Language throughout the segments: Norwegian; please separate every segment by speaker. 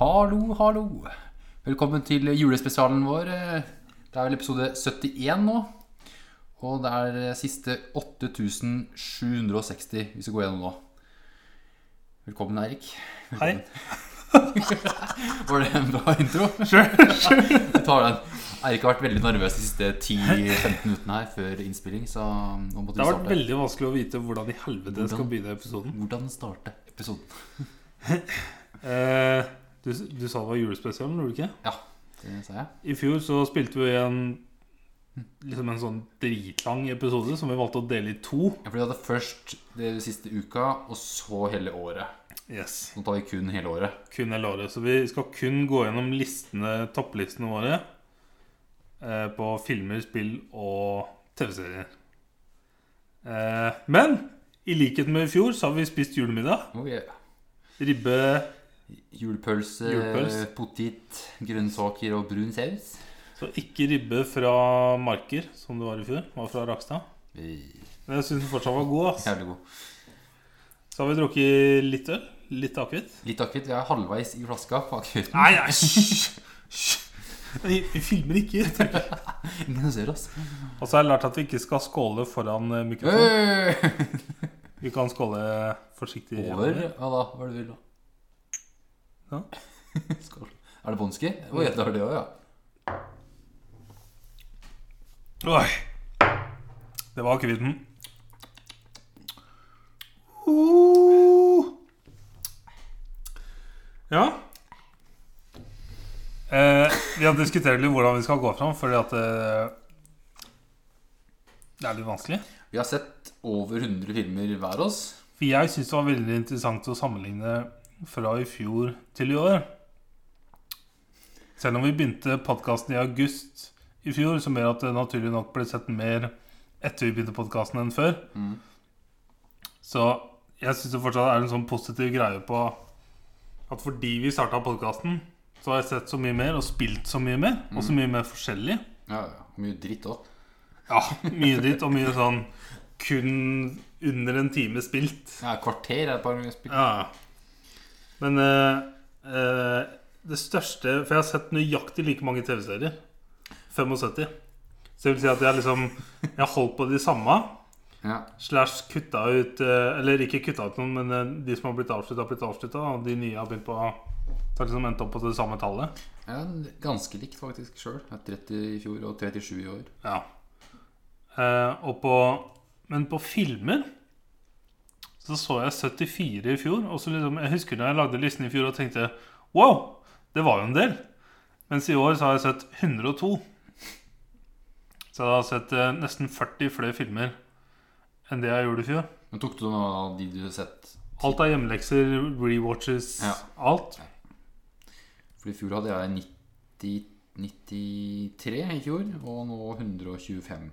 Speaker 1: Hallo, hallo. Velkommen til julespesialen vår. Det er vel episode 71 nå. Og det er eh, siste 8760 vi skal gå gjennom nå. Velkommen, Eirik.
Speaker 2: Hei.
Speaker 1: Var det en bra intro?
Speaker 2: Sure, sure.
Speaker 1: Jeg tar den. Eirik har vært veldig nervøs de siste 10-15 minuttene her før innspilling, så nå måtte
Speaker 2: Det
Speaker 1: vi
Speaker 2: har vært
Speaker 1: starte.
Speaker 2: veldig vanskelig å vite hvordan i helvete jeg skal
Speaker 1: Hvordan?
Speaker 2: begynne episoden.
Speaker 1: Hvordan starte episoden?
Speaker 2: Eh, du, du sa det var julespesialen, gjorde du ikke?
Speaker 1: Ja, det sa jeg.
Speaker 2: I fjor så spilte vi en Liksom en sånn dritlang episode som vi valgte å dele i to.
Speaker 1: Ja, for vi hadde først det siste uka, og så hele året.
Speaker 2: Yes,
Speaker 1: Nå tar vi kun hele året.
Speaker 2: kun hele året. Så vi skal kun gå gjennom listene, topplistene våre eh, på filmer, spill og TV-serier. Eh, men i likhet med i fjor så har vi spist julemiddag.
Speaker 1: Oh, yeah.
Speaker 2: Ribbe
Speaker 1: Julepølse,
Speaker 2: Julepølse.
Speaker 1: potet, grønnsaker og brun saus.
Speaker 2: Så ikke ribbe fra Marker, som det var i fjor. Var fra Rakstad.
Speaker 1: Eh,
Speaker 2: Men jeg syns den fortsatt var god. ass
Speaker 1: Jævlig god.
Speaker 2: Så har vi drukket litt øl. Litt akevitt.
Speaker 1: Litt akevitt. Vi er halvveis i flaska på akevitten.
Speaker 2: Nei, nei, hysj! hysj. Vi vi filmer ikke.
Speaker 1: Ingen ser oss.
Speaker 2: Og så har jeg lært at vi ikke skal skåle foran eh, mikrofonen.
Speaker 1: Hey!
Speaker 2: Vi kan skåle forsiktig.
Speaker 1: Over. Hva da? Hva er det du vil, da?
Speaker 2: Ja.
Speaker 1: Skål. Er det bånski? Å, jeg tar det òg, ja.
Speaker 2: Oi. Det var akevitten. Uh. Ja. Eh, vi har diskutert litt hvordan vi skal gå fram, fordi at eh, Det er litt vanskelig.
Speaker 1: Vi har sett over 100 filmer hver oss.
Speaker 2: For jeg syns det var veldig interessant å sammenligne fra i fjor til i år. Selv om vi begynte podkasten i august i fjor, som gjør at det naturlig nok ble sett mer etter vi begynte podkasten enn før.
Speaker 1: Mm.
Speaker 2: Så jeg syns det fortsatt er en sånn positiv greie på at fordi vi starta podkasten, så har jeg sett så mye mer og spilt så mye mer, og så mye mer forskjellig.
Speaker 1: Ja, ja. Mye dritt òg.
Speaker 2: Ja, Mye dritt og mye sånn kun under en time spilt.
Speaker 1: Ja, kvarter er et par ganger spilt.
Speaker 2: Ja. Men eh, eh, det største For jeg har sett nøyaktig like mange TV-serier. 75. Så det vil si at jeg liksom Jeg har holdt på de samme.
Speaker 1: Ja.
Speaker 2: Slash kutta ut eh, Eller ikke kutta ut noen, men eh, de som har blitt avslutta, har blitt avslutta. Og de nye har begynt på Så har liksom endt opp på det samme tallet.
Speaker 1: Ja, ganske likt faktisk sjøl. 30 i fjor og 37 i år.
Speaker 2: Ja. Eh, og på Men på filmer så så jeg 74 i fjor. Og så liksom, jeg husker da jeg lagde listen i fjor og tenkte Wow, det var jo en del. Mens i år så har jeg sett 102. Så jeg har sett eh, nesten 40 flere filmer enn det jeg gjorde i fjor.
Speaker 1: Men tok du noen av de du har sett?
Speaker 2: Alt er hjemmelekser, rewatches,
Speaker 1: Ja.
Speaker 2: alt.
Speaker 1: For i fjor hadde jeg 90, 93 i fjor, og nå 125.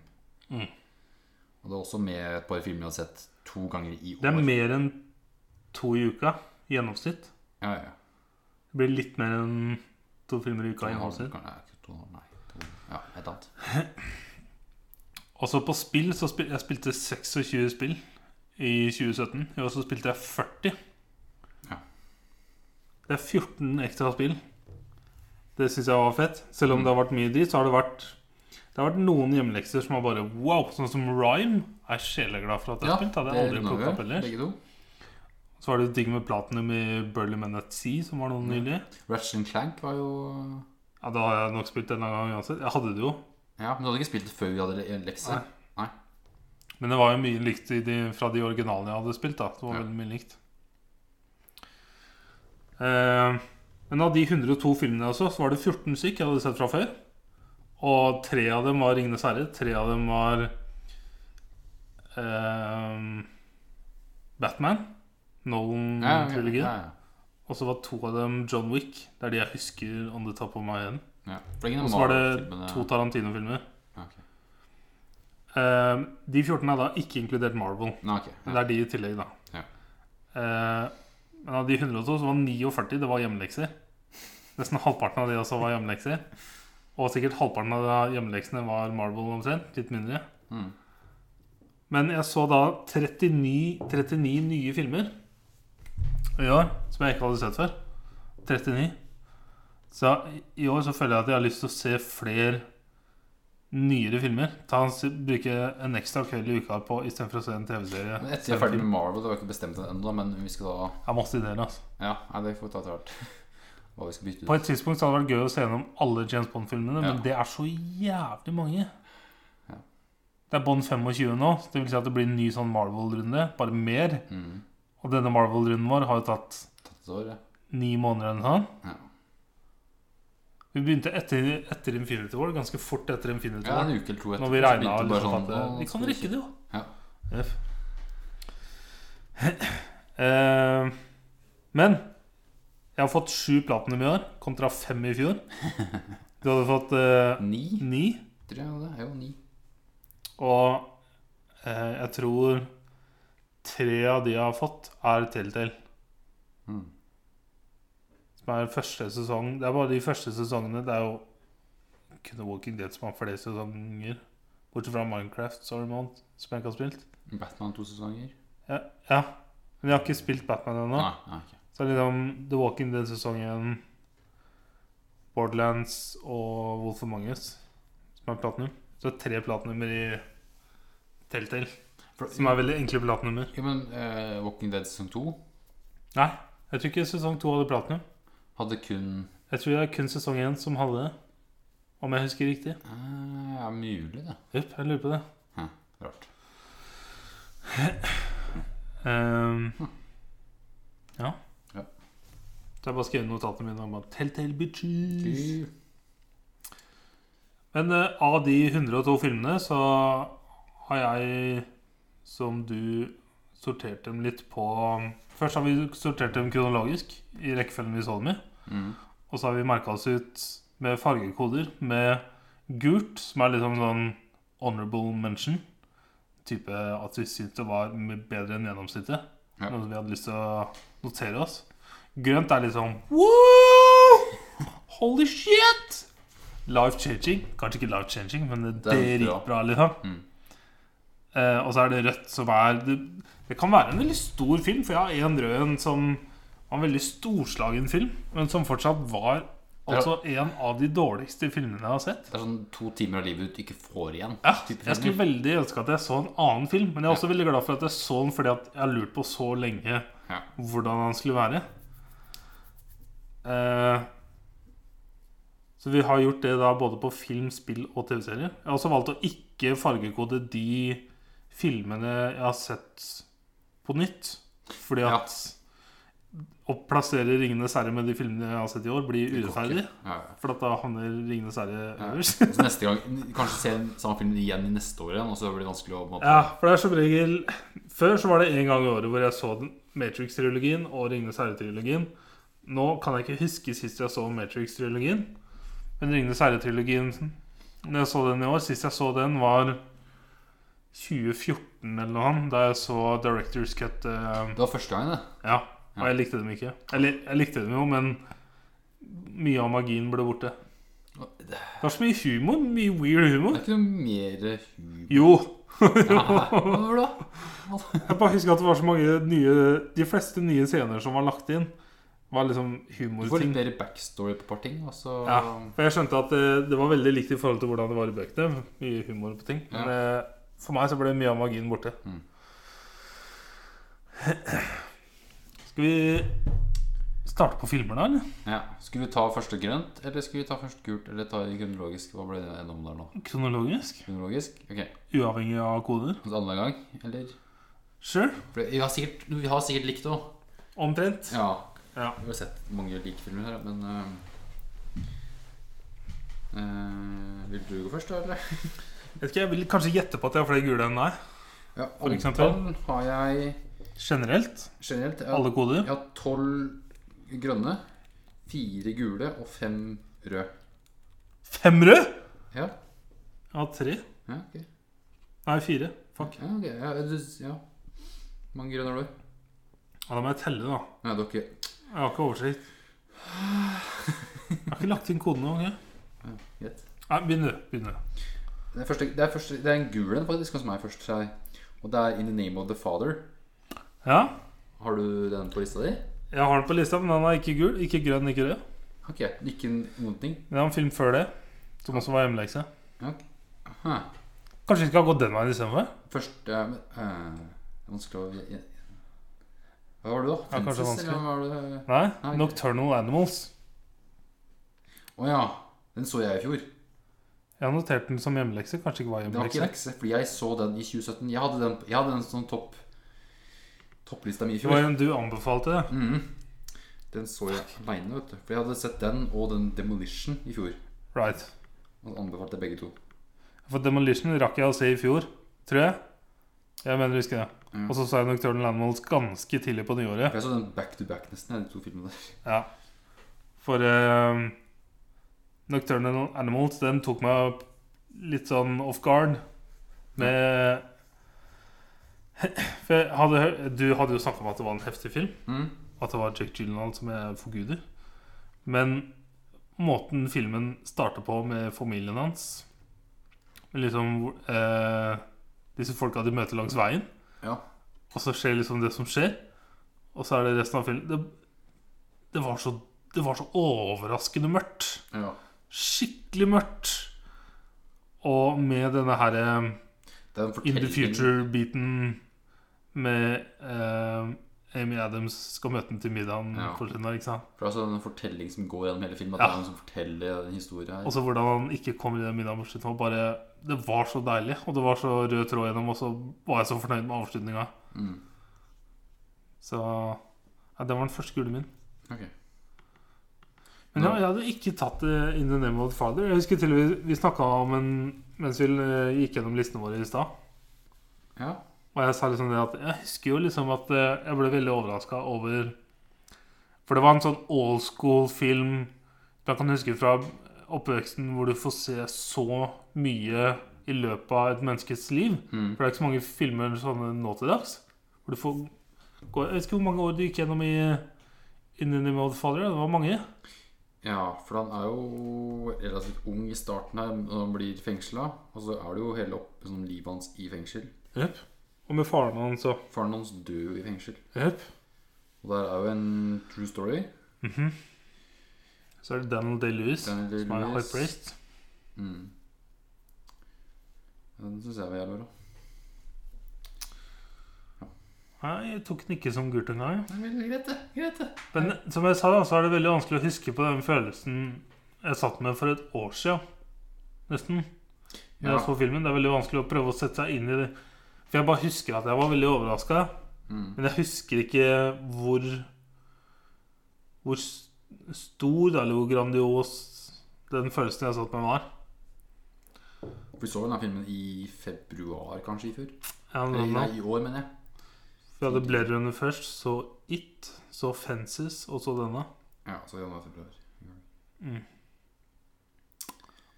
Speaker 2: Mm.
Speaker 1: Og det er også med et par filmer jeg har sett to ganger i år.
Speaker 2: Det er mer enn to i uka i gjennomsnitt.
Speaker 1: Ja, ja.
Speaker 2: Det blir litt mer enn to filmer i uka i gjennomsnitt.
Speaker 1: Kan- nei, ikke to, nei, to, ja, et eller annet.
Speaker 2: Også Altså, på spill så spil, jeg spilte 26 spill i 2017. I år så spilte jeg 40.
Speaker 1: Ja.
Speaker 2: Det er 14 ekstra spill. Det syns jeg var fett. Selv om det har vært mye dritt, så har det vært Det har vært noen hjemmelekser som har bare wow. Sånn som Rhyme er jeg sjeleglad for at jeg har spilt. Hadde jeg aldri
Speaker 1: runder
Speaker 2: plukket opp
Speaker 1: vi,
Speaker 2: ellers.
Speaker 1: Begge to.
Speaker 2: Så var det digg med Platinum i Burley Men At Sea, som var noe nylig.
Speaker 1: Ratchet and Clank var jo
Speaker 2: Ja, da har jeg nok spilt en eller annen gang uansett. Jeg hadde det jo.
Speaker 1: Ja, men du hadde ikke spilt det før vi hadde le- lekser? Nei.
Speaker 2: Men det var jo mye likt i de, fra de originalene jeg hadde spilt. da Det var
Speaker 1: Ja.
Speaker 2: veldig mye likt eh, Men av de 102 filmene også, så var det 14 stykk jeg hadde sett fra før. Og tre av dem var 'Ringenes herre'. Tre av dem var eh, Batman.
Speaker 1: Ja, ja,
Speaker 2: Nolan-trilogien.
Speaker 1: ja, ja.
Speaker 2: Og så var to av dem John Wick. Det er de jeg husker on the top of my head.
Speaker 1: Ja. For det er ingen
Speaker 2: Og så var det
Speaker 1: Marvel-filmene-
Speaker 2: to Tarantino-filmer.
Speaker 1: Ja, ok.
Speaker 2: Eh, de 14 er da ikke inkludert Marvel.
Speaker 1: Nei, ok.
Speaker 2: Men det er de i tillegg, da.
Speaker 1: Ja.
Speaker 2: Eh, men av de 102 så var 49 det var hjemmelekser. Nesten halvparten av de også var hjemmelekser. Og sikkert halvparten av de hjemmeleksene var Marvel omtrent. Litt mindre.
Speaker 1: Mm.
Speaker 2: Men jeg så da 39, 39 nye filmer i år som jeg ikke hadde sett før. 39. Så i år så føler jeg at jeg har lyst til å se flere nyere filmer. Ta, bruke en ekstra kveld i uka på istedenfor å se en TV-serie.
Speaker 1: Men Etter jeg er ferdig med Marvel, det var ikke bestemt ennå, men vi skal da
Speaker 2: Jeg har masse ideer, altså.
Speaker 1: Ja, nei, det får vi ta etter hvert. Hva vi skal bytte ut.
Speaker 2: På et tidspunkt så hadde det vært gøy å se gjennom alle James Bond-filmene,
Speaker 1: Ja.
Speaker 2: men det er så jævlig mange.
Speaker 1: Ja.
Speaker 2: Det er Bond 25 nå, så det vil si at det blir en ny sånn Marvel-runde, bare mer.
Speaker 1: Mm,
Speaker 2: Og denne Marvel-runden vår har jo tatt
Speaker 1: tatt et år, ja.
Speaker 2: ni måneder eller noe sånt.
Speaker 1: Ja.
Speaker 2: Vi begynte etter, etter Infinity War, ganske fort etter Infinity
Speaker 1: ja,
Speaker 2: War.
Speaker 1: en uke eller to etter.
Speaker 2: Når vi
Speaker 1: så
Speaker 2: regna
Speaker 1: begynte det bare sånn,
Speaker 2: liksom at det,
Speaker 1: «Å,
Speaker 2: Vi kan
Speaker 1: skal
Speaker 2: rekke det, jo.
Speaker 1: Ja.
Speaker 2: F. Eh, men jeg har fått sju platinum i år, kontra fem i fjor. Du hadde fått eh,
Speaker 1: Ni,
Speaker 2: ni.
Speaker 1: tror jeg det. er Jo, ni.
Speaker 2: Og eh, jeg tror tre av de jeg har fått, er Telltale.
Speaker 1: Mm.
Speaker 2: Som er første sesong. Det er bare de første sesongene. Det er jo kunne Walking Dead som har flere sesonger. Bortsett fra Minecraft, sorry, man, som jeg ikke har spilt.
Speaker 1: Batman to sesonger.
Speaker 2: Ja, ja. Men jeg har ikke spilt Batman ennå.
Speaker 1: Nei, nei, ok.
Speaker 2: Så det er liksom The Walking Dead-sesongen, Borderlands og Wolf of Mangus som er platinum. Så det er tre platinummer i Telltale,
Speaker 1: For,
Speaker 2: som er veldig enkle platinummer.
Speaker 1: jo, men eh, Walking Dead sesong to
Speaker 2: Nei, jeg tror ikke sesong to hadde platinum.
Speaker 1: hadde kun
Speaker 2: Jeg tror det er kun sesong én som hadde det. Om jeg husker riktig.
Speaker 1: eh, Ja, mulig, det.
Speaker 2: Jupp, jeg lurer på det.
Speaker 1: Rart.
Speaker 2: Ehm, ja.
Speaker 1: Ja.
Speaker 2: Så jeg bare skrev notatene mine om at Telltale bitches.
Speaker 1: Kul.
Speaker 2: Men eh, av de 102 filmene så har jeg, som du, sortert dem litt på um, Først har vi sortert dem kronologisk i rekkefølgen vi så dem i.
Speaker 1: Mm.
Speaker 2: Og så har vi merka oss ut med fargekoder med gult, som er liksom sånn honorable mention. Type at vi syntes det var m- bedre enn gjennomsnittet.
Speaker 1: Ja.
Speaker 2: Noe som vi hadde lyst til å notere oss. Grønt er liksom Wow! Holy shit! Life changing. Kanskje ikke life changing, men det
Speaker 1: Det er
Speaker 2: dritbra, bra, liksom.
Speaker 1: Mm.
Speaker 2: Eh, og så er det rødt, som er det, det kan være en veldig stor film, for jeg har en rød en som var en veldig storslagen film, men som fortsatt var altså en av de dårligste filmene jeg har sett.
Speaker 1: Det er sånn to timer av livet du ikke får igjen.
Speaker 2: Ja,
Speaker 1: type
Speaker 2: jeg skulle
Speaker 1: filmer.
Speaker 2: veldig ønske at jeg så en annen film, men jeg er også veldig glad for at jeg så den fordi at jeg har lurt på så lenge
Speaker 1: Ja.
Speaker 2: hvordan han skulle være. Eh, så vi har gjort det da både på film, spill og TV-serier. Jeg har også valgt å ikke fargekode de filmene jeg har sett på nytt. Fordi
Speaker 1: Ja.
Speaker 2: at å plassere 'Ringenes herre' med de filmene jeg har sett i år, blir urettferdig.
Speaker 1: Ja, ja.
Speaker 2: For at da havner 'Ringenes herre'
Speaker 1: Ja.
Speaker 2: øverst.
Speaker 1: Så neste gang Kanskje se samme film igjen i neste år igjen, og så blir det vanskelig å på en måte-
Speaker 2: Ja, for det er som regel Før så var det en gang i året hvor jeg så den- Matrix-trilogien og Ringenes herre-trilogien. Nå kan jeg ikke huske sist jeg så Matrix-trilogien. Men Ringenes herre-trilogien Når jeg så den i år Sist jeg så den, var 2014 eller noe annet. Da jeg så Directors Cut. eh,
Speaker 1: Det var første gangen, det.
Speaker 2: ja, og jeg likte dem ikke. Eller jeg likte dem jo, men mye av magien ble borte.
Speaker 1: Det
Speaker 2: Det var så mye humor. Mye weird
Speaker 1: er
Speaker 2: humor.
Speaker 1: ikke noe mer humor
Speaker 2: Jo,
Speaker 1: Hva da?
Speaker 2: Jeg bare husker at det var så mange nye De fleste nye scener som var lagt inn, var liksom
Speaker 1: Du får
Speaker 2: humorting.
Speaker 1: litt mer backstory på et par ting, og så
Speaker 2: Ja, for jeg skjønte at det, det var veldig likt i forhold til hvordan det var i bøkene. Mye humor på ting. Men eh, for meg så ble mye av magien borte.
Speaker 1: Mm.
Speaker 2: Skal vi starte på filmer, da? eller?
Speaker 1: ja. Skulle vi ta første grønt, eller skulle vi ta først gult, eller ta i kronologisk? Hva ble det om der nå?
Speaker 2: Kronologisk?
Speaker 1: Kronologisk? Ok,
Speaker 2: Uavhengig av koder?
Speaker 1: så andre gang, eller?
Speaker 2: Sure.
Speaker 1: For vi har sikkert, vi har sikkert likt òg.
Speaker 2: Omtrent.
Speaker 1: Ja.
Speaker 2: Ja.
Speaker 1: Vi har sett mange like filmer her, men eh, eh, Vil du gå først, da, eller?
Speaker 2: Jeg, vet ikke, jeg vil kanskje gjette på at jeg har flere gule enn deg.
Speaker 1: Ja,
Speaker 2: For eksempel?
Speaker 1: antall har jeg
Speaker 2: Generelt.
Speaker 1: generelt. Jeg har
Speaker 2: Alle koder.
Speaker 1: Jeg har tolv grønne, fire gule og fem røde.
Speaker 2: Fem røde!
Speaker 1: Ja,
Speaker 2: Jeg har tre.
Speaker 1: ja, ok.
Speaker 2: Nei, fire. Fuck.
Speaker 1: Ja, ok. Ja, du- ja. Mange grønne har du?
Speaker 2: Ja, da må jeg telle, da.
Speaker 1: Nei, dere
Speaker 2: Jeg har ikke oversikt. Jeg har ikke lagt inn koden noen gang.
Speaker 1: ja, Greit.
Speaker 2: Nei, begynn du. Begynn du.
Speaker 1: Det, er første, det, er første, det er en gul en faktisk, hos meg først. sa jeg. Og det er In the Name of the Father.
Speaker 2: Ja,
Speaker 1: Har du den på lista di?
Speaker 2: jeg har den på lista, men den er ikke gul, ikke grønn, ikke rød.
Speaker 1: Ok, ikke noen ting?
Speaker 2: Det var en film før det, som også var hjemmelekse.
Speaker 1: Ok. Aha.
Speaker 2: Kanskje vi skal gå den veien istedenfor?
Speaker 1: Første eh, Det er vanskelig å jeg- jeg- Hva var det, da?
Speaker 2: Ja, kanskje
Speaker 1: Fences,
Speaker 2: vanskelig.
Speaker 1: eller hva var det?
Speaker 2: Nei.
Speaker 1: Nei.
Speaker 2: Nocturnal Animals.
Speaker 1: Å ja. Den så jeg i fjor. Det
Speaker 2: Jeg har notert den som hjemmelekse. Kanskje ikke var
Speaker 1: var ikke
Speaker 2: hjemmelekse.
Speaker 1: lekse, fordi jeg så den i 2017. Jeg hadde den, jeg hadde den sånn topp topplista mi i
Speaker 2: Det var
Speaker 1: fjor.
Speaker 2: en du anbefalte. det.
Speaker 1: Mhm. Den så jeg aleine, vet du. For jeg hadde sett den og den Demolition i fjor.
Speaker 2: Right.
Speaker 1: Og anbefalte begge to.
Speaker 2: For Demolition rakk jeg å se i fjor, tror jeg. Jeg mener å huske det.
Speaker 1: Mm.
Speaker 2: Og så sa jeg Nocturnal Animals ganske tidlig på nyåret.
Speaker 1: For jeg så den back to back, nesten, jeg, de to filmene der.
Speaker 2: Ja. For eh, Nocturnal Animals, den tok meg litt sånn off guard. Med For jeg hadde, hø- du hadde jo snakka om at det var en heftig film.
Speaker 1: Mhm.
Speaker 2: At det var Jack Gyllenhaal som jeg forguder. Men måten filmen starter på med familien hans med Liksom eh, disse folka de møter langs veien.
Speaker 1: Ja.
Speaker 2: Og så skjer liksom det som skjer. Og så er det resten av filmen Det, det, var, så, det var så overraskende mørkt.
Speaker 1: ja.
Speaker 2: Skikkelig mørkt. Og med denne her eh,
Speaker 1: Det er en
Speaker 2: In the
Speaker 1: fortelling-
Speaker 2: future-biten med eh, Amy Adams skal møte den til middagen.
Speaker 1: Ja.
Speaker 2: for sin dag, ikke sant?
Speaker 1: For det er altså en fortelling som går gjennom hele filmen. At
Speaker 2: Ja.
Speaker 1: det er noen som forteller en historie her.
Speaker 2: Og så hvordan han ikke kom i den middagen på slutten. var Bare, det var så deilig, og det var så rød tråd gjennom, og så var jeg så fornøyd med avslutninga.
Speaker 1: Mm.
Speaker 2: Så ja, det var den første gulen min.
Speaker 1: Ok.
Speaker 2: Men ja, jeg hadde ikke tatt eh, In the Name of the Father. Jeg husker til og med vi snakka om en mens vi eh, gikk gjennom listene våre i stad.
Speaker 1: Ja.
Speaker 2: Og jeg sa liksom det at Jeg husker jo liksom at eh, jeg ble veldig overraska over For det var en sånn old school-film du kan huske fra oppveksten, hvor du får se så mye i løpet av et menneskes liv.
Speaker 1: Mm.
Speaker 2: For det er ikke så mange filmer sånne nå til dags. Hvor du får gå, Jeg vet ikke hvor mange år du gikk gjennom i In the Name of the Father. Det var mange.
Speaker 1: Ja, for han er jo relativt ung i starten her når han blir fengsla. Og så er det jo hele opp, sånn, livet hans i fengsel.
Speaker 2: Jep. Og med faren hans og
Speaker 1: Faren hans dør jo i fengsel.
Speaker 2: Jep.
Speaker 1: Og der er jo en true story.
Speaker 2: Så er det Daniel Day-Lewis, som
Speaker 1: Daniel
Speaker 2: er
Speaker 1: Day-Lewis.
Speaker 2: high priest.
Speaker 1: Mm. Ja, Den syns jeg var jævlig bra.
Speaker 2: Nei, jeg tok den ikke som gult engang.
Speaker 1: Nei, men Greit, det. Greit, det.
Speaker 2: Men som jeg sa, da, så er det veldig vanskelig å huske på den følelsen jeg satt med for et år siden. Nesten.
Speaker 1: Ja.
Speaker 2: Når jeg så filmen. Det er veldig vanskelig å prøve å sette seg inn i det. For jeg bare husker at jeg var veldig overraska.
Speaker 1: Mm.
Speaker 2: Men jeg husker ikke hvor Hvor s- stor eller hvor grandios den følelsen jeg satt med, var.
Speaker 1: For Vi så jo denne filmen i februar, kanskje, i fjor.
Speaker 2: Jeg,
Speaker 1: Eller, nei,
Speaker 2: jeg,
Speaker 1: i år, mener jeg.
Speaker 2: jeg hadde Blade Runner først, så It, så Fences, og så denne.
Speaker 1: Ja, så januar, februar.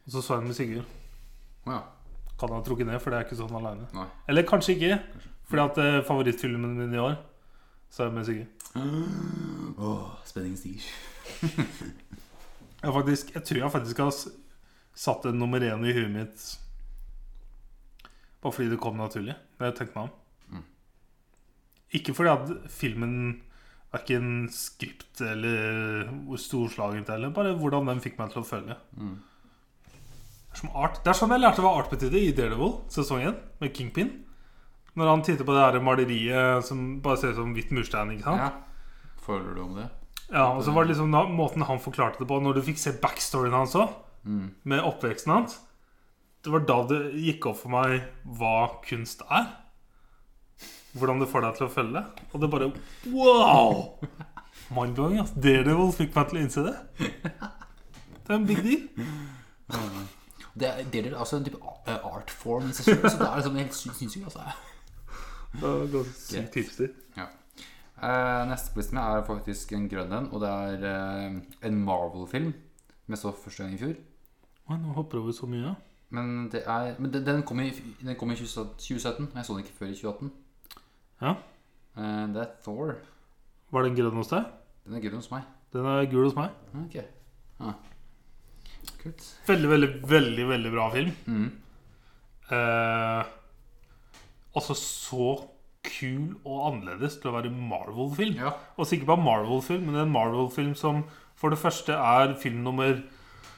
Speaker 2: Og så så jeg den med Sigurd.
Speaker 1: Å ja.
Speaker 2: Kan ha trukket ned, for det er ikke sånn aleine.
Speaker 1: Nei.
Speaker 2: Eller kanskje ikke. Fordi at eh, favorittfilmen min i år Så er jeg med sikker
Speaker 1: Åh, spenningen stiger.
Speaker 2: jeg, har faktisk, jeg tror jeg faktisk har s- satt en nummer én i huet mitt Bare fordi det kom naturlig Når jeg tenkte meg om
Speaker 1: Mm.
Speaker 2: Ikke fordi at filmen Hverken skript eller Hvor storslaget eller Bare hvordan den fikk meg til å føle
Speaker 1: Mm.
Speaker 2: Det er som art Det er sånn jeg lærte hva art betydde i Daredevil sesongen Med Kingpin Når han titter på det her maleriet Som bare ser ut som hvitt murstein Ikke sant?
Speaker 1: Ja. Føler du om det?
Speaker 2: Ja, og så var det liksom da, måten han forklarte det på Når du fikk se backstoryen hans òg,
Speaker 1: Mm.
Speaker 2: med oppveksten hans Det var da det gikk opp for meg hva kunst er. Hvordan det får deg til å følge det. Og det bare wow! Mindblowing. ass. Daredevil fikk meg til å innse det. Det er en big deal.
Speaker 1: Det er, det er altså en type eh, art form i seg selv, så det er liksom helt sy- sinnssykt. Altså. sykt Ja. Eh, neste på listen min er faktisk en grønn en, og det er eh, en Marvel-film. Som jeg så første gang i fjor.
Speaker 2: Oi, nå hopper jeg over så mye.
Speaker 1: Men, det er, men den, den kom i, den kom i 2017, 2017, og jeg så den ikke før i 2018.
Speaker 2: Ja.
Speaker 1: Eh, det er Thor.
Speaker 2: Var den grønn hos deg?
Speaker 1: Den er grønn hos meg.
Speaker 2: Den er gul hos meg.
Speaker 1: Ok. Ah. Kult.
Speaker 2: Veldig, veldig, veldig, veldig bra film.
Speaker 1: Mm.
Speaker 2: Eh, altså så kul og annerledes til å være Marvel-film.
Speaker 1: Ja.
Speaker 2: Og sikkert bare Marvel-film, men en Marvel-film som For det første er film nummer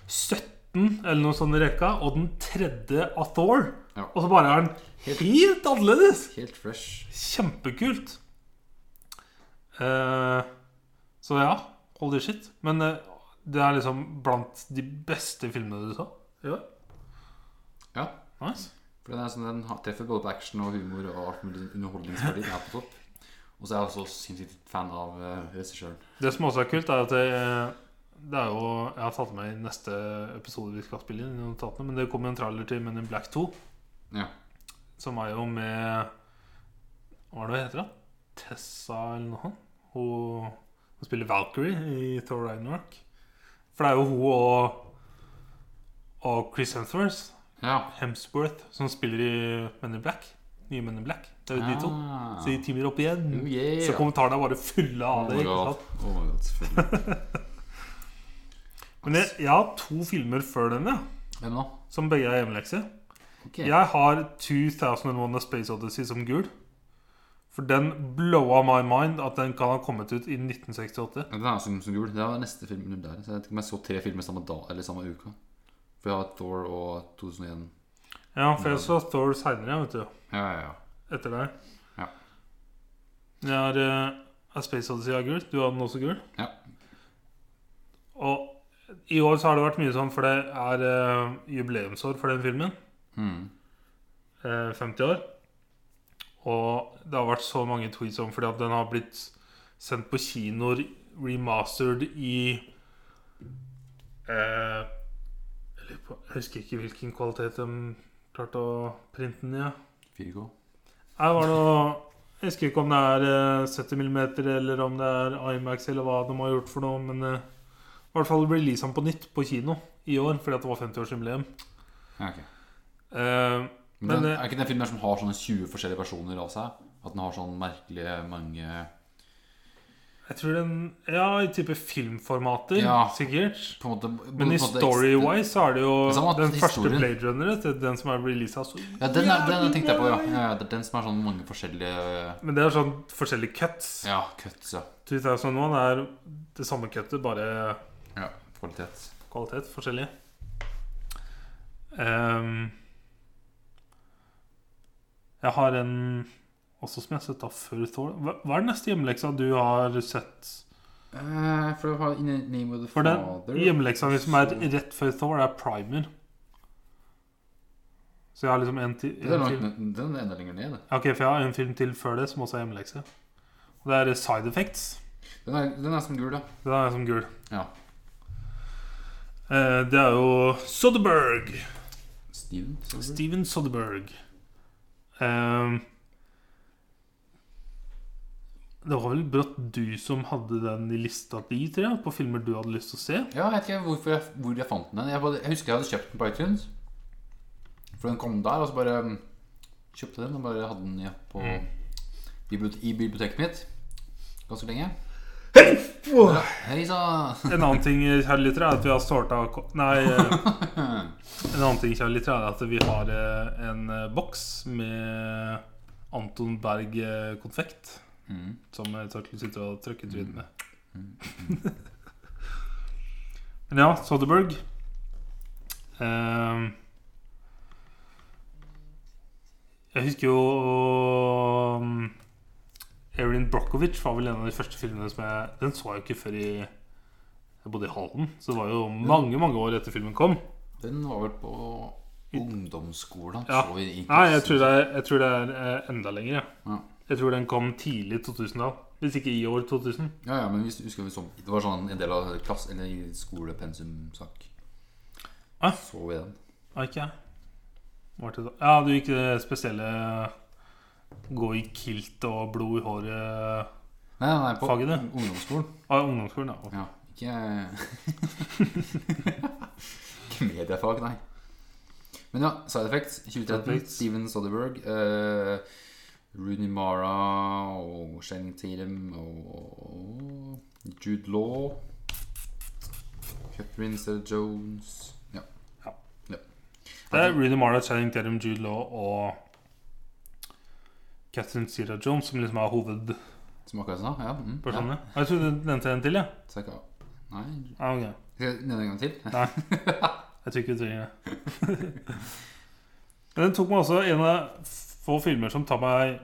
Speaker 2: 17 eller noe sånt i rekka, og den tredje av Thor.
Speaker 1: Ja.
Speaker 2: Og så bare er den helt annerledes!
Speaker 1: Helt fresh.
Speaker 2: Kjempekult. Eh, så ja, holy shit. Men eh, det er liksom blant de beste filmene du så? Ja.
Speaker 1: Ja.
Speaker 2: Nice.
Speaker 1: For den, er sånn, den har- treffer både på action og humor og alt mulig sånn underholdningsverdi. Den er på topp. Og så er jeg også sinnssykt fan av eh, regissøren.
Speaker 2: Det som også er kult, er at det, eh, det er jo Jeg har tatt med i neste episode vi skal spille inn, i notatene, men det kommer en trailer til Men in Black 2,
Speaker 1: Ja.
Speaker 2: som er jo med Hva er det hun heter, da? Tessa eller noe sånt? Hun, hun spiller Valkyrie i Thor Ragnarok. For det er jo hun og, og Chris Hemsworth,
Speaker 1: ja.
Speaker 2: Hemsworth som spiller i Men in Black. Nye Men in Black. Det er jo de to.
Speaker 1: Ah.
Speaker 2: Så de teamer opp igjen.
Speaker 1: Oh, yeah.
Speaker 2: Så kommentarene er bare fulle
Speaker 1: Oh
Speaker 2: av det.
Speaker 1: my
Speaker 2: ikke sant?
Speaker 1: god. Oh my god, selvfølgelig.
Speaker 2: Men jeg, jeg har to filmer før den, ja.
Speaker 1: Hvem nå?
Speaker 2: Som begge er hjemmelekse.
Speaker 1: Ok.
Speaker 2: Jeg har 2001 A Space Odyssey som gul. For den blowa my mind at den kan ha kommet ut i 1968.
Speaker 1: Ja, Den er som, som jul. Det var neste film der. Så jeg vet ikke om jeg så tre filmer samme dag eller samme uka. For jeg har Thor og 2001.
Speaker 2: Ja, for jeg så Thor seinere, vet du.
Speaker 1: Ja, ja, ja.
Speaker 2: Etter det.
Speaker 1: Ja.
Speaker 2: Jeg har eh, A Space Odyssey er gul. Du har den også gul.
Speaker 1: Ja.
Speaker 2: Og i år så har det vært mye sånn, for det er eh, jubileumsår for den filmen.
Speaker 1: Mm.
Speaker 2: eh, 50 år. Og det har vært så mange tweets om fordi at den har blitt sendt på kinoer remastered i eh, jeg lurer på- Jeg husker ikke hvilken kvalitet de klarte å printe den i. Ja.
Speaker 1: 4K.
Speaker 2: Her var det noe Jeg husker ikke om det er eh, 70 mm eller om det er Imax eller hva de har gjort for noe, men eh, i hvert fall releasa den på nytt på kino i år fordi at det var 50-årsjubileum.
Speaker 1: Ja, ok.
Speaker 2: Eh,
Speaker 1: Men,
Speaker 2: Men,
Speaker 1: den,
Speaker 2: eh,
Speaker 1: er ikke den filmen der som har sånne 20 forskjellige versjoner av seg? At den har sånn merkelige mange
Speaker 2: Jeg tror den Ja, i type filmformater,
Speaker 1: Ja.
Speaker 2: sikkert.
Speaker 1: på en måte,
Speaker 2: Men i
Speaker 1: på en måte-
Speaker 2: story-wise så er det jo
Speaker 1: Det samme at
Speaker 2: den første
Speaker 1: historien-
Speaker 2: Blade Runner, vet du, den som er releasa så
Speaker 1: Ja, den, er, den
Speaker 2: jævlig
Speaker 1: tenkte jeg på, ja.
Speaker 2: bra.
Speaker 1: ja. ja, Det er den som er sånn mange forskjellige
Speaker 2: Men det er sånn forskjellige cuts.
Speaker 1: Ja, cuts, ja.
Speaker 2: 2001 er sånn det samme cuttet, bare
Speaker 1: ja. Kvalitet.
Speaker 2: kvalitet forskjellig. Ehm, jeg har en også som jeg har sett av før Thor. Hva, hva er den neste hjemmeleksa du har sett?
Speaker 1: Eh, for det var in the name of the
Speaker 2: For
Speaker 1: father.
Speaker 2: den hjemmeleksa mi som er rett før Thor, er primer. Så jeg har liksom en, til,
Speaker 1: Den er
Speaker 2: en
Speaker 1: langt
Speaker 2: film
Speaker 1: ned- den er enda lenger ned. det.
Speaker 2: Ja, Ok, for jeg har en film til før det som også er hjemmelekse. Og det er eh, Side Effects.
Speaker 1: Den er, den er som gul, ja.
Speaker 2: Den er som gul.
Speaker 1: ja.
Speaker 2: Eh, det er jo Soderberg.
Speaker 1: Steven. Soderbergh.
Speaker 2: Steven Soderberg. Eh, det var vel brått du som hadde den i lista di, tror jeg, på filmer du hadde lyst til å se.
Speaker 1: Ja, jeg vet ikke hvorfor jeg, hvor jeg fant den. Jeg, bare, jeg husker jeg hadde kjøpt den på iTunes. For den kom der, og så bare mm, kjøpte den og bare hadde den ja, på,
Speaker 2: Mm.
Speaker 1: bibli- i biblioteket mitt ganske lenge. Ja, Hei sann!
Speaker 2: En annen ting, kjære lyttere, er at vi har sorta ko- Nei. eh, En annen ting, kjære lyttere, er at vi har eh, en eh, boks med Anton Berg eh, konfekt.
Speaker 1: Mm.
Speaker 2: Som jeg takk sitter og trykker trynet med. Mm. Men ja, Soderberg. Ehm, jeg husker jo um, Erin Brockovich var vel en av de første filmene som jeg Den så jeg jo ikke før i jeg bodde i Halden. Så det var jo mange mange år etter filmen kom.
Speaker 1: Den var vel på ungdomsskolen.
Speaker 2: Ja.
Speaker 1: Så vi i-
Speaker 2: Nei, jeg tror det er, jeg tror det er eh, enda lenger. jeg.
Speaker 1: Ja.
Speaker 2: Jeg tror den kom tidlig 2000-tall. Hvis ikke i år 2000.
Speaker 1: Ja, ja, men vi husker vi så, Det var sånn en del av klasse, eller i skolepensumsak.
Speaker 2: Ah.
Speaker 1: Så vi den.
Speaker 2: Ja, ikke jeg. Var det da? Ja, du gikk det spesielle eh, gå i kilt og blod i håret eh,
Speaker 1: Nei, nei, nei på
Speaker 2: Faget det?
Speaker 1: ungdomsskolen.
Speaker 2: av ungdomsskolen. Ja.
Speaker 1: Ja, ikke Ikke mediefag, nei. Men ja, Side Effects 2013.
Speaker 2: Side Effects.
Speaker 1: Steven Soderberg. eh, Rooney Mara og Shane Tatum og Jude Law. Catherine Zeta Jones Ja.
Speaker 2: Ja.
Speaker 1: Ja.
Speaker 2: Det er Rooney Mara, Channing Tatum, Jude Law og Catherine Zira Jones som liksom er hovedpersonene.
Speaker 1: Som akkurat sa? Ja. Mm, ja.
Speaker 2: Jeg trodde du nevnte en til, jeg. Ja.
Speaker 1: Takk, ja. Nei,
Speaker 2: Ja, ok.
Speaker 1: skal jeg nevne en gang til?
Speaker 2: Jeg tror ikke vi trenger det. Men den tok meg også en av få filmer som tar meg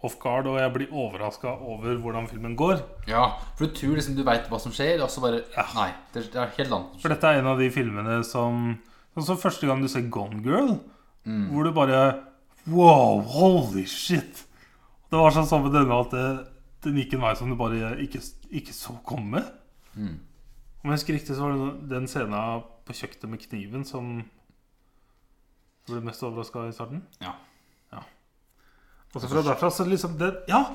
Speaker 2: off guard, og jeg blir overraska over hvordan filmen går.
Speaker 1: Ja, for du tror liksom du veit hva som skjer, og så bare Nei, det er- det er helt annet.
Speaker 2: For dette er en av de filmene som Sånn som første gang du ser Gone Girl,
Speaker 1: Mm.
Speaker 2: hvor du bare Wow, holy shit! Det var sånn sånn med denne at det, den gikk en vei som du bare ikke, ikke så komme.
Speaker 1: Mm.
Speaker 2: Om jeg husker riktig, så var det den scenen på kjøkkenet med kniven som jeg ble mest overraska i starten.
Speaker 1: Ja.
Speaker 2: Og så fra derfra så liksom det, Ja!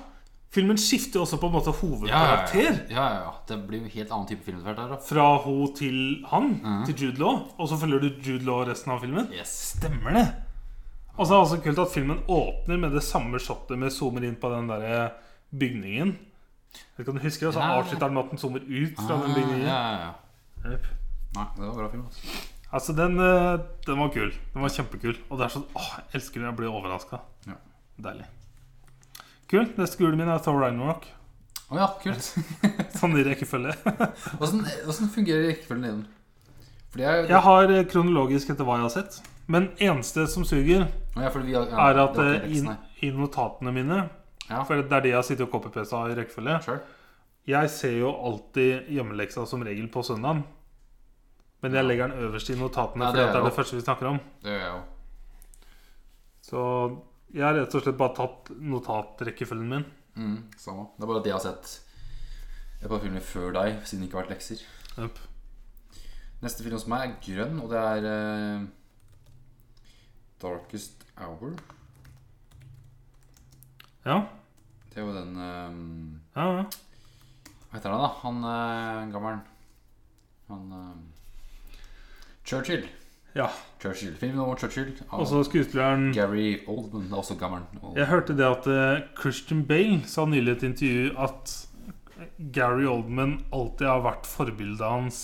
Speaker 2: Filmen skifter også på en måte
Speaker 1: Ja, ja,
Speaker 2: hovedkarakter.
Speaker 1: ja. ja, ja, ja. Det blir jo helt annen type film etter hvert her, da.
Speaker 2: Fra hun til han,
Speaker 1: Mhm.
Speaker 2: til Jude Law. Og så følger du Jude Law resten av filmen.
Speaker 1: Yes.
Speaker 2: Stemmer det! Og så er det også kult at filmen åpner med det samme shotet med zoomer inn på den der eh, bygningen. Jeg vet ikke om du husker det, så
Speaker 1: Ja.
Speaker 2: avslutter den med at den zoomer ut fra den
Speaker 1: Ah,
Speaker 2: bygningen.
Speaker 1: Ja, ja, ja.
Speaker 2: Jep.
Speaker 1: Nei, det var en bra film. Altså.
Speaker 2: Altså, den, eh, den var kul. Den var kjempekul. Og det er sånn Åh, jeg elsker når jeg blir overraska.
Speaker 1: Ja.
Speaker 2: Deilig. Kult. Neste gulen min er Thor Ragnarok.
Speaker 1: Å ja, kult.
Speaker 2: Sånn i rekkefølge.
Speaker 1: Åssen åssen fungerer rekkefølgen din? For det er
Speaker 2: Jeg har eh, kronologisk etter hva jeg har sett. Men eneste som suger,
Speaker 1: Å, ja, fordi vi har, ja,
Speaker 2: er at
Speaker 1: det var ikke
Speaker 2: eh, i,
Speaker 1: teksten her.
Speaker 2: i notatene mine
Speaker 1: Ja.
Speaker 2: For det er de jeg har sittet og copypasta i rekkefølge.
Speaker 1: Sure.
Speaker 2: Jeg ser jo alltid hjemmeleksa som regel på søndagen. Men jeg legger den øverst i notatene,
Speaker 1: Ja, det
Speaker 2: for det,
Speaker 1: gjør jeg
Speaker 2: er det første vi snakker om.
Speaker 1: Det gjør jeg jo.
Speaker 2: Så jeg har rett og slett bare tatt notatrekkefølgen min.
Speaker 1: Mm, samme. Det er bare at jeg har sett et par filmer før deg, siden det ikke har vært lekser.
Speaker 2: Jep.
Speaker 1: Neste film hos meg er grønn, og det er eh, Darkest Hour.
Speaker 2: Ja,
Speaker 1: Det er jo den eh,
Speaker 2: ja, ja.
Speaker 1: Hva heter han, da? Han uh, gammelen. Han eh, Churchill.
Speaker 2: Ja.
Speaker 1: Churchill. Film om Churchill av
Speaker 2: Og så skuespilleren
Speaker 1: Gary Oldman. Det er også gammelen. Og,
Speaker 2: Jeg hørte det at eh, Christian Bale sa nylig i et intervju at Gary Oldman alltid har vært forbildet hans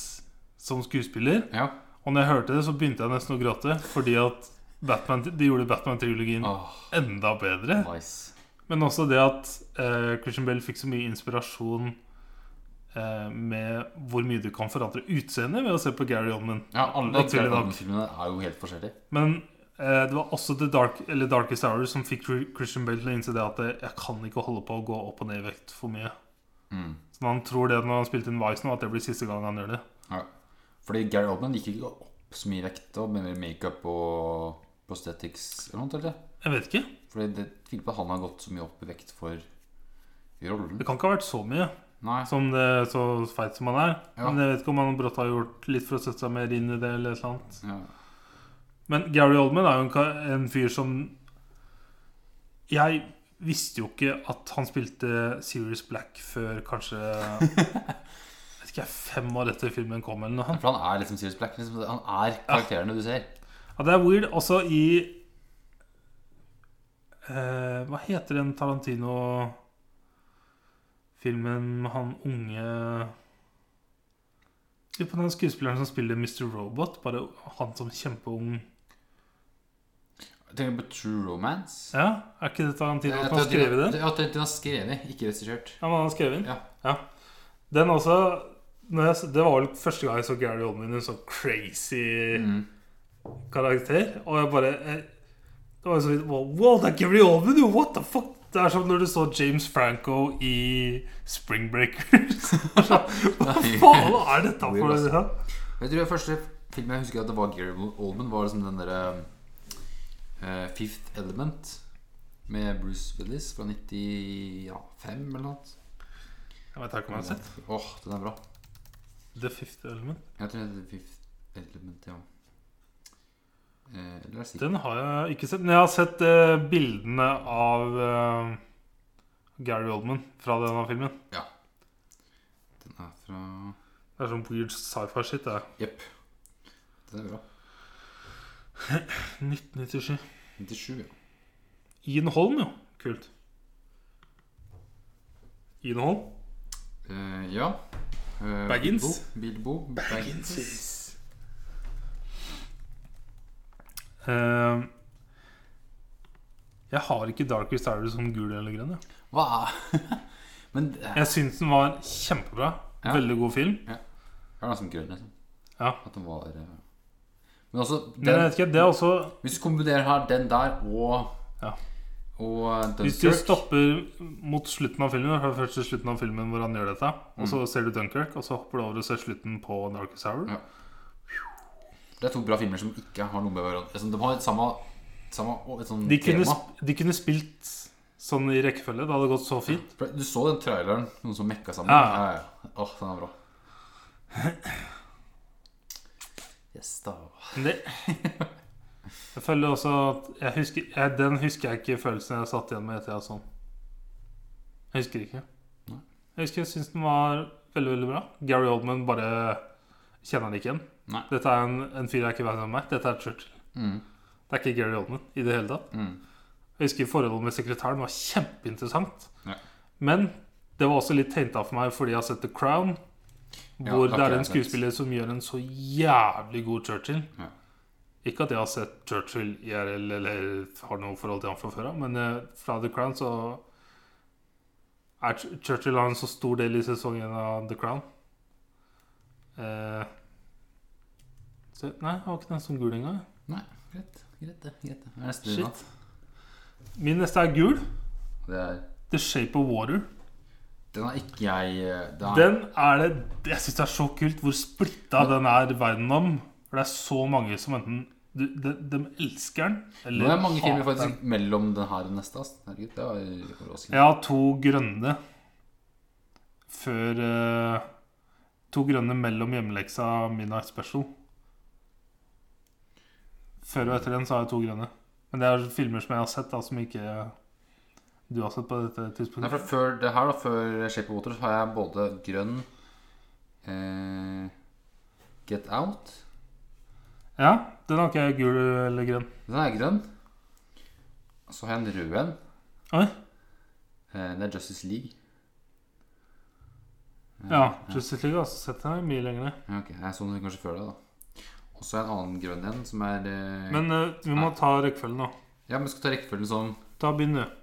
Speaker 2: som skuespiller.
Speaker 1: ja.
Speaker 2: Og når jeg hørte det, så begynte jeg nesten å gråte, fordi at Batman, de gjorde Batman-trilogien
Speaker 1: Åh,
Speaker 2: enda bedre.
Speaker 1: nice.
Speaker 2: Men også det at eh, Christian Bale fikk så mye inspirasjon eh, med hvor mye du kan forandre utseendet ved å se på Gary Oldman.
Speaker 1: Ja, alle
Speaker 2: Naturlig
Speaker 1: Gary
Speaker 2: nok.
Speaker 1: Oldman-filmene er jo helt forskjellige.
Speaker 2: Men eh, det var også The Dark, eller Darkest Hour som fikk Christian Bale til å innse det at eh, jeg kan ikke holde på å gå opp og ned i vekt for mye.
Speaker 1: Mm.
Speaker 2: Så han tror det når han spilte inn Vice nå, at det blir siste gang han gjør det.
Speaker 1: Ja. Fordi Gary Oldman gikk ikke opp så mye i vekt og med mer makeup og prosthetics eller noe, eller?
Speaker 2: Jeg vet ikke.
Speaker 1: Fordi det tviler på at han har gått så mye opp i vekt for rollen.
Speaker 2: Det kan ikke ha vært så mye,
Speaker 1: Nei.
Speaker 2: som det, så feit som han er.
Speaker 1: Ja.
Speaker 2: Men jeg vet ikke om han brått har gjort litt for å sette seg mer inn i det, eller et eller annet.
Speaker 1: Ja.
Speaker 2: Men Gary Oldman er jo en, ka- en fyr som Jeg visste jo ikke at han spilte Serious Black før kanskje jeg vet ikke, fem år etter filmen kom. eller noe
Speaker 1: For han er liksom Sirius Black. Liksom, han er karakterene du ser.
Speaker 2: Ja, Det er weird. Også i eh, Hva heter den Tarantino-filmen med han unge Lurer på den skuespilleren som spiller Mr. Robot. Bare han som kjempeung
Speaker 1: Jeg tenker på True Romance.
Speaker 2: Ja, Er ikke det Tarantino
Speaker 1: Jeg
Speaker 2: som har
Speaker 1: tror de-
Speaker 2: skrevet den?
Speaker 1: Ja, de har skrevet, ikke regissert.
Speaker 2: Ja, men han har skrevet den?
Speaker 1: Ja.
Speaker 2: Den også når jeg, Det var vel første gang jeg så Gary Oldman i en sånn crazy
Speaker 1: Mm.
Speaker 2: karakter. Og jeg bare jeg, Det var jo så vidt wow, wow, det er Gary Oldman, jo! What the fuck? Det er som når du så James Franco i Spring Breakers. sånn, Hva faen er dette for
Speaker 1: Weird,
Speaker 2: noe?
Speaker 1: Jeg tror første film jeg husker at det var Gary Oldman, var liksom den derre eh, Fifth Element med Bruce Willis fra 95 eller noe.
Speaker 2: Jeg vet ikke om jeg har sett
Speaker 1: Åh, den er bra.
Speaker 2: The Fifth Element.
Speaker 1: Jeg tror den heter Fifth Element, ja. Eh, Eller er det sikkert
Speaker 2: Den har jeg ikke sett. Men jeg har sett eh, bildene av eh, Gary Oldman fra denne filmen.
Speaker 1: Den er fra
Speaker 2: Det er sånn weird sci-fi-shit. det er.
Speaker 1: Jepp. Den er bra.
Speaker 2: 1997.
Speaker 1: 97, ja.
Speaker 2: Ian Holm, jo. Kult. Ian Holm?
Speaker 1: Eh, ja. Eh,
Speaker 2: Baggins?
Speaker 1: Bilbo. Bilbo.
Speaker 2: Eh, jeg har ikke Darkest Hour som gul eller grønn. jeg.
Speaker 1: Hva er Men eh, det er-
Speaker 2: Jeg syns den var kjempebra.
Speaker 1: Ja.
Speaker 2: Veldig god film.
Speaker 1: Det var nesten grønn, liksom.
Speaker 2: Ja.
Speaker 1: At den var eh, Men også
Speaker 2: Men jeg
Speaker 1: den,
Speaker 2: vet ikke, det er også
Speaker 1: Hvis du kombinerer her den der og
Speaker 2: Ja.
Speaker 1: Og eh,
Speaker 2: Hvis du
Speaker 1: Dunkerque
Speaker 2: stopper mot slutten av filmen, fra først til slutten av filmen hvor han gjør dette, og så ser du Dunkerque, og så hopper du over og ser slutten på Darkest Hour
Speaker 1: Ja. Det er to bra filmer som ikke har noe med hverandre liksom, De har et samme, samme og et sånn
Speaker 2: de, kunne,
Speaker 1: tema.
Speaker 2: sp- de kunne spilt sånn i rekkefølge. Det hadde gått så fint.
Speaker 1: For Du så den traileren, noen som mekka sammen?
Speaker 2: Ja.
Speaker 1: Ja, ja. Åh, den er bra. Yes, da.
Speaker 2: Men det Jeg føler også at jeg husker, jeg, Den husker jeg ikke følelsen jeg satt igjen med etter jeg sånn. Jeg husker ikke.
Speaker 1: Nei.
Speaker 2: Jeg husker jeg syns den var veldig, veldig bra. Gary Oldman bare kjenner han ikke igjen.
Speaker 1: Nei.
Speaker 2: Dette er en, en fyr jeg ikke vet hvem er. Dette er Churchill.
Speaker 1: Mm,
Speaker 2: Det er ikke Gary Oldman i det hele tatt.
Speaker 1: mm.
Speaker 2: Jeg husker forholdet med sekretæren var kjempeinteressant.
Speaker 1: Ja.
Speaker 2: Men det var også litt tegnet av for meg fordi jeg har sett The Crown.
Speaker 1: Ja,
Speaker 2: Hvor
Speaker 1: det har ikke
Speaker 2: det er en
Speaker 1: jeg sett.
Speaker 2: skuespiller som gjør en så jævlig god Churchill.
Speaker 1: Ja.
Speaker 2: Ikke at jeg har sett Churchill IRL eller har noe forhold til ham fra før av, men eh, fra The Crown så er Ch- Churchill har en så stor del i sesongen av The Crown. Eh, så, nei, jeg har ikke den som gul engang.
Speaker 1: Nei, greit. Greit, det. Greit, det. Det er neste
Speaker 2: Shit.
Speaker 1: Shit.
Speaker 2: Min neste er gul.
Speaker 1: Det er,
Speaker 2: The Shape of Water.
Speaker 1: den har ikke jeg eh, det er,
Speaker 2: Den er det Jeg syns det er så kult hvor splitta den er verden om. For det er så mange som enten du, de, de elsker den,
Speaker 1: Nå
Speaker 2: eller
Speaker 1: er det mange filmer
Speaker 2: hater den.
Speaker 1: faktisk mellom den her og neste. ass. Herregud, det var overraskende.
Speaker 2: Jeg har to grønne før eh, To grønne mellom hjemmeleksa og Midnight Special. Før og etter den så har jeg to grønne. Men det er filmer som jeg har sett, da, som ikke du har sett på dette
Speaker 1: Nei,
Speaker 2: tidspunktet.
Speaker 1: for før det her, da, før Shape of Water, så har jeg både grønn eh, Get Out.
Speaker 2: Ja, den har ikke jeg gul eller grønn.
Speaker 1: Den er grønn. Så har jeg en rød en.
Speaker 2: Oi.
Speaker 1: Eh, det er Justice League. Eh,
Speaker 2: Ja, Justice League har jeg også sett den her mye lenger ned.
Speaker 1: Ja, ok, Jeg så den kanskje før det, da. Og så er en annen grønn en som er eh,
Speaker 2: Men eh, vi må ta rekkefølgen nå.
Speaker 1: Ja, men skal ta rekkefølgen som,
Speaker 2: Da begynner du.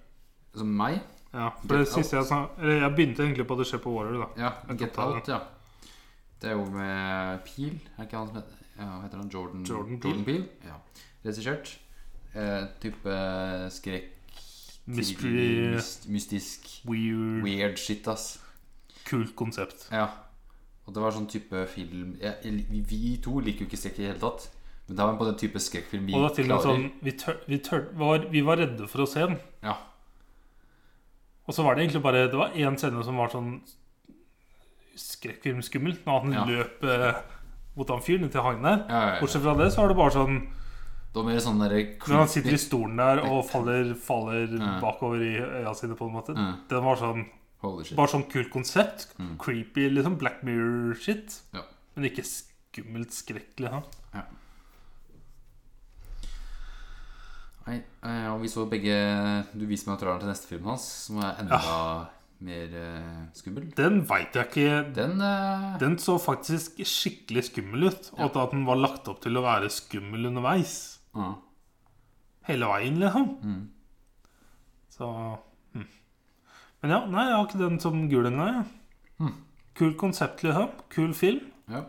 Speaker 1: som meg?
Speaker 2: Ja, for det
Speaker 1: Get
Speaker 2: siste jeg sa Eller jeg begynte egentlig på The Shape of Water, da.
Speaker 1: Ja,
Speaker 2: Jeg kan
Speaker 1: Get
Speaker 2: ta den.
Speaker 1: Out, ja. Det er jo med Peel. Er ikke han som heter ja, hva heter han Jordan,
Speaker 2: Jordan
Speaker 1: Peel? Ja. Regissert. Eh, type skrekk
Speaker 2: Mystery
Speaker 1: myst- Mystisk
Speaker 2: Weird
Speaker 1: Weird shit, ass.
Speaker 2: Kult konsept.
Speaker 1: Ja. Og det var sånn type film jeg, jeg, vi- Vi to liker jo ikke skrekk i det hele tatt. Men det var på den type skrekkfilm vi
Speaker 2: Og det er til og med
Speaker 1: klarer.
Speaker 2: sånn vi, tør, vi, tør, var, vi var redde for å se den.
Speaker 1: Ja.
Speaker 2: Og så var det egentlig bare Det var én scene som var sånn skrekkfilmskummel. Når han
Speaker 1: Ja.
Speaker 2: løp eh, mot han fyren til han der.
Speaker 1: Ja, ja, ja.
Speaker 2: Bortsett fra det, så var det bare sånn
Speaker 1: Det var mer sånn derre
Speaker 2: Når han sitter i stolen der og faller, faller
Speaker 1: Ja.
Speaker 2: bakover i øya sine, på en måte.
Speaker 1: Ja.
Speaker 2: Den var sånn
Speaker 1: Holy shit.
Speaker 2: Bare sånn kult konsept. Creepy, liksom Black Mirror-shit.
Speaker 1: Ja.
Speaker 2: Men ikke skummelt skrekk, liksom.
Speaker 1: Nei, eh, og vi så begge Du viste meg traileren til neste film hans, som er enda mer eh, skummel.
Speaker 2: Den veit jeg ikke.
Speaker 1: Den eh,
Speaker 2: Den så faktisk skikkelig skummel ut. Og at den var lagt opp til å være skummel underveis.
Speaker 1: ja.
Speaker 2: Hele veien, liksom. Så mm. Men ja, nei, jeg har ikke den som gul ennå, jeg. Kult konsept, liksom. Kul film.
Speaker 1: ja.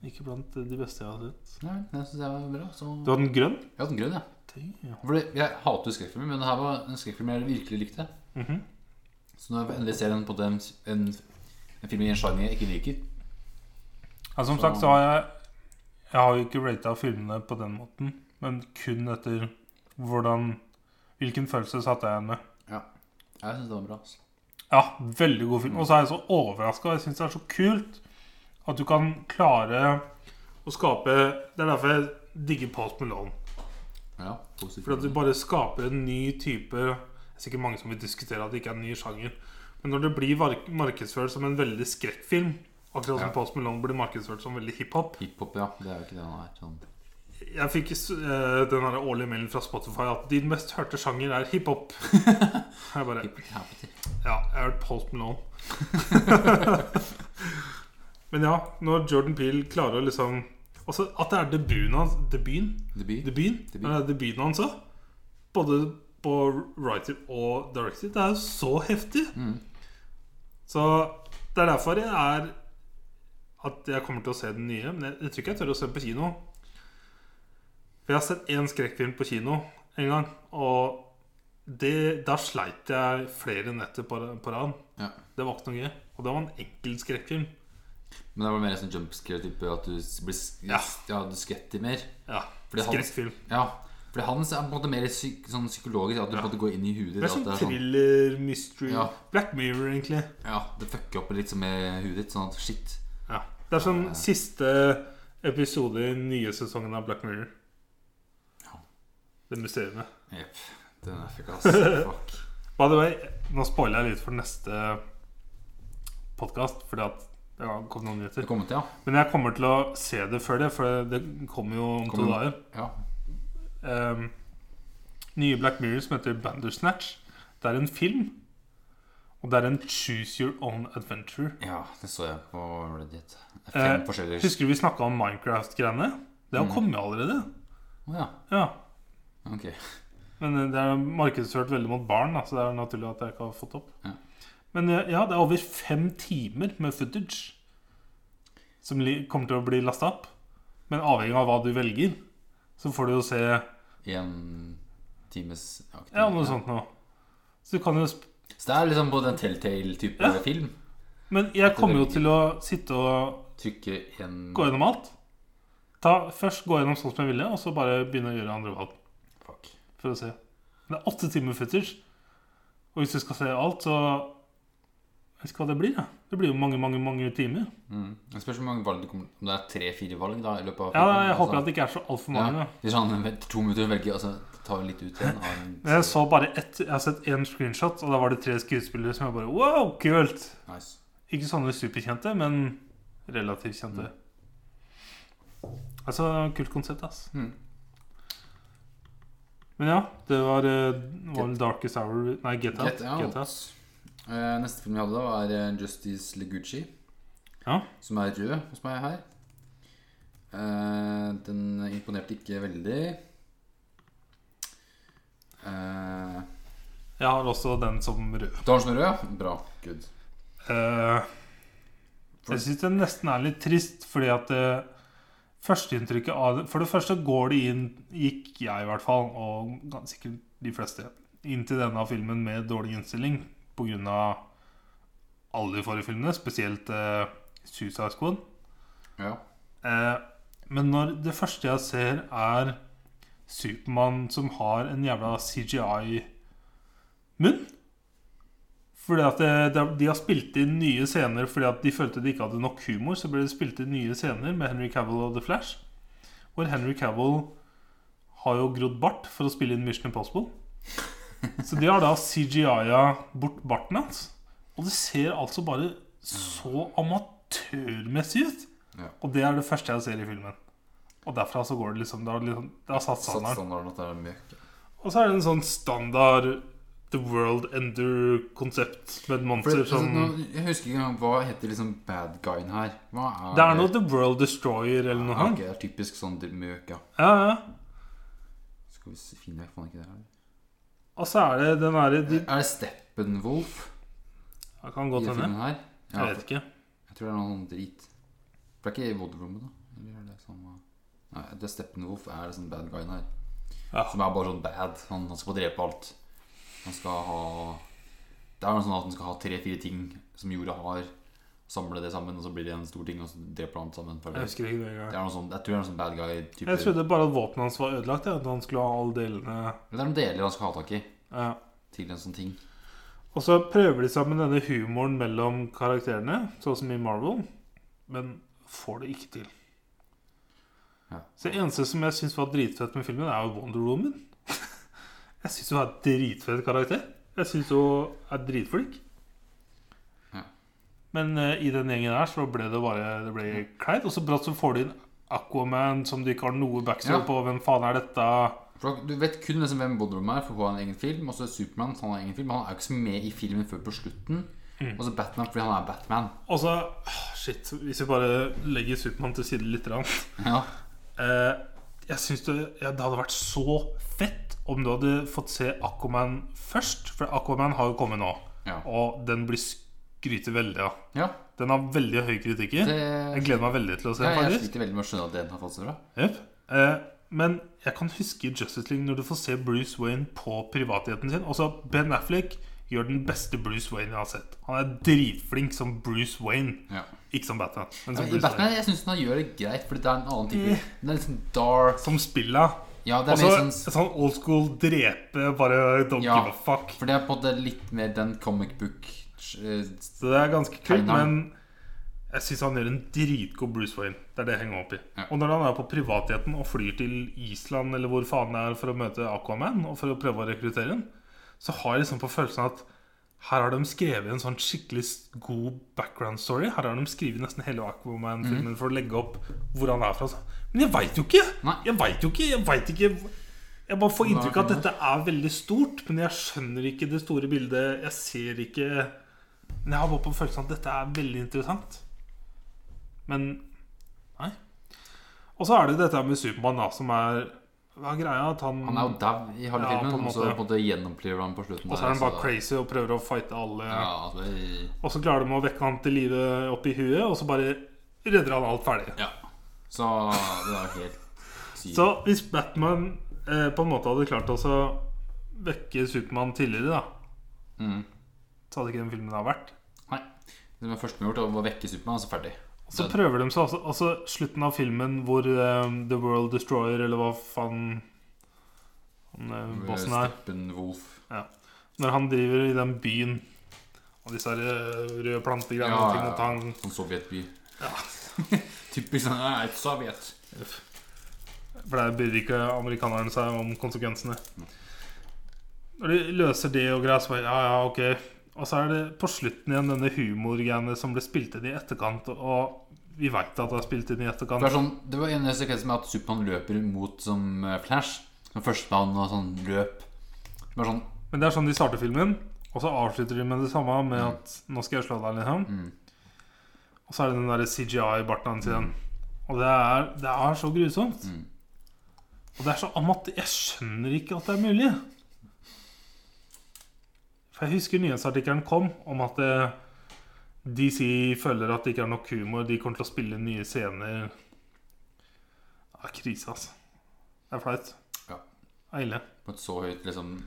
Speaker 2: Ikke blant de beste jeg har sett.
Speaker 1: Nei, den syns jeg var bra. Så
Speaker 2: Du har den grønn?
Speaker 1: Jeg hadde den grønn, jeg.
Speaker 2: Ja.
Speaker 1: Fordi jeg hater jo skrekkfilmer, men det her var en skrekkfilm jeg virkelig likte.
Speaker 2: Mhm.
Speaker 1: Så når jeg endelig ser en, på den, en, en film i en sjanger jeg ikke liker
Speaker 2: Ja, som sagt så har jeg Jeg har jo ikke rata filmene på den måten, men kun etter hvordan Hvilken følelse satte jeg igjen med?
Speaker 1: Jeg syns det var bra. altså.
Speaker 2: Ja, veldig god film. Og så er jeg så overraska. Jeg syns det er så kult at du kan klare å skape Det er derfor jeg digger Post Malone.
Speaker 1: Ja, positivt.
Speaker 2: For at du bare skaper en ny type Det er sikkert mange som vil diskutere at det ikke er en ny sjanger. Men når det blir var- markedsført som en veldig skrekkfilm, akkurat som
Speaker 1: Ja.
Speaker 2: Post Malone blir markedsført som veldig hiphop,
Speaker 1: Hiphop, ja. Det er jo ikke det han er. Sånn.
Speaker 2: Jeg fikk eh, den her årlige mailen fra Spotify at din mest hørte sjanger er hiphop. jeg bare
Speaker 1: Hiphop, happy.
Speaker 2: Ja, jeg har hørt Post Malone. Men ja, når Jordan Peele klarer å liksom Også at det er debuten hans Debuten?
Speaker 1: Debut.
Speaker 2: Debuten?
Speaker 1: Debut.
Speaker 2: Ja, det er debuten hans òg. Både på
Speaker 1: Mm.
Speaker 2: writer og director. Det er jo så heftig. Så det Det er derfor jeg er at jeg kommer til å se den nye. Men jeg, jeg tror ikke jeg tør å se den på kino. For jeg har sett én skrekkfilm på kino en gang. Og det, da sleit jeg flere netter på, på rad.
Speaker 1: Ja.
Speaker 2: Det var ikke noe gøy. Og det var en enkel skrekkfilm.
Speaker 1: Men det var mer sånn jumpscare-type at du s- blir s-
Speaker 2: Ja.
Speaker 1: ja, du skvetter mer.
Speaker 2: Ja,
Speaker 1: Fordi han-
Speaker 2: skrekkfilm.
Speaker 1: Ja. Fordi hans er på en måte mer psyk sånn psykologisk, at du
Speaker 2: Ja.
Speaker 1: på en måte går inn i huet ditt.
Speaker 2: Det er
Speaker 1: at
Speaker 2: sånn
Speaker 1: det er sånn-
Speaker 2: thriller, mystery
Speaker 1: Ja.
Speaker 2: Black Mirror, egentlig.
Speaker 1: Ja, det fucker opp litt med huet ditt, sånn at shit.
Speaker 2: Ja. Det er sånn siste episode i den nye sesongen av Black Mirror.
Speaker 1: Ja.
Speaker 2: Det mysteriet.
Speaker 1: Jepp. Den er fucka, ass. Fuck.
Speaker 2: By the way, nå spoiler jeg litt for neste podkast, fordi at det har kommet noen
Speaker 1: Det
Speaker 2: nyheter.
Speaker 1: kommer til,
Speaker 2: Men jeg kommer til å se det før det, for det kommer jo om to
Speaker 1: Kommer-
Speaker 2: dager.
Speaker 1: ja. ja.
Speaker 2: Ehm, nye Black Mirror som heter Bandersnatch. Det er en film. Og det er en Choose Your Own Adventure.
Speaker 1: Ja, det så jeg på Reddit. Det er
Speaker 2: Eh,
Speaker 1: Fem forskjellige
Speaker 2: Husker du vi snakka om Minecraft-greiene? Det
Speaker 1: Mm.
Speaker 2: har kommet allerede.
Speaker 1: Å ja.
Speaker 2: Ja.
Speaker 1: Ok.
Speaker 2: Men eh, det er markedsført veldig mot barn, da, så det er naturlig at jeg ikke har fått opp.
Speaker 1: Ja.
Speaker 2: Men eh, ja, det er over fem timer med footage som li kommer til å bli lasta opp. Men avhengig av hva du velger, så får du jo se ja,
Speaker 1: En times aktivitet.
Speaker 2: noe sånt noe. Så du kan jo sp
Speaker 1: Så det er liksom på den telltale-type
Speaker 2: Ja.
Speaker 1: film.
Speaker 2: Men jeg kommer jo til å sitte og
Speaker 1: Trykke en
Speaker 2: gå gjennom alt. Ta, først gå gjennom sånn som jeg ville, og så bare begynne å gjøre andre valg.
Speaker 1: Fuck.
Speaker 2: For å se. Men det er åtte timer footage. Og hvis du skal se alt, så Jeg vet ikke hva det blir. da. Det blir jo mange, mange mange timer.
Speaker 1: Mm. Det spørs hvor mange valg du kommer Om det er tre-fire valg da, i løpet av
Speaker 2: Ja, Jeg håper at det ikke er så altfor mange.
Speaker 1: Altså- ja.
Speaker 2: da.
Speaker 1: Hvis han venter to minutter og velger, altså tar litt ut igjen av en
Speaker 2: Men jeg så bare ett Jeg har sett én screenshot, og da var det tre skuespillere som jeg bare Wow, kult!
Speaker 1: Nice.
Speaker 2: Ikke sånne superkjente, men relativt kjente. Altså, kult konsept, ass.
Speaker 1: Mm.
Speaker 2: Men ja, det var, eh, var vel Darkest Hour Nei, Get Out.
Speaker 1: Get Out. Eh, neste film jeg hadde, da var eh, Justice Legucci.
Speaker 2: Ja.
Speaker 1: Som er rød hos meg her. Eh, den imponerte ikke veldig. Eh,
Speaker 2: Jeg har også den som rød.
Speaker 1: du har den som rød? Bra. Good.
Speaker 2: Eh, jeg syns den nesten er litt trist, fordi at eh, førsteinntrykket av det For det første går det inn, gikk jeg i hvert fall, og gans- sikkert de fleste, inn til denne filmen med dårlig innstilling pga. alle de forrige filmene, spesielt eh, Suicide Squad.
Speaker 1: Ja.
Speaker 2: Eh, men når det første jeg ser, er Supermann som har en jævla CGI-munn Fordi at det, det, De har spilt inn nye scener fordi at de følte de ikke hadde nok humor. Så ble det spilt inn nye scener med Henry Cavill og The Flash. Hvor Henry Cavill har jo grodd bart for å spille inn Mission Impossible. Så de har da CGI-a bort barten hans. Og det ser altså bare så amatørmessig ut. Og det er det første jeg ser i filmen. Og derfra så går det liksom Det har, liksom, det har satt
Speaker 1: Satt
Speaker 2: standarden.
Speaker 1: standarden at det er møkk.
Speaker 2: Og så er det en sånn standard The World Ender-konsept med et
Speaker 1: For det,
Speaker 2: monster
Speaker 1: altså,
Speaker 2: som
Speaker 1: nå, jeg husker ikke engang hva heter liksom bad guyen her. Hva er
Speaker 2: Det er noe The World Destroyer eller noe
Speaker 1: Ja, Ah, ok,
Speaker 2: sånt.
Speaker 1: det er typisk sånn dr- møk, ja.
Speaker 2: Ja, ja.
Speaker 1: Skal vi s- finne jeg fant ikke det her.
Speaker 2: Og så er det den derre de,
Speaker 1: Er det Steppenwolf
Speaker 2: Jeg kan
Speaker 1: i
Speaker 2: godt
Speaker 1: den
Speaker 2: hende.
Speaker 1: filmen her? Ja,
Speaker 2: Jeg vet ikke.
Speaker 1: jeg tror det er noe sånn drit. For det er ikke Wodroomet, da? Eller er det samme Nei, det er Steppenwolf er det sånn bad guyen her.
Speaker 2: Ja.
Speaker 1: Som er bare sånn bad. Han, han skal få drepe alt. Han skal ha Det er noe sånn at han skal ha tre-fire ting som jorda har. Samle det sammen, og så blir det en stor ting, og så dreper han alt sammen.
Speaker 2: Jeg husker ikke det
Speaker 1: Det
Speaker 2: engang.
Speaker 1: er noe sånn, jeg tror det er noe sånn bad guy-type
Speaker 2: Jeg trodde bare at våpenet hans var ødelagt. Ja. At han skulle ha alle delene eh,
Speaker 1: Men Det er noen deler han skal ha tak i
Speaker 2: ja.
Speaker 1: til en sånn ting.
Speaker 2: Og så prøver de sammen denne humoren mellom karakterene, sånn som i Marvel, men får det ikke til.
Speaker 1: Ja.
Speaker 2: Så det eneste som jeg syns var dritfett med filmen, er jo Wonder Woman. jeg syns hun er en dritfett karakter. Jeg syns hun er dritflink.
Speaker 1: Ja.
Speaker 2: Men eh, i den gjengen her så ble det bare Det ble kleint. Og så brått så får de inn Aquaman som de ikke har noe backstory
Speaker 1: Ja.
Speaker 2: på. Hvem faen er dette?
Speaker 1: For Du vet kun liksom hvem Bodrum er, for hun har en egen film. Og så Supermann, han har en egen film. Han er jo ikke så med i filmen før på slutten.
Speaker 2: Mm.
Speaker 1: Og så Batman, fordi han er Batman.
Speaker 2: Og så åh, Shit, hvis vi bare legger Supermann til side litt. Rann.
Speaker 1: Ja,
Speaker 2: Eh, jeg synes det, ja, det hadde vært så fett om du hadde fått se Aquaman først. For Aquaman har jo kommet nå.
Speaker 1: Ja.
Speaker 2: Og den blir s- gryter veldig av.
Speaker 1: Ja,
Speaker 2: Den har veldig høy kritikk i.
Speaker 1: det,
Speaker 2: Jeg gleder meg veldig til å se
Speaker 1: ja,
Speaker 2: den,
Speaker 1: jeg
Speaker 2: faktisk.
Speaker 1: sliter veldig med å skjønne at den har fått så bra.
Speaker 2: Jep. Eh, men jeg kan huske i Justice League når du får se Bruce Wayne på privatheten sin. Også Ben Affleck gjør den beste Bruce Wayne jeg har sett. Han er dritflink som Bruce Wayne,
Speaker 1: Ja.
Speaker 2: ikke som Batman.
Speaker 1: Ja, I
Speaker 2: Men som, Bruce Wayne.
Speaker 1: Batman jeg syns han gjør det greit, Fordi det er en annen type. Den er litt sånn dark.
Speaker 2: som spilla.
Speaker 1: Ja, det er
Speaker 2: Også
Speaker 1: mer
Speaker 2: sånn,
Speaker 1: sånn
Speaker 2: sånn old school drepe, bare don't
Speaker 1: Ja.
Speaker 2: give a fuck.
Speaker 1: For det er på en måte litt mer den comic book eh,
Speaker 2: Så det er ganske kult,
Speaker 1: Tegner.
Speaker 2: men jeg syns han gjør en dritgod Bruce Wayne. Det er det jeg henger meg opp i.
Speaker 1: Ja.
Speaker 2: Og når han er på privatheten og flyr til Island eller hvor faen det er for å møte Aquaman og for å prøve å rekruttere ham, så har jeg liksom på følelsen at her har de skrevet en sånn skikkelig s- god background story. Her har de skrevet nesten hele
Speaker 1: Mhm.
Speaker 2: Aquaman-filmen for å legge opp hvor han er fra. Så- Men jeg veit jo ikke!
Speaker 1: Nei.
Speaker 2: Jeg veit jo ikke! Jeg vet ikke Jeg bare får inntrykk av at
Speaker 1: Nei.
Speaker 2: dette er veldig stort, men jeg skjønner ikke det store bildet. Jeg ser ikke men jeg har bare på følelsen at dette er veldig interessant. Men nei. Og så er det dette med Supermann, da, som er Hva er greia? At han,
Speaker 1: Han er jo dau i halve
Speaker 2: Ja, på en
Speaker 1: filmen, og så
Speaker 2: måte.
Speaker 1: på en måte gjennompliver han på slutten.
Speaker 2: Og så er han bare crazy og prøver å fighte alle.
Speaker 1: Ja, altså, eh,
Speaker 2: Og så klarer de å vekke han til live opp i huet, og så bare redder han alt ferdig.
Speaker 1: ja. Så det er helt sykt.
Speaker 2: Så hvis Batman eh, på en måte hadde klart også å vekke Supermann tidligere, da,
Speaker 1: Mm.
Speaker 2: så hadde ikke den filmen da vært.
Speaker 1: Nei. Det var første vi har gjort, var å vekke Supermann, og så ferdig.
Speaker 2: Og så prøver de seg også altså, Slutten av filmen hvor eh, The World Destroyer, eller hva faen han, eh, bossen er
Speaker 1: Steppenwolf.
Speaker 2: Når han driver i den byen og disse her, eh, røde plantegreiene
Speaker 1: Ja,
Speaker 2: og ting
Speaker 1: ja,
Speaker 2: mot han
Speaker 1: Sånn sovjetby.
Speaker 2: Ja.
Speaker 1: Typisk sånn «Nei, et Sovjet.
Speaker 2: For der bryr ikke amerikanerne seg om konsekvensene. Når de løser det og greier, så bare ja, ja, ok. Og så er det på slutten igjen denne humorgreiene som ble spilt inn i etterkant, og vi veit at det er spilt inn i
Speaker 1: Det,
Speaker 2: etterkant.
Speaker 1: er sånn, det var en sekvens med at Supermann løper mot som eh, Flash. Som førstemann og sånn løp. Det var sånn
Speaker 2: Men det er sånn de starter filmen, og så avslutter de med det samme, med at 'nå skal jeg slå deg', liksom.
Speaker 1: Mm.
Speaker 2: Og så er det den derre CGI-barten hans igjen. Og det er, det er så grusomt.
Speaker 1: Mm.
Speaker 2: Og det er så amat... Jeg skjønner ikke at det er mulig. For jeg husker nyhetsartikkelen kom om at eh, DC føler at det ikke er nok humor. De kommer til å spille nye scener. Det er krise, altså. Det er flaut.
Speaker 1: Ja.
Speaker 2: Det er ille.
Speaker 1: på et så høyt liksom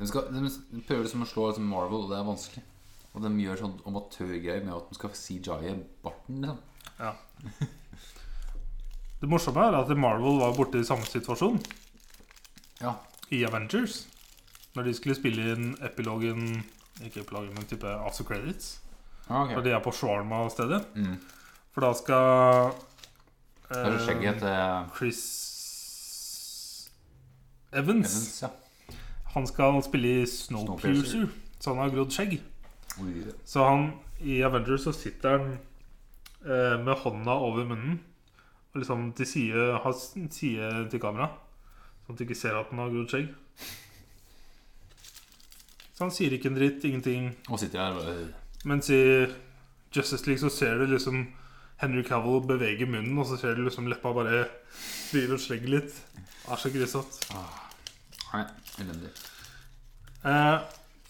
Speaker 1: De, skal, de prøver liksom å slå liksom Marvel, og det er vanskelig. Og de gjør sånn amatørgreier med at de skal CJI barten. Liksom.
Speaker 2: Det morsomme er at Marvel var borte i samme situasjon
Speaker 1: Ja.
Speaker 2: i Avengers. Når de skulle spille inn epilogen Ikke epilogen, men type after credits.
Speaker 1: ja
Speaker 2: Når
Speaker 1: ok.
Speaker 2: de er på shawarma-stedet.
Speaker 1: Mm.
Speaker 2: For da skal
Speaker 1: Det er
Speaker 2: eh,
Speaker 1: så skjegget til
Speaker 2: Chris Evans.
Speaker 1: Evans, ja.
Speaker 2: Han skal spille i Snowpiercer, så han har grodd skjegg.
Speaker 1: Oi.
Speaker 2: Så han i Avengers så sitter han eh, med hånda over munnen og liksom til side, har s- side til kamera, sånn at du ikke ser at han har grodd skjegg. Så han sier ikke en dritt, ingenting.
Speaker 1: Og sitter her og bare
Speaker 2: Mens i Justice League så ser du liksom Henry Cavill bevege munnen, og så ser du liksom leppa bare driver og slenger litt. Det er så grusomt.
Speaker 1: Nei, elendig.
Speaker 2: Eh,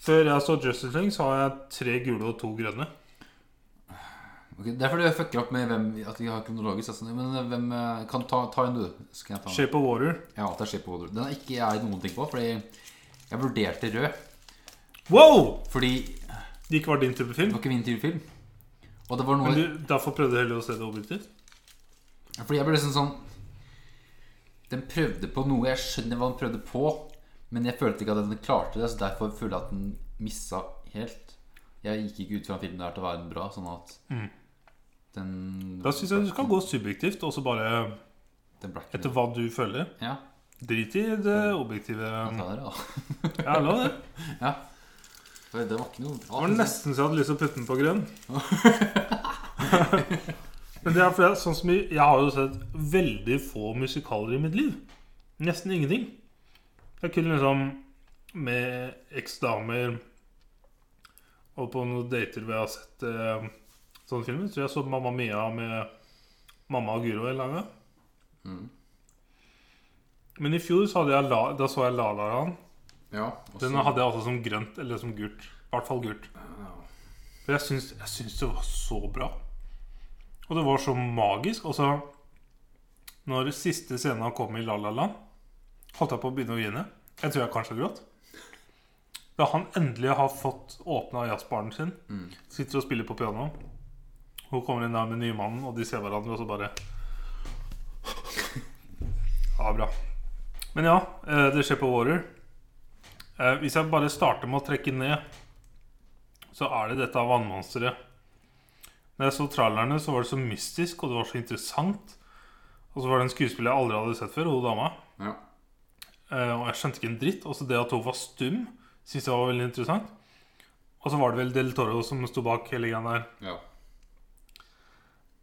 Speaker 2: før jeg så Justice League, så har jeg tre gule og to grønne.
Speaker 1: Ok, det er fordi jeg fucker opp med hvem At vi har kronologisk. Altså, men hvem eh, kan ta, ta en, du? Så kan jeg ta en.
Speaker 2: Shape of Water.
Speaker 1: Ja, det er Shape of Water. Den er ikke jeg noen ting på, fordi jeg vurderte rød.
Speaker 2: Wow!
Speaker 1: Fordi
Speaker 2: Det ikke var din type
Speaker 1: det
Speaker 2: film.
Speaker 1: var ikke min type film. Og det var noe
Speaker 2: Men du, derfor prøvde jeg heller å se det objektivt.
Speaker 1: Fordi jeg ble liksom sånn Den prøvde på noe, jeg skjønner hva den prøvde på, men jeg følte ikke at den klarte det, så derfor føler jeg at den missa helt. Jeg gikk ikke ut fra filmen der til å være en bra, sånn at
Speaker 2: Mm.
Speaker 1: den
Speaker 2: Da syns jeg du skal gå subjektivt, og så bare
Speaker 1: Den ble ikke
Speaker 2: etter hva du føler.
Speaker 1: Ja,
Speaker 2: Drit i det objektive.
Speaker 1: den tar dere, da.
Speaker 2: Ja, la det.
Speaker 1: For Det var ikke noe bra.
Speaker 2: Det var
Speaker 1: synes jeg.
Speaker 2: nesten så jeg hadde lyst til å putte den på grønn. Men det er fordi, jeg- sånn som jeg, jeg har jo sett veldig få musikaler i mitt liv. Nesten ingenting. Jeg kunne liksom med eks-damer og på noen dater hvor jeg har sett eh, sånne filmer. Så jeg så Mamma Mia med mamma og Guro en gang.
Speaker 1: Mm.
Speaker 2: Men i fjor så, hadde jeg la, da så jeg La La Land.
Speaker 1: Ja, og
Speaker 2: Den
Speaker 1: så-
Speaker 2: hadde jeg altså som grønt eller som gult. I hvert fall gult.
Speaker 1: Ja.
Speaker 2: For jeg syns, jeg syns det var så bra. Og det var så magisk. Og så Når siste scenen kom i La La Land, holdt jeg på å begynne å grine. Jeg tror jeg kanskje gråt. Da han endelig har fått åpna jazzbaren sin, sitter og spiller på piano Hun kommer inn der med nye mannen, og de ser hverandre, og så bare Ja, bra. Men ja, eh, det skjer på Water. Eh, Hvis jeg bare starter med å trekke ned så er det dette vannmonsteret. Når jeg så trailerne, så var det så mystisk, og det var så interessant. Og så var det en skuespiller jeg aldri hadde sett før, hun dama.
Speaker 1: Ja.
Speaker 2: Eh, Og jeg skjønte ikke en dritt. Også det at hun var stum, syntes jeg var veldig interessant. Og så var det vel Del Toro som sto bak hele greia der.
Speaker 1: ja.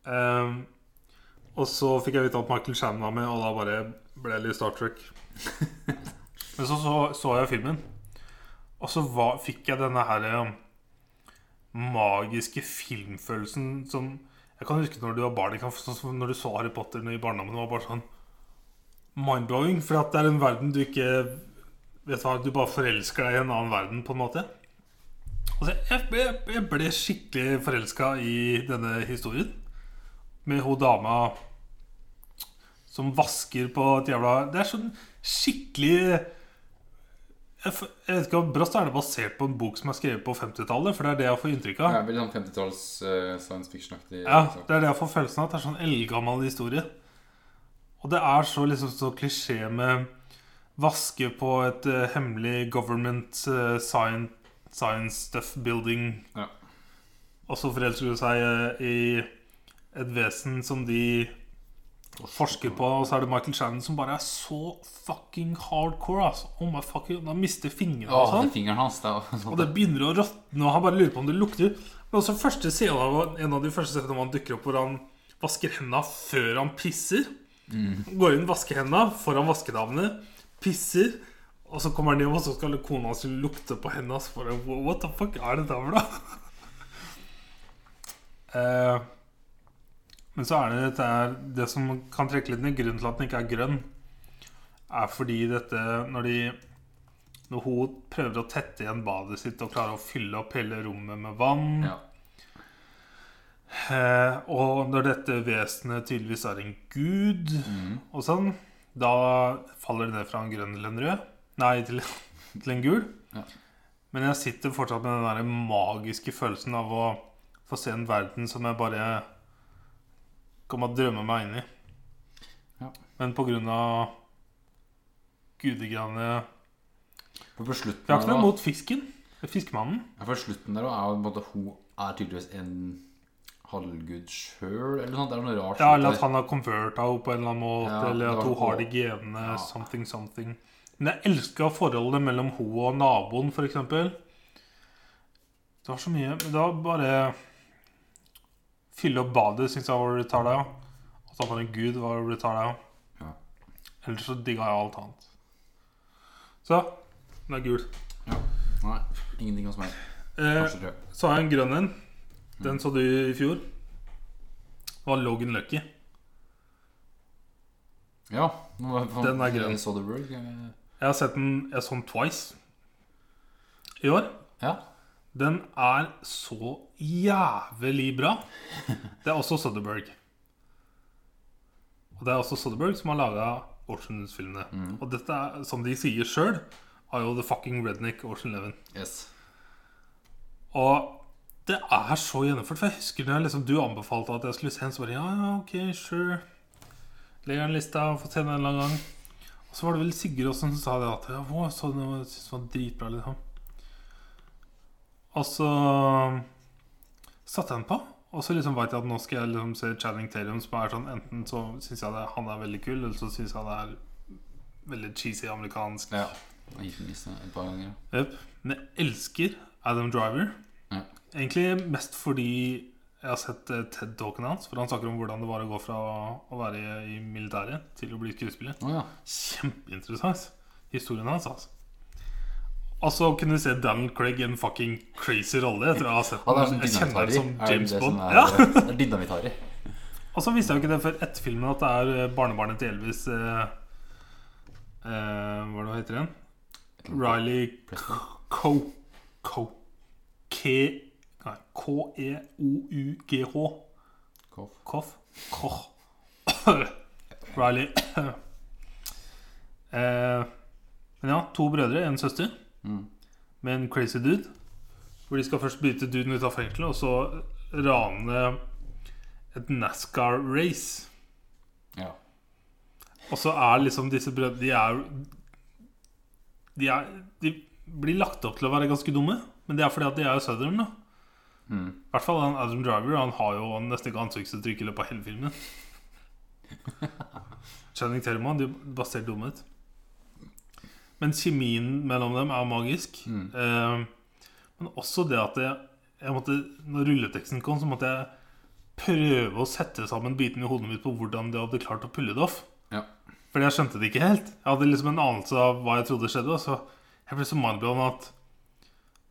Speaker 2: Eh, og så fikk jeg vite at Michael Shannon var med, og da bare ble jeg litt Star Trek. Men så, så så jeg filmen, og så var, fikk jeg denne her eh, magiske filmfølelsen som Jeg kan huske når du var barn, ikke sant? sånn som når du så Harry Potter i barndommen. Det var bare sånn mind-blowing, for at det er en verden du ikke Vet hva, Du bare forelsker deg i en annen verden, på en måte. Altså, jeg, ble- jeg ble skikkelig forelska i denne historien med hun dama som vasker på et jævla Det er sånn skikkelig jeg, f- jeg vet ikke om Brast er det basert på en bok som er skrevet på 50-tallet, for det er det jeg får inntrykk av.
Speaker 1: Det er veldig sånn 50-talls eh, science fiction-aktig.
Speaker 2: Ja,
Speaker 1: sak.
Speaker 2: det er det jeg får følelsen av. At det er sånn eldgammel historie. Og det er så liksom så klisjé med vaske på et eh, hemmelig government eh, science, science stuff building
Speaker 1: Ja.
Speaker 2: Og så forelsker hun seg eh, i et vesen som de forsker på, og så er det Michael Shannon som bare er så fucking hardcore. Altså. Oh my fucking, Han mister fingrene og
Speaker 1: Åh,
Speaker 2: sånn.
Speaker 1: den fingeren hans, det er jo
Speaker 2: Og
Speaker 1: sånn.
Speaker 2: det begynner å råtne, og han bare lurer på om det lukter. Men også første scenen, av- En av de første scenene hvor han dukker opp, hvor han vasker hendene før han pisser. Går inn, vasker hendene foran vaskedamene, pisser. Og så kommer han hjem, og så skal kona hans lukte på hendene. Så bare, "Wha- What the fuck er dette for noe? Eh, men så er det dette her Det som kan trekke litt ned grunnen til at den ikke er grønn, er fordi dette Når de når hun prøver å tette igjen badet sitt og klarer å fylle opp hele rommet med vann.
Speaker 1: Ja.
Speaker 2: Eh, og når dette vesenet tydeligvis er en gud
Speaker 1: Mm.
Speaker 2: og sånn, da faller det ned fra en grønn til en rød. Nei, til, til en gul.
Speaker 1: Ja.
Speaker 2: Men jeg sitter fortsatt med den der magiske følelsen av å få se en verden som jeg bare kommer til å drømme meg inn i.
Speaker 1: Ja.
Speaker 2: Men på grunn av gudegreiene
Speaker 1: For på slutten
Speaker 2: Vi har ikke
Speaker 1: der
Speaker 2: noe
Speaker 1: da-
Speaker 2: imot fisken. Fiskemannen.
Speaker 1: Ja, for slutten der da er jo på en måte hun er tydeligvis en halvgud sjøl, eller noe sånt. Det er noe rart.
Speaker 2: Ja,
Speaker 1: sånt
Speaker 2: eller
Speaker 1: der.
Speaker 2: at han har converta henne på en eller annen måte,
Speaker 1: Ja,
Speaker 2: eller
Speaker 1: det
Speaker 2: at
Speaker 1: var
Speaker 2: hun
Speaker 1: noe-
Speaker 2: har de genene. Something, something. Men jeg elska forholdet mellom hun og naboen, f.eks. Det var så mye Men da bare Fylle opp badet syns jeg var retarda. At han var en gud, var retarda.
Speaker 1: Ja.
Speaker 2: Ellers så digga jeg alt annet. Så den er gul.
Speaker 1: Nei, ingenting hos meg.
Speaker 2: Eh,
Speaker 1: Kanskje tre.
Speaker 2: så har jeg en grønn en. Den så du i fjor. Var Logan Lucky.
Speaker 1: Ja. Nå var jeg på-
Speaker 2: Den er grønn.
Speaker 1: Soderbergh, eh,
Speaker 2: Jeg har sett den jeg så den twice i år.
Speaker 1: Ja.
Speaker 2: Den er så jævlig bra. Det er også Soderberg. Og det er også Soderberg som har laga Oceans-filmene. Og dette, er, som de sier sjøl, er jo The Fucking Redneck Ocean Eleven.
Speaker 1: Yes.
Speaker 2: Og det er så gjennomført. For jeg husker når jeg liksom, du anbefalte at jeg skulle se en, så bare ja, ja, ok, sure. Legger den i lista, får se den en eller annen gang. Og så var det vel Sigurd også som sa det at ja, wow, så den var, syntes den var dritbra, liksom. Og så um, satte jeg den på. Og så liksom veit jeg at nå skal jeg liksom se Channing Tatum, som er sånn enten så syns jeg det, han er veldig kul, eller så syns jeg det er veldig cheesy amerikansk
Speaker 1: Ja. Jeg har gitt den listen et par ganger.
Speaker 2: Jep. Men jeg elsker Adam Driver.
Speaker 1: Ja.
Speaker 2: Egentlig mest fordi jeg har sett eh, TED-talken hans. For han snakker om hvordan det var å gå fra å være i militæret til å bli skuespiller.
Speaker 1: Å ja.
Speaker 2: Kjempeinteressant. Historien hans, altså. Og så kunne vi se Daniel Craig i en fucking crazy rolle. Jeg tror jeg har sett
Speaker 1: Han er
Speaker 2: den.
Speaker 1: sånn
Speaker 2: Jeg
Speaker 1: dynamittharry.
Speaker 2: kjenner ham
Speaker 1: Er det
Speaker 2: som James
Speaker 1: det som
Speaker 2: Bond.
Speaker 1: er-
Speaker 2: Ja.
Speaker 1: Det er dynamittharry.
Speaker 2: Og så visste jeg jo ikke det før etter filmen at det er eh, barnebarnet til Elvis eh, eh, Hva er det hun heter igjen? Riley
Speaker 1: Preston.
Speaker 2: Ko... Ko... Ke... Nei, K-E-O-U-G-H.
Speaker 1: Koff.
Speaker 2: Koff. Koch. Riley. eh, men ja, to brødre, en søster.
Speaker 1: Mm.
Speaker 2: Med en crazy dude. Hvor de skal først bryte duden ut av fengselet, og så rane et NASCAR-race.
Speaker 1: Ja.
Speaker 2: Og så er liksom disse brødrene De er De er De blir lagt opp til å være ganske dumme, men det er fordi at de er jo Southern, da.
Speaker 1: Mm.
Speaker 2: I hvert fall han Adam Driver. Han har jo nesten ikke ansiktsuttrykk i løpet av hele filmen. Channing Thelman, de basert dumhet. Men kjemien mellom dem er magisk.
Speaker 1: Mm.
Speaker 2: Eh, men også det at jeg, jeg måtte, når rulleteksten kom, så måtte jeg prøve å sette sammen bitene i hodet mitt på hvordan de hadde klart å pulle det off.
Speaker 1: Ja.
Speaker 2: Fordi jeg skjønte det ikke helt. Jeg hadde liksom en anelse av hva jeg trodde skjedde. Og så jeg ble så mindblown at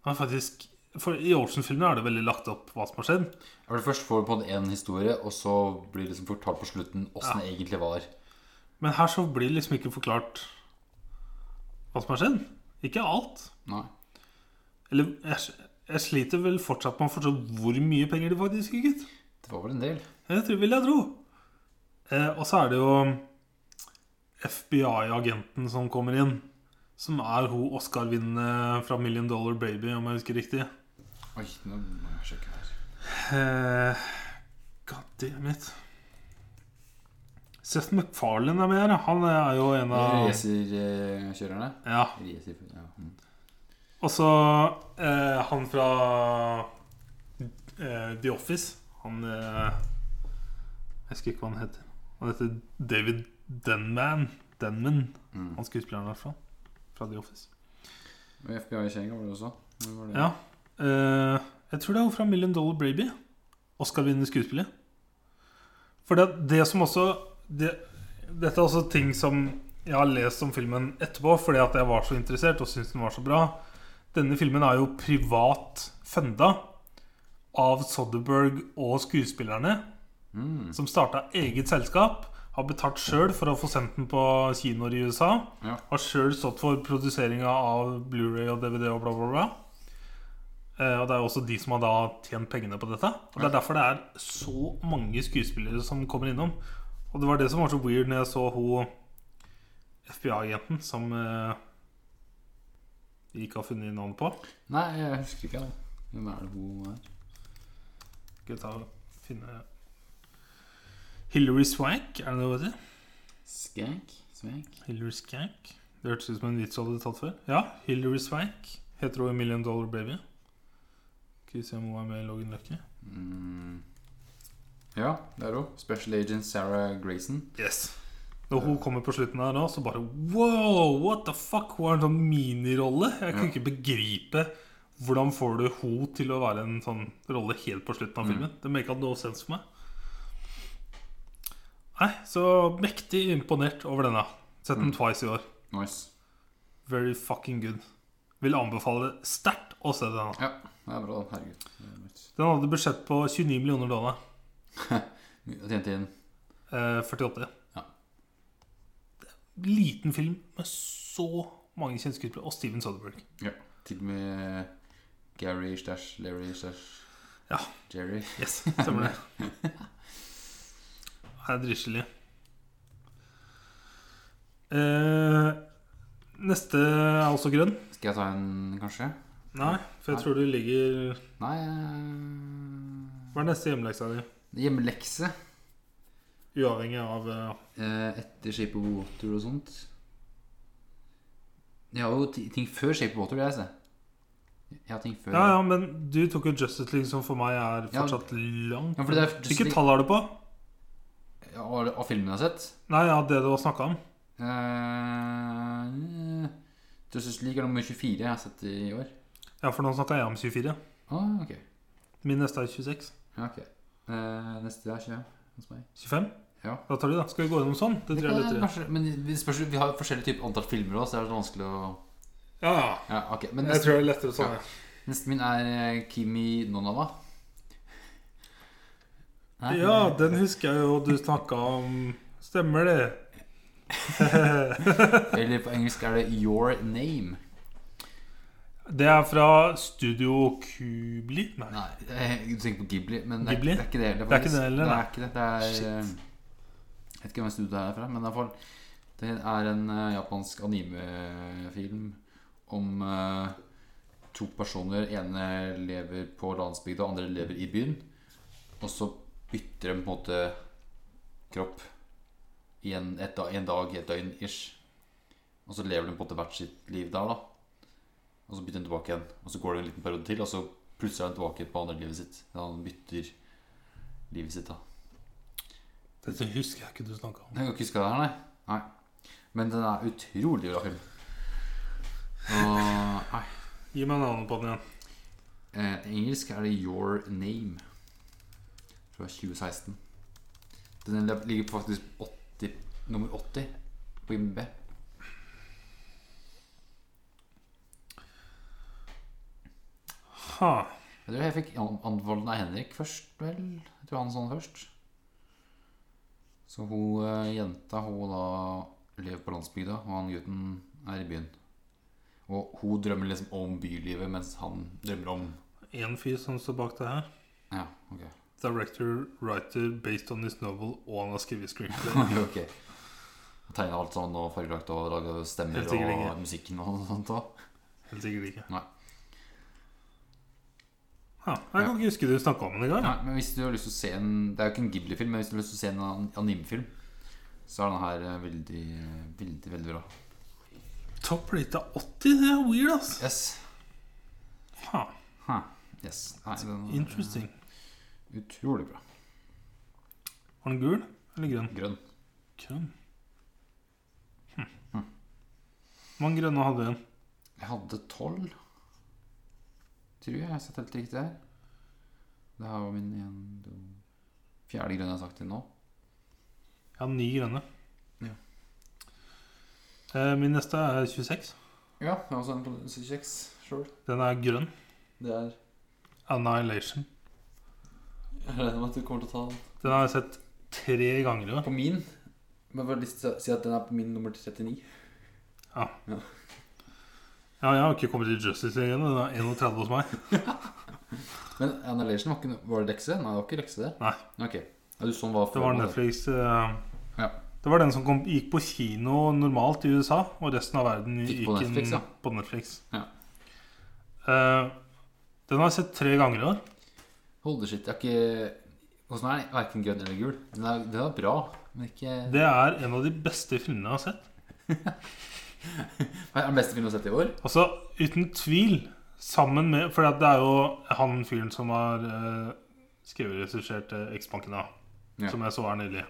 Speaker 2: man faktisk For i Olsen-filmen er det veldig lagt opp hva som har skjedd.
Speaker 1: For det første får du på en måte en historie, og så blir det liksom fortalt på slutten åssen det egentlig var.
Speaker 2: Men her så blir det liksom ikke forklart hva som har skjedd. Ikke alt.
Speaker 1: Nei.
Speaker 2: Eller jeg, jeg sliter vel fortsatt med å forstå hvor mye penger de faktisk gikk ut.
Speaker 1: Det var vel en del.
Speaker 2: Det tror- vil jeg tro. Eh, og så er det jo FBI-agenten som kommer inn. Som er hun Oscar-vinnende fra Million Dollar Baby, om jeg husker riktig.
Speaker 1: Oi, nå må jeg sjekke her.
Speaker 2: Eh, God damn it. Seth MacFarlane er med her. Han er jo en av
Speaker 1: Racerkjørerne.
Speaker 2: Ja.
Speaker 1: Racer, eh, ja. Mm.
Speaker 2: Og så eh, han fra eh, The Office Han eh, Jeg husker ikke hva han heter. Han heter David Denman. Denman.
Speaker 1: Mm.
Speaker 2: Han skuespilleren, i hvert fall. Fra The Office.
Speaker 1: FBI-kjerringa var det også. Hvem var det?
Speaker 2: Ja. Eh, jeg tror det er hun fra Million Dollar Baby. Oscar-vinnende skuespiller. For det, det som også det, Dette er også ting som jeg har lest om filmen etterpå, fordi at jeg var så interessert og syntes den var så bra. Denne filmen er jo privat funda av Soderberg og skuespillerne,
Speaker 1: Mm.
Speaker 2: som starta eget selskap. Har betalt sjøl for å få sendt den på kinoer i USA.
Speaker 1: Ja.
Speaker 2: Har sjøl stått for produseringa av Blu-ray og DVD og bla, bla, bla. Eh, Og det er jo også de som har da tjent pengene på dette. Og Det er derfor det er så mange skuespillere som kommer innom. Og det var det som var så weird når jeg så hun FBI-jenten som eh, vi ikke har funnet navn på.
Speaker 1: Nei, jeg husker ikke. da. Hvem er det hun er?
Speaker 2: Skal vi ta og finne Hilary Swank, er det det hun heter?
Speaker 1: Skank? Svank?
Speaker 2: Hillary Skank. Det hørtes ut som en vits du hadde tatt før. Ja, Hillary Swank heter hun i Million Dollar Baby. Skal vi se om hun er med i Logan Lucky.
Speaker 1: Mm. Ja, det er hun. Special agent Sarah Grayson.
Speaker 2: Yes. Når hun kommer på slutten her nå, så bare Wow, what the fuck? Hun har en sånn minirolle. Jeg kan
Speaker 1: Ja.
Speaker 2: ikke begripe hvordan får du hun til å være en sånn rolle helt på slutten av
Speaker 1: Mm.
Speaker 2: filmen. Det make no sense for meg. Nei, så mektig imponert over denne. Sett
Speaker 1: Mm.
Speaker 2: den twice i år.
Speaker 1: Nice.
Speaker 2: Very fucking good. Vil anbefale sterkt å se denne.
Speaker 1: Ja, det er bra, da. Herregud. Det er nice.
Speaker 2: Den hadde budsjett på 29 millioner dollar.
Speaker 1: Mye å tjene inn.
Speaker 2: Eh, 48.
Speaker 1: Ja.
Speaker 2: Liten film med så mange kjente skuespillere. Og Steven Soderberg.
Speaker 1: Ja. Til og med eh, Gary Stash, Larry Stash
Speaker 2: Ja.
Speaker 1: Jerry.
Speaker 2: Yes, stemmer det. Det er dritskillig. Eh, neste er også grønn.
Speaker 1: Skal jeg ta en, kanskje?
Speaker 2: Nei, for jeg tror du ligger
Speaker 1: Nei eh,
Speaker 2: Hva er neste hjemmeleksa di?
Speaker 1: Hjemmelekse.
Speaker 2: Uavhengig av eh,
Speaker 1: Eh, etter Shape of Water og sånt. Jeg har jo ti- ting før Shape of Water, det er jeg. se. Jeg har ting før.
Speaker 2: Ja, ja, men du tok jo Justice League, som for meg er
Speaker 1: Ja.
Speaker 2: fortsatt langt
Speaker 1: Ja, for det er Justice
Speaker 2: Hvilket
Speaker 1: League.
Speaker 2: tall er du på?
Speaker 1: Ja, Av, av filmene jeg har sett.
Speaker 2: Nei, ja, det du har snakka om.
Speaker 1: Eh, Justice League er nummer 24 jeg har sett i år.
Speaker 2: Ja, for nå snakka jeg om 24.
Speaker 1: Ah, ok.
Speaker 2: Min neste er 26.
Speaker 1: Ja, ok. Eh, neste er 20 hos meg.
Speaker 2: 25?
Speaker 1: Ja.
Speaker 2: Da tar du da. Skal vi gå gjennom sånn? Det tror jeg er lettere.
Speaker 1: Kanskje, men vi, spørs, vi har forskjellig type antall filmer også, så det er litt vanskelig å
Speaker 2: Ja,
Speaker 1: Ja, ok. Men
Speaker 2: Jeg
Speaker 1: neste,
Speaker 2: tror det er lettere sånn. Ja.
Speaker 1: neste min er eh, Kimi Nonawa. Nei,
Speaker 2: ja, den husker jeg jo du snakka om. Stemmer det?
Speaker 1: Eller på engelsk er det Your Name.
Speaker 2: Det er fra Studio Kubli. Nei.
Speaker 1: Nei, jeg- du tenker på Ghibli, men det er,
Speaker 2: Ghibli?
Speaker 1: Det er ikke det heller.
Speaker 2: Det er ikke det
Speaker 1: faktisk.
Speaker 2: heller,
Speaker 1: Det
Speaker 2: nei.
Speaker 1: er ikke det. Det er, eh, jeg vet ikke hvem studio det er fra, men i hvert fall det er en eh, japansk animefilm om eh, to personer. ene lever på landsbygda, andre lever i byen. Og så bytter de på en måte kropp i en, et, da- en dag, et døgn ish. Og så lever de på en måte hvert sitt liv der, da. Og så bytter de tilbake igjen. Og så går det en liten periode til, og så plutselig er han tilbake på andre livet sitt. Ja, Han bytter livet sitt, da.
Speaker 2: Dette husker jeg ikke du snakka om.
Speaker 1: Jeg kan ikke huske det her, nei. nei. Men den er utrolig bra film. Og nei.
Speaker 2: Gi meg navnet på den igjen.
Speaker 1: Eh, engelsk er det Your Name fra 2016. Den ligger på faktisk 80, nummer 80 på IMB.
Speaker 2: Ha.
Speaker 1: Jeg tror jeg fikk an- anbefalt den av Henrik først, vel. Jeg tror han så den først. Så hun eh, jenta, hun da lever på landsbygda, og han gutten er i byen. Og hun drømmer liksom om bylivet, mens han drømmer om
Speaker 2: En fyr som står bak det her.
Speaker 1: Ja, ok.
Speaker 2: Director, writer, based on this novel, og han har skrevet screenplay.
Speaker 1: ok. Tegna alt sånn og fargelagt og laga stemmer
Speaker 2: Helt
Speaker 1: og
Speaker 2: sikkert ikke.
Speaker 1: musikken og sånt òg.
Speaker 2: Helt sikkert ikke.
Speaker 1: Nei.
Speaker 2: Ja, jeg kan ikke huske du snakka om den i gang.
Speaker 1: Men hvis du har lyst til å se en Det er jo ikke en Ghibli-film, men hvis du har lyst til å se en an- animefilm, så er den her eh, veldig, veldig, veldig bra.
Speaker 2: Topp plate 80, det er weird, ass.
Speaker 1: Yes.
Speaker 2: Ha,
Speaker 1: Huh. Yes. Nei, den er eh,
Speaker 2: interesting.
Speaker 1: utrolig bra.
Speaker 2: Var den gul eller grønn?
Speaker 1: Grønn.
Speaker 2: Grønn. Hm. Hvor mange grønne hadde den?
Speaker 1: Jeg hadde tolv. Tror jeg jeg har sett helt riktig her. Det her var min en, to, fjerde grønn jeg har sagt til nå.
Speaker 2: Jeg hadde ni grønne.
Speaker 1: Ja.
Speaker 2: Eh, Min neste er 26.
Speaker 1: Ja, jeg har også en kjeks sjøl.
Speaker 2: Den er grønn.
Speaker 1: Det er
Speaker 2: Annihilation.
Speaker 1: Jeg regner med at du kommer til å ta den.
Speaker 2: Den har jeg sett tre ganger i år.
Speaker 1: På min Men jeg har bare lyst til å si at den er på min nummer 39
Speaker 2: Ja, jeg har ikke kommet til Justice League ennå. Den er 31 hos meg.
Speaker 1: Men Annihilation var ikke no- Var det lekse? Nei, det var ikke lekse det
Speaker 2: Nei.
Speaker 1: Ok Ja, du sånn var
Speaker 2: Det var Netflix. eh,
Speaker 1: Ja.
Speaker 2: Det var den som kom, gikk på kino normalt i USA, og resten av verden
Speaker 1: Gikk
Speaker 2: gikk
Speaker 1: på
Speaker 2: inn
Speaker 1: Netflix, ja.
Speaker 2: på Netflix.
Speaker 1: Ja.
Speaker 2: Eh, den har jeg sett tre ganger i år.
Speaker 1: Holy shit, jeg har ikke Hvordan er den? Hverken grønn eller gul Den er, den er bra Men ikke Hva
Speaker 2: Det er en av de beste filmene jeg har sett.
Speaker 1: er den beste filmen du har sett i år?
Speaker 2: Altså, uten tvil, sammen med For det er jo han fyren som har eh, skrevet og regissert eh, X-Banken, da.
Speaker 1: Ja.
Speaker 2: Som jeg så her nylig.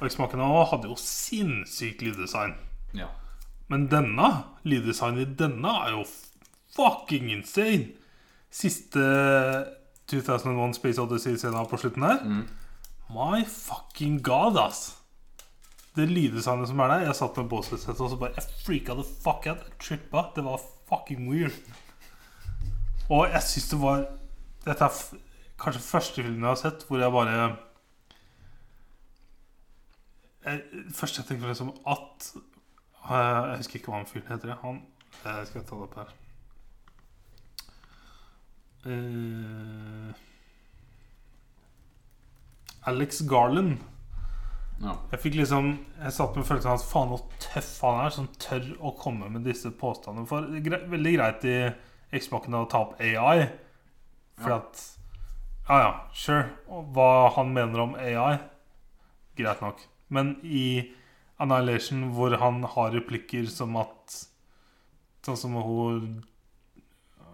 Speaker 2: Og X-Banken også hadde jo sinnssykt lyddesign.
Speaker 1: Ja
Speaker 2: Men denne, lyddesignet i denne er jo fucking insane! Siste 2001 Space Odyssey-scena på slutten her. My fucking god, ass! Det lyddesignet som er der Jeg satt med Bose-settet og så bare Jeg freaka the fuck out. Jeg trippa. Det var fucking weird. Og jeg syns det var Dette er f kanskje første filmen jeg har sett hvor jeg bare jeg, Først jeg tenkte liksom at Eh, Jeg husker ikke hva han fyren heter. ja. Han eh, Skal jeg ta det opp her Eh, Alex Garland.
Speaker 1: Ja
Speaker 2: Jeg fikk liksom Jeg satt med følelsen av at faen, hvor tøff han er som tør å komme med disse påstandene. For det er gre Veldig greit i Xboxen å ta opp AI, for
Speaker 1: Ja.
Speaker 2: at Ja ja, sure. Og hva han mener om AI, greit nok. Men i Annihilation, hvor han har replikker som at Sånn som hun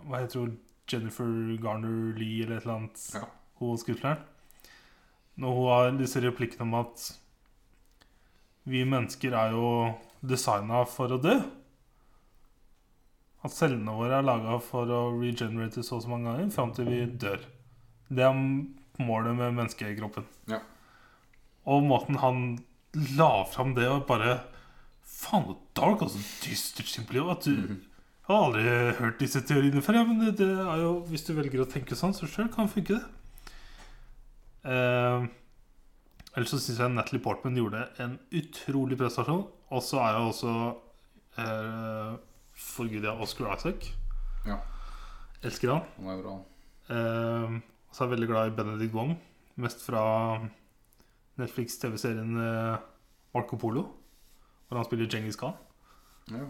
Speaker 2: Hva heter hun? Jennifer Garner Lee, eller et eller annet
Speaker 1: Ja
Speaker 2: hun skuespilleren. Når hun har disse replikkene om at vi mennesker er jo designa for å dø. At cellene våre er laga for å regenerate så og så mange ganger fram til vi dør. Det er målet med menneskekroppen.
Speaker 1: Ja.
Speaker 2: Og måten han la fram det og bare Faen, så dark og så dystert simpelthen. og At du, Jeg har aldri hørt disse teoriene før, ja, men det, det er jo, hvis du velger å tenke sånn, så sjøl kan det funke, det. Eh, ellers så syns jeg Natalie Portman gjorde en utrolig prestasjon. Og så er jeg også eh, for gud, ja, Oscar Isaac.
Speaker 1: Ja.
Speaker 2: Elsker han.
Speaker 1: Han er bra.
Speaker 2: Eh, så er jeg veldig glad i Benedict Wong. Mest fra Netflix-TV-serien eh, Marco Polo, hvor han spiller Djengis Khan.
Speaker 1: Ja.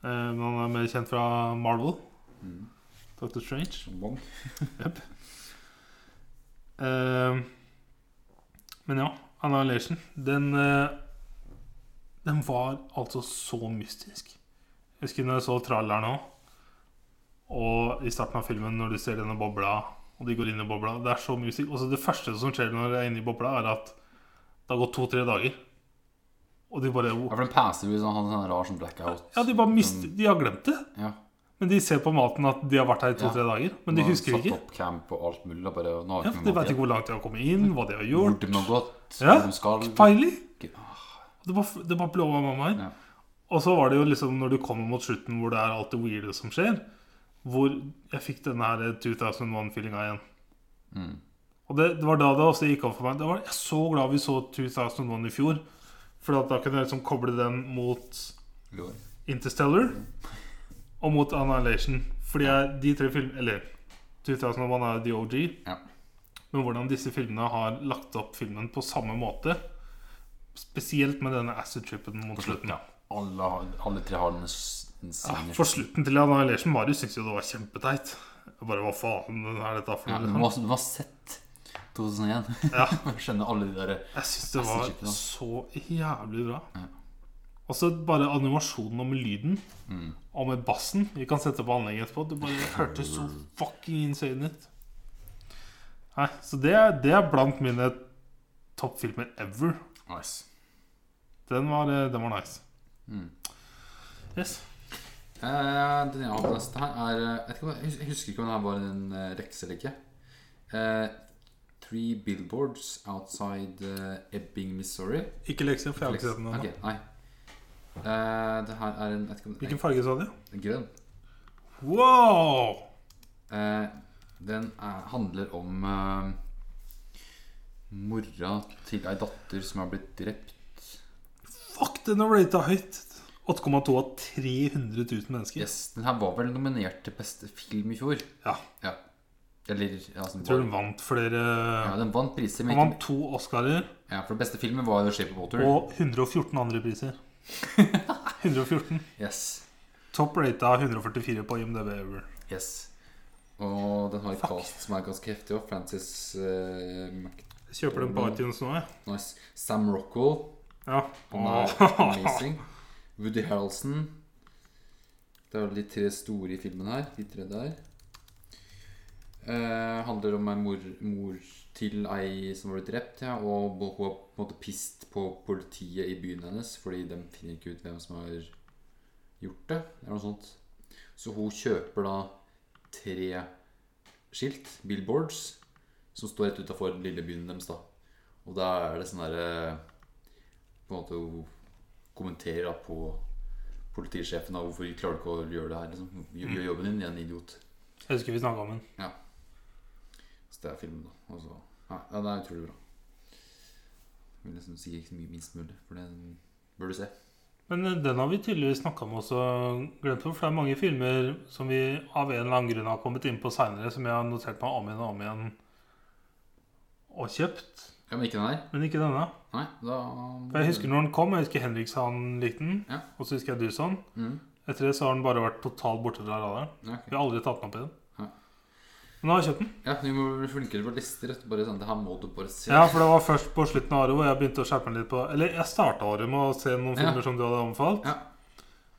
Speaker 2: Eh, men han er mer kjent fra Marvel,
Speaker 1: Mm.
Speaker 2: Doctor Strange.
Speaker 1: Som Bond.
Speaker 2: Eh, men ja, Annihilation, den eh, Den var altså så mystisk. Jeg husker når jeg så traileren òg, og i starten av filmen når du ser denne bobla, og de går inn i bobla Det er så mystisk. Og så det første som skjer når de er inne i bobla, er at det har gått to-tre dager. Og de bare
Speaker 1: Ja, for den passer vi sånn, han sånn rar sånn blackout.
Speaker 2: Ja, de bare mister
Speaker 1: Mm.
Speaker 2: De har glemt det.
Speaker 1: Ja.
Speaker 2: Men de ser på maten at de har vært her i to-tre dager. Men de
Speaker 1: Nå har
Speaker 2: husker
Speaker 1: han
Speaker 2: ikke.
Speaker 1: Satt opp camp og alt mulig. og Bare, nå har
Speaker 2: Ja, for De vet ikke hvor langt de har kommet inn, hva de har
Speaker 1: hvor
Speaker 2: gjort.
Speaker 1: de har gått.
Speaker 2: Ja,
Speaker 1: Hvor de skal.
Speaker 2: Peiling!
Speaker 1: Ah,
Speaker 2: Det bare, det bare blåa mamma her.
Speaker 1: Ja.
Speaker 2: Og så var det jo liksom når du kommer mot slutten, hvor det er alt det weirde som skjer, hvor jeg fikk denne her 2001-feelinga igjen.
Speaker 1: Mm.
Speaker 2: Og det, det var da det også gikk opp for meg. Det var, jeg er så glad vi så 2001 i fjor. For at da kunne jeg liksom koble den mot
Speaker 1: Lår.
Speaker 2: Interstellar og mot Annihilation. Fordi jeg, de tre filmene Eller 2001 er jo DOG.
Speaker 1: Ja.
Speaker 2: Men hvordan disse filmene har lagt opp filmen på samme måte. Spesielt med denne acid trippen mot slutten.
Speaker 1: Alle, har- alle tre har den s- den
Speaker 2: Ja,
Speaker 1: sine
Speaker 2: for slutten til Annihilation Marius syntes jo det var kjempeteit. Jeg bare hva faen er dette for
Speaker 1: Ja,
Speaker 2: noe?
Speaker 1: du,
Speaker 2: liksom?
Speaker 1: må, du må ha sett 2001.
Speaker 2: Ja.
Speaker 1: Skjønner alle de der
Speaker 2: Jeg syns det
Speaker 1: Acid
Speaker 2: var
Speaker 1: trippen, da.
Speaker 2: så jævlig bra.
Speaker 1: Ja.
Speaker 2: Og så bare animasjonen og med lyden
Speaker 1: mm.
Speaker 2: og med bassen. Vi kan sette på anlegget etterpå. Det bare hørtes så fucking insane ut. Nei, så det er, det er blant mine toppfilmer ever.
Speaker 1: Nice.
Speaker 2: Den var, eh, den var nice.
Speaker 1: Mm.
Speaker 2: Yes.
Speaker 1: Eh, den jeg har på neste her, er eh, Jeg, vet ikke, om- jeg hus- jeg husker ikke om det her var en eh, rekse eller ikke. Eh, Three Billboards Outside eh, Ebbing, Missouri.
Speaker 2: Ikke lekser, for jeg har ikke sett den ennå.
Speaker 1: Ok, nei. Eh, det her er en jeg vet ikke om,
Speaker 2: Hvilken farge sa de?
Speaker 1: nei, Grønn.
Speaker 2: Wow!
Speaker 1: Eh, den er, handler om eh, mora til ei datter som har blitt drept.
Speaker 2: Fuck, den har rata høyt. 8,2 av 300 000 mennesker.
Speaker 1: Yes, Den her var vel nominert til beste film i fjor.
Speaker 2: Ja,
Speaker 1: Ja. Eller ja, altså, den
Speaker 2: jeg tror
Speaker 1: var-
Speaker 2: den vant flere eh,
Speaker 1: ja, Den vant priser, men
Speaker 2: Han
Speaker 1: ikke
Speaker 2: vant to Oscarer
Speaker 1: Ja, for den beste filmen var jo 'Shape of Water'.
Speaker 2: og 114 andre priser. 114.
Speaker 1: Yes.
Speaker 2: Topp rata 144 på IMDb ever.
Speaker 1: yes Og den har et cast som er ganske heftig òg. Francis eh, Mac-
Speaker 2: Jeg kjøper den på iTunes nå, jeg.
Speaker 1: Nice. Sam Rockwell.
Speaker 2: Ja.
Speaker 1: Han er amazing. Woody Harrelson. Det er vel de tre store i filmen her. De tre der. Eh, handler om ei mor, mor til ei som ble drept, ja, og bo- hun er på en måte pissed på politiet i byen hennes fordi de finner ikke ut hvem som har gjort det, eller noe sånt. Så hun kjøper da tre skilt, billboards, som står rett utafor lille byen deres, da. Og da er det sånn derre på en måte hun kommenterer da på politisjefen da, hvorfor klarer du ikke å gjøre det her. Liksom. Gjør
Speaker 2: Mm.
Speaker 1: gjør jobben din, en idiot.
Speaker 2: Jeg husker vi snakka om den.
Speaker 1: Så det er filmen, da. Og så, ja, ja, det er utrolig bra. Jeg vil nesten si ikke så mye minst mulig, for det bør du se.
Speaker 2: Men eh, den har vi tydeligvis snakka om også, glemt om, for det er mange filmer som vi av en eller annen grunn har kommet inn på seinere, som jeg har notert meg om igjen og om igjen og kjøpt.
Speaker 1: Ja, men ikke den her.
Speaker 2: Men ikke denne.
Speaker 1: Nei, da
Speaker 2: For Jeg husker når den kom, jeg husker Henrik sa han likte den.
Speaker 1: Ja.
Speaker 2: Og så husker jeg du sa den.
Speaker 1: mm,
Speaker 2: Etter det så har den bare vært totalt borte fra radaren.
Speaker 1: ja, ok.
Speaker 2: Vi har aldri tatt den opp igjen.
Speaker 1: Ja.
Speaker 2: Men nå har jeg kjøpt den.
Speaker 1: ja, vi må bli flinkere på lister. rett og Bare sånn, det her må du bare se.
Speaker 2: Ja, for det var først på slutten av året hvor jeg begynte å skjerpe meg litt på Eller jeg starta året med å se noen
Speaker 1: Ja.
Speaker 2: filmer som du hadde anbefalt.
Speaker 1: Ja.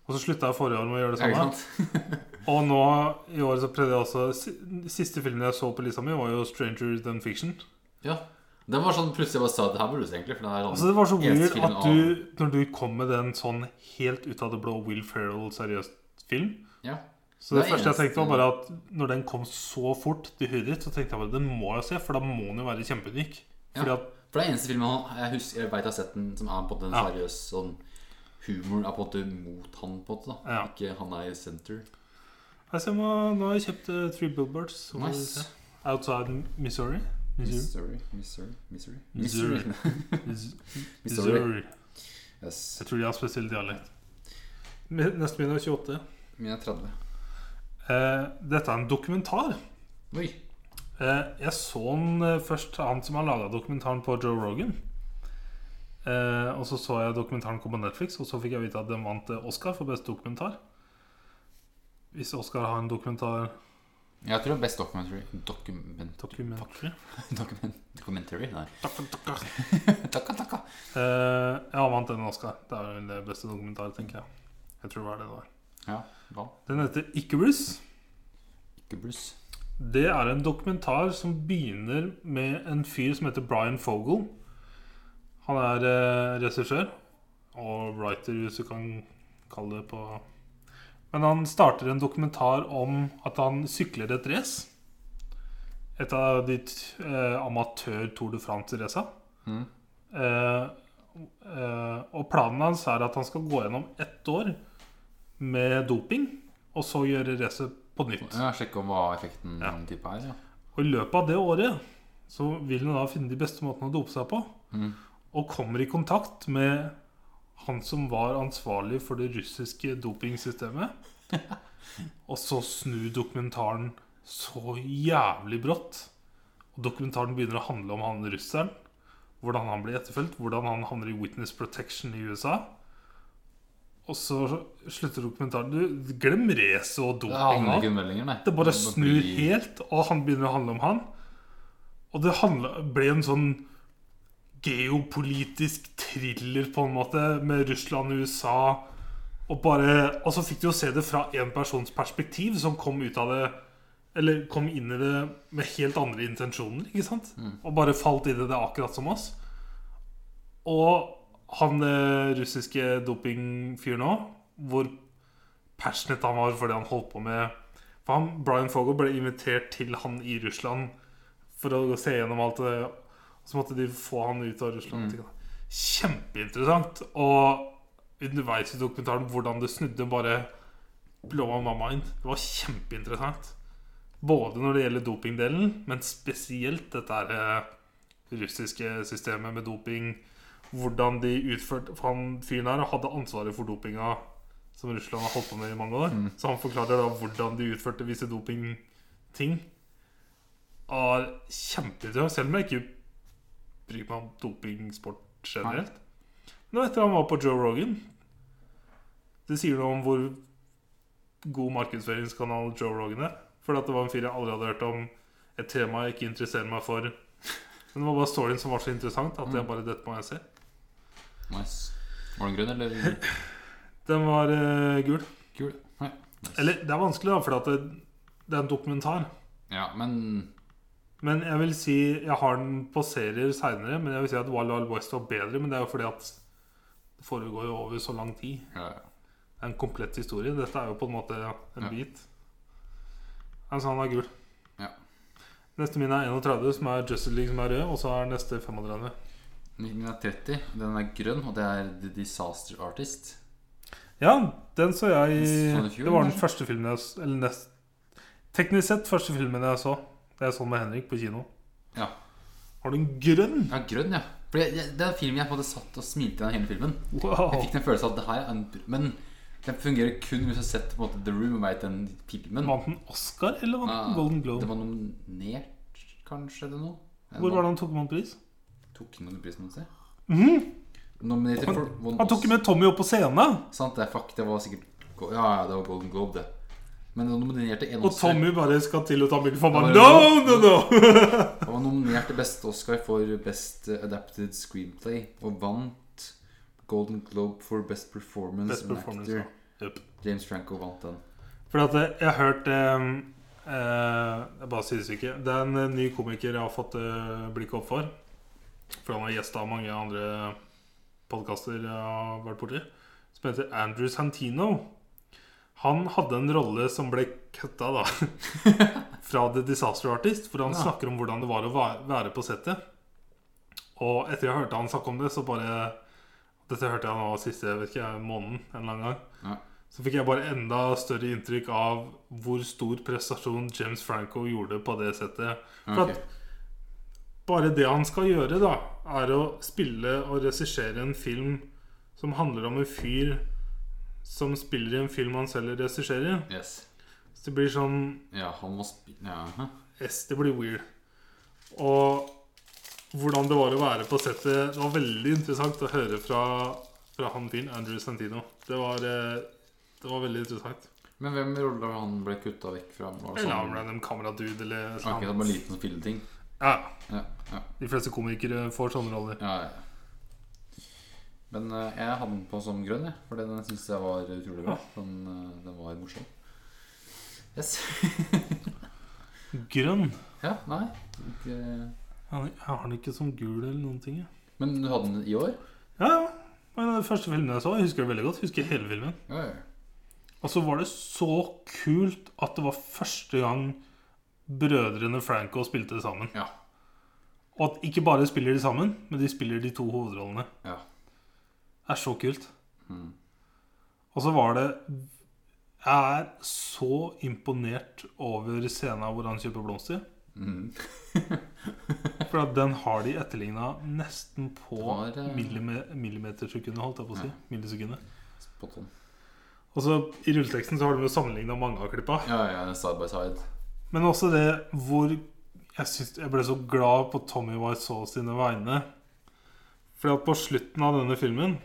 Speaker 2: Og så slutta jeg forrige år med å gjøre det
Speaker 1: Ja, ikke
Speaker 2: samme.
Speaker 1: sant?
Speaker 2: Og nå i år så prøvde jeg også si- Siste filmen jeg så på lista mi, var jo 'Stranger Than Fiction'.
Speaker 1: Ja. Den var sånn plutselig jeg bare sa det her burde du se, egentlig. For det er sånn
Speaker 2: Altså Det var så
Speaker 1: Eneste
Speaker 2: weird
Speaker 1: filmen
Speaker 2: at du, når du kom med den sånn helt ut av det blå Will Ferrell seriøst film
Speaker 1: Ja.
Speaker 2: Så
Speaker 1: Det
Speaker 2: det,
Speaker 1: er
Speaker 2: første jeg
Speaker 1: eneste-
Speaker 2: tenkte var bare at når den kom så fort til huet ditt, så tenkte jeg bare den må jeg se, for da må den jo være kjempeunik.
Speaker 1: Ja.
Speaker 2: Fordi at
Speaker 1: For det er eneste filmen han, jeg, husker, jeg vet jeg har sett den, som er på en måte en
Speaker 2: Ja.
Speaker 1: seriøs sånn Humoren er på en måte mot han, på en måte. da
Speaker 2: Ja.
Speaker 1: Ikke han er i senter.
Speaker 2: jeg ser, hva- Nå har jeg kjøpt eh, Three Billboards. så får vi
Speaker 1: Nice.
Speaker 2: se. Outside Missouri. Missouri.
Speaker 1: Missouri. Missouri. Missouri.
Speaker 2: Missouri.
Speaker 1: Missouri.
Speaker 2: Mis-
Speaker 1: Missouri.
Speaker 2: Missouri.
Speaker 1: Yes.
Speaker 2: Jeg tror de har spesiell dialekt. Mi- Neste min er 28.
Speaker 1: Min er 30.
Speaker 2: Eh, dette er en dokumentar.
Speaker 1: Oi.
Speaker 2: Eh, jeg så den eh, først han som har laga dokumentaren på Joe Rogan. Eh, og så så jeg dokumentaren kom på Netflix, og så fikk jeg vite at den vant eh, Oscar for beste dokumentar. Hvis Oscar har en dokumentar
Speaker 1: Jeg tror det er Best Documentary Document...
Speaker 2: Dokumentary.
Speaker 1: Document, documentary? Nei.
Speaker 2: Dokumentar.
Speaker 1: Takka, takka.
Speaker 2: Eh, ja, han vant den Oscar. Det er vel det beste dokumentaret, tenker jeg. Jeg tror det var det det var.
Speaker 1: Ja, hva?
Speaker 2: Den heter Icarus.
Speaker 1: Ikke bluss.
Speaker 2: Det er en dokumentar som begynner med en fyr som heter Brian Fogel. Han er eh, regissør og writer, hvis du kan kalle det på Men han starter en dokumentar om at han sykler et race. Et av de t- eh, amatør-Tour de France-raca.
Speaker 1: Mhm.
Speaker 2: Eh, eh, og planen hans er at han skal gå gjennom ett år med doping, og så gjøre racet på nytt.
Speaker 1: Ja, Sjekke om hva effekten
Speaker 2: Ja.
Speaker 1: type er. Ja.
Speaker 2: Og i løpet av det året så vil han da finne de beste måtene å dope seg på.
Speaker 1: Mhm.
Speaker 2: Og kommer i kontakt med han som var ansvarlig for det russiske dopingsystemet. og så snur dokumentaren så jævlig brått. Og dokumentaren begynner å handle om han russeren. Hvordan han blir etterfulgt, hvordan han havner i witness protection i USA. Og så slutter dokumentaren Du, glem racet og
Speaker 1: Det
Speaker 2: doping
Speaker 1: handler
Speaker 2: nå.
Speaker 1: ikke om meldinger, nei.
Speaker 2: Det bare snur
Speaker 1: blir-
Speaker 2: helt, og han begynner å handle om han. Og det handla, ble en sånn geopolitisk thriller, på en måte, med Russland og USA. Og, bare, og så fikk du jo se det fra én persons perspektiv, som kom ut av det Eller kom inn i det med helt andre intensjoner, ikke sant? Og bare falt inn i det akkurat som oss. Og han eh, russiske dopingfyren òg, hvor passionate han var for det han holdt på med for han, Brian Fogel ble invitert til han i Russland for å se gjennom alt det. Så måtte de få han ut av Russland. Kjempeinteressant. Og underveis i dokumentaren hvordan det snudde, bare blowa my mind. Det var kjempeinteressant. Både når det gjelder dopingdelen, men spesielt dette her eh, russiske systemet med doping. Hvordan de utførte For han fyren her hadde ansvaret for dopinga som Russland har holdt på med i mange år. Så han forklarer da hvordan de utførte visse dopingting. Er kjempeinteressant, selv om jeg ikke bryr meg om dopingsport generelt. Men etter han var på Joe Rogan Det sier noe om hvor god markedsføringskanal Joe Rogan er. For at det var en fyr jeg aldri hadde hørt om, et tema jeg ikke interesserer meg for. Men det var bare storyen som var så interessant at
Speaker 1: Mm.
Speaker 2: jeg bare dette må jeg se.
Speaker 1: Nice. Var det en grunn, eller
Speaker 2: Den var eh, gul.
Speaker 1: kul? Nei. Nice.
Speaker 2: Eller det er vanskelig, da, for at det, det er en dokumentar.
Speaker 1: Ja, men
Speaker 2: Men jeg vil si Jeg har den på serier seinere, men jeg vil si at Wild Wild West var bedre. Men det er jo fordi at det foregår jo over så lang tid.
Speaker 1: ja, ja.
Speaker 2: Det er en komplett historie. Dette er jo på en måte en
Speaker 1: Ja.
Speaker 2: bit. Altså, han er gul.
Speaker 1: Ja.
Speaker 2: Neste min er 31, som er Justice League, som er rød. Og så er neste 35.
Speaker 1: Min er 30, den er grønn, og det er The Disaster Artist.
Speaker 2: Ja, den så jeg
Speaker 1: Så du den i fjor,
Speaker 2: Det var den
Speaker 1: kanskje?
Speaker 2: første filmen jeg s- Eller nest Teknisk sett første filmen jeg så. Det jeg så med Henrik på kino.
Speaker 1: Ja,
Speaker 2: Har du en grønn?
Speaker 1: ja grønn, ja. For jeg, jeg, det er en film jeg på en måte satt og smilte gjennom hele filmen.
Speaker 2: Wow.
Speaker 1: Jeg fikk den følelsen at det her er en Men den fungerer kun hvis du har sett på en måte The Room og veit den filmen.
Speaker 2: Vant den Oscar, eller vant den Golden
Speaker 1: Ah,
Speaker 2: Globe?
Speaker 1: Det var nominert, kanskje, eller noe?
Speaker 2: Hvor var det han tok med pris?
Speaker 1: Tok han noen prisen, må du si? Nominert for One
Speaker 2: Mhm. Han tok med Tommy opp på scenen!
Speaker 1: Sant, det er fuck, det var sikkert Go- Ja, ja, det var Golden Globe, det. Men den nominerte en
Speaker 2: Og
Speaker 1: Oscar.
Speaker 2: Tommy bare skal til å ta mikrofonen.
Speaker 1: Ja,
Speaker 2: No, no, no!
Speaker 1: Han var nominert til beste Oscar for Best Adapted Screenplay og vant Golden Globe for Best Performance,
Speaker 2: Best
Speaker 1: and
Speaker 2: performance.
Speaker 1: Actor.
Speaker 2: da. Yep.
Speaker 1: James Franco vant den.
Speaker 2: Fordi at eh, jeg har hørt eh, eh, Jeg bare sier det ikke. Det er en eh, ny komiker jeg har fått eh, blikket opp for. For han har gjesta mange andre podkaster jeg har vært borti. Som heter Andrew Santino. Han hadde en rolle som ble kutta, da. Fra The Disaster Artist. For han
Speaker 1: Ja.
Speaker 2: snakker om hvordan det var å va- være på settet. Og etter jeg hørte han snakke om det, så bare Dette hørte jeg nå siste jeg vet ikke, måneden. en eller annen gang
Speaker 1: Ja.
Speaker 2: så fikk jeg bare enda større inntrykk av hvor stor prestasjon James Franco gjorde på det settet. For
Speaker 1: Ok.
Speaker 2: at bare det han skal gjøre, da, er å spille og regissere en film som handler om en fyr som spiller i en film han selv regisserer.
Speaker 1: Yes.
Speaker 2: Så det blir sånn
Speaker 1: Ja, han var sp... Ja. hæ?
Speaker 2: S, det blir weird. Og hvordan det var å være på settet Det var veldig interessant å høre fra, fra han fyren, Andrew Santino. Det var, eh, det var veldig interessant.
Speaker 1: Men hvem i rolle var han ble kutta vekk fra? Var det
Speaker 2: Eller
Speaker 1: sånn-
Speaker 2: han random kameradude eller
Speaker 1: Ok,
Speaker 2: sånn.
Speaker 1: det var en liten filleting.
Speaker 2: Ja,
Speaker 1: Ja, ja,
Speaker 2: de fleste komikere får sånne roller.
Speaker 1: ja, ja. Men eh, jeg hadde den på som grønn, jeg. For den syns jeg var utrolig bra. Den, eh, den var morsom. Yes.
Speaker 2: Grønn.
Speaker 1: ja, nei ikke...
Speaker 2: Jeg har den ikke som gul eller noen ting. jeg.
Speaker 1: Men du hadde den i år?
Speaker 2: Ja, ja. Men den første filmen jeg så, jeg husker det veldig godt. Jeg husker hele filmen.
Speaker 1: Ja, ja.
Speaker 2: Og så var det så kult at det var første gang brødrene Franco spilte sammen.
Speaker 1: Ja.
Speaker 2: Og at ikke bare spiller de sammen, men de spiller de to hovedrollene.
Speaker 1: Ja.
Speaker 2: Det er så kult.
Speaker 1: Mm.
Speaker 2: Og så var det Jeg er så imponert over scenen hvor han kjøper blomster.
Speaker 1: Mm.
Speaker 2: For at den har de etterligna nesten på
Speaker 1: Det var, eh,
Speaker 2: millime millimetersekundet, holdt jeg på å si.
Speaker 1: Ja.
Speaker 2: Millisekundet.
Speaker 1: Spot on.
Speaker 2: Og så I rulleteksten så har de jo sammenligna mange av klippa.
Speaker 1: Ja, ja, side by side.
Speaker 2: Men også det hvor jeg, syns- jeg ble så glad på Tommy Wiseau sine vegne. Fordi at på slutten av denne filmen,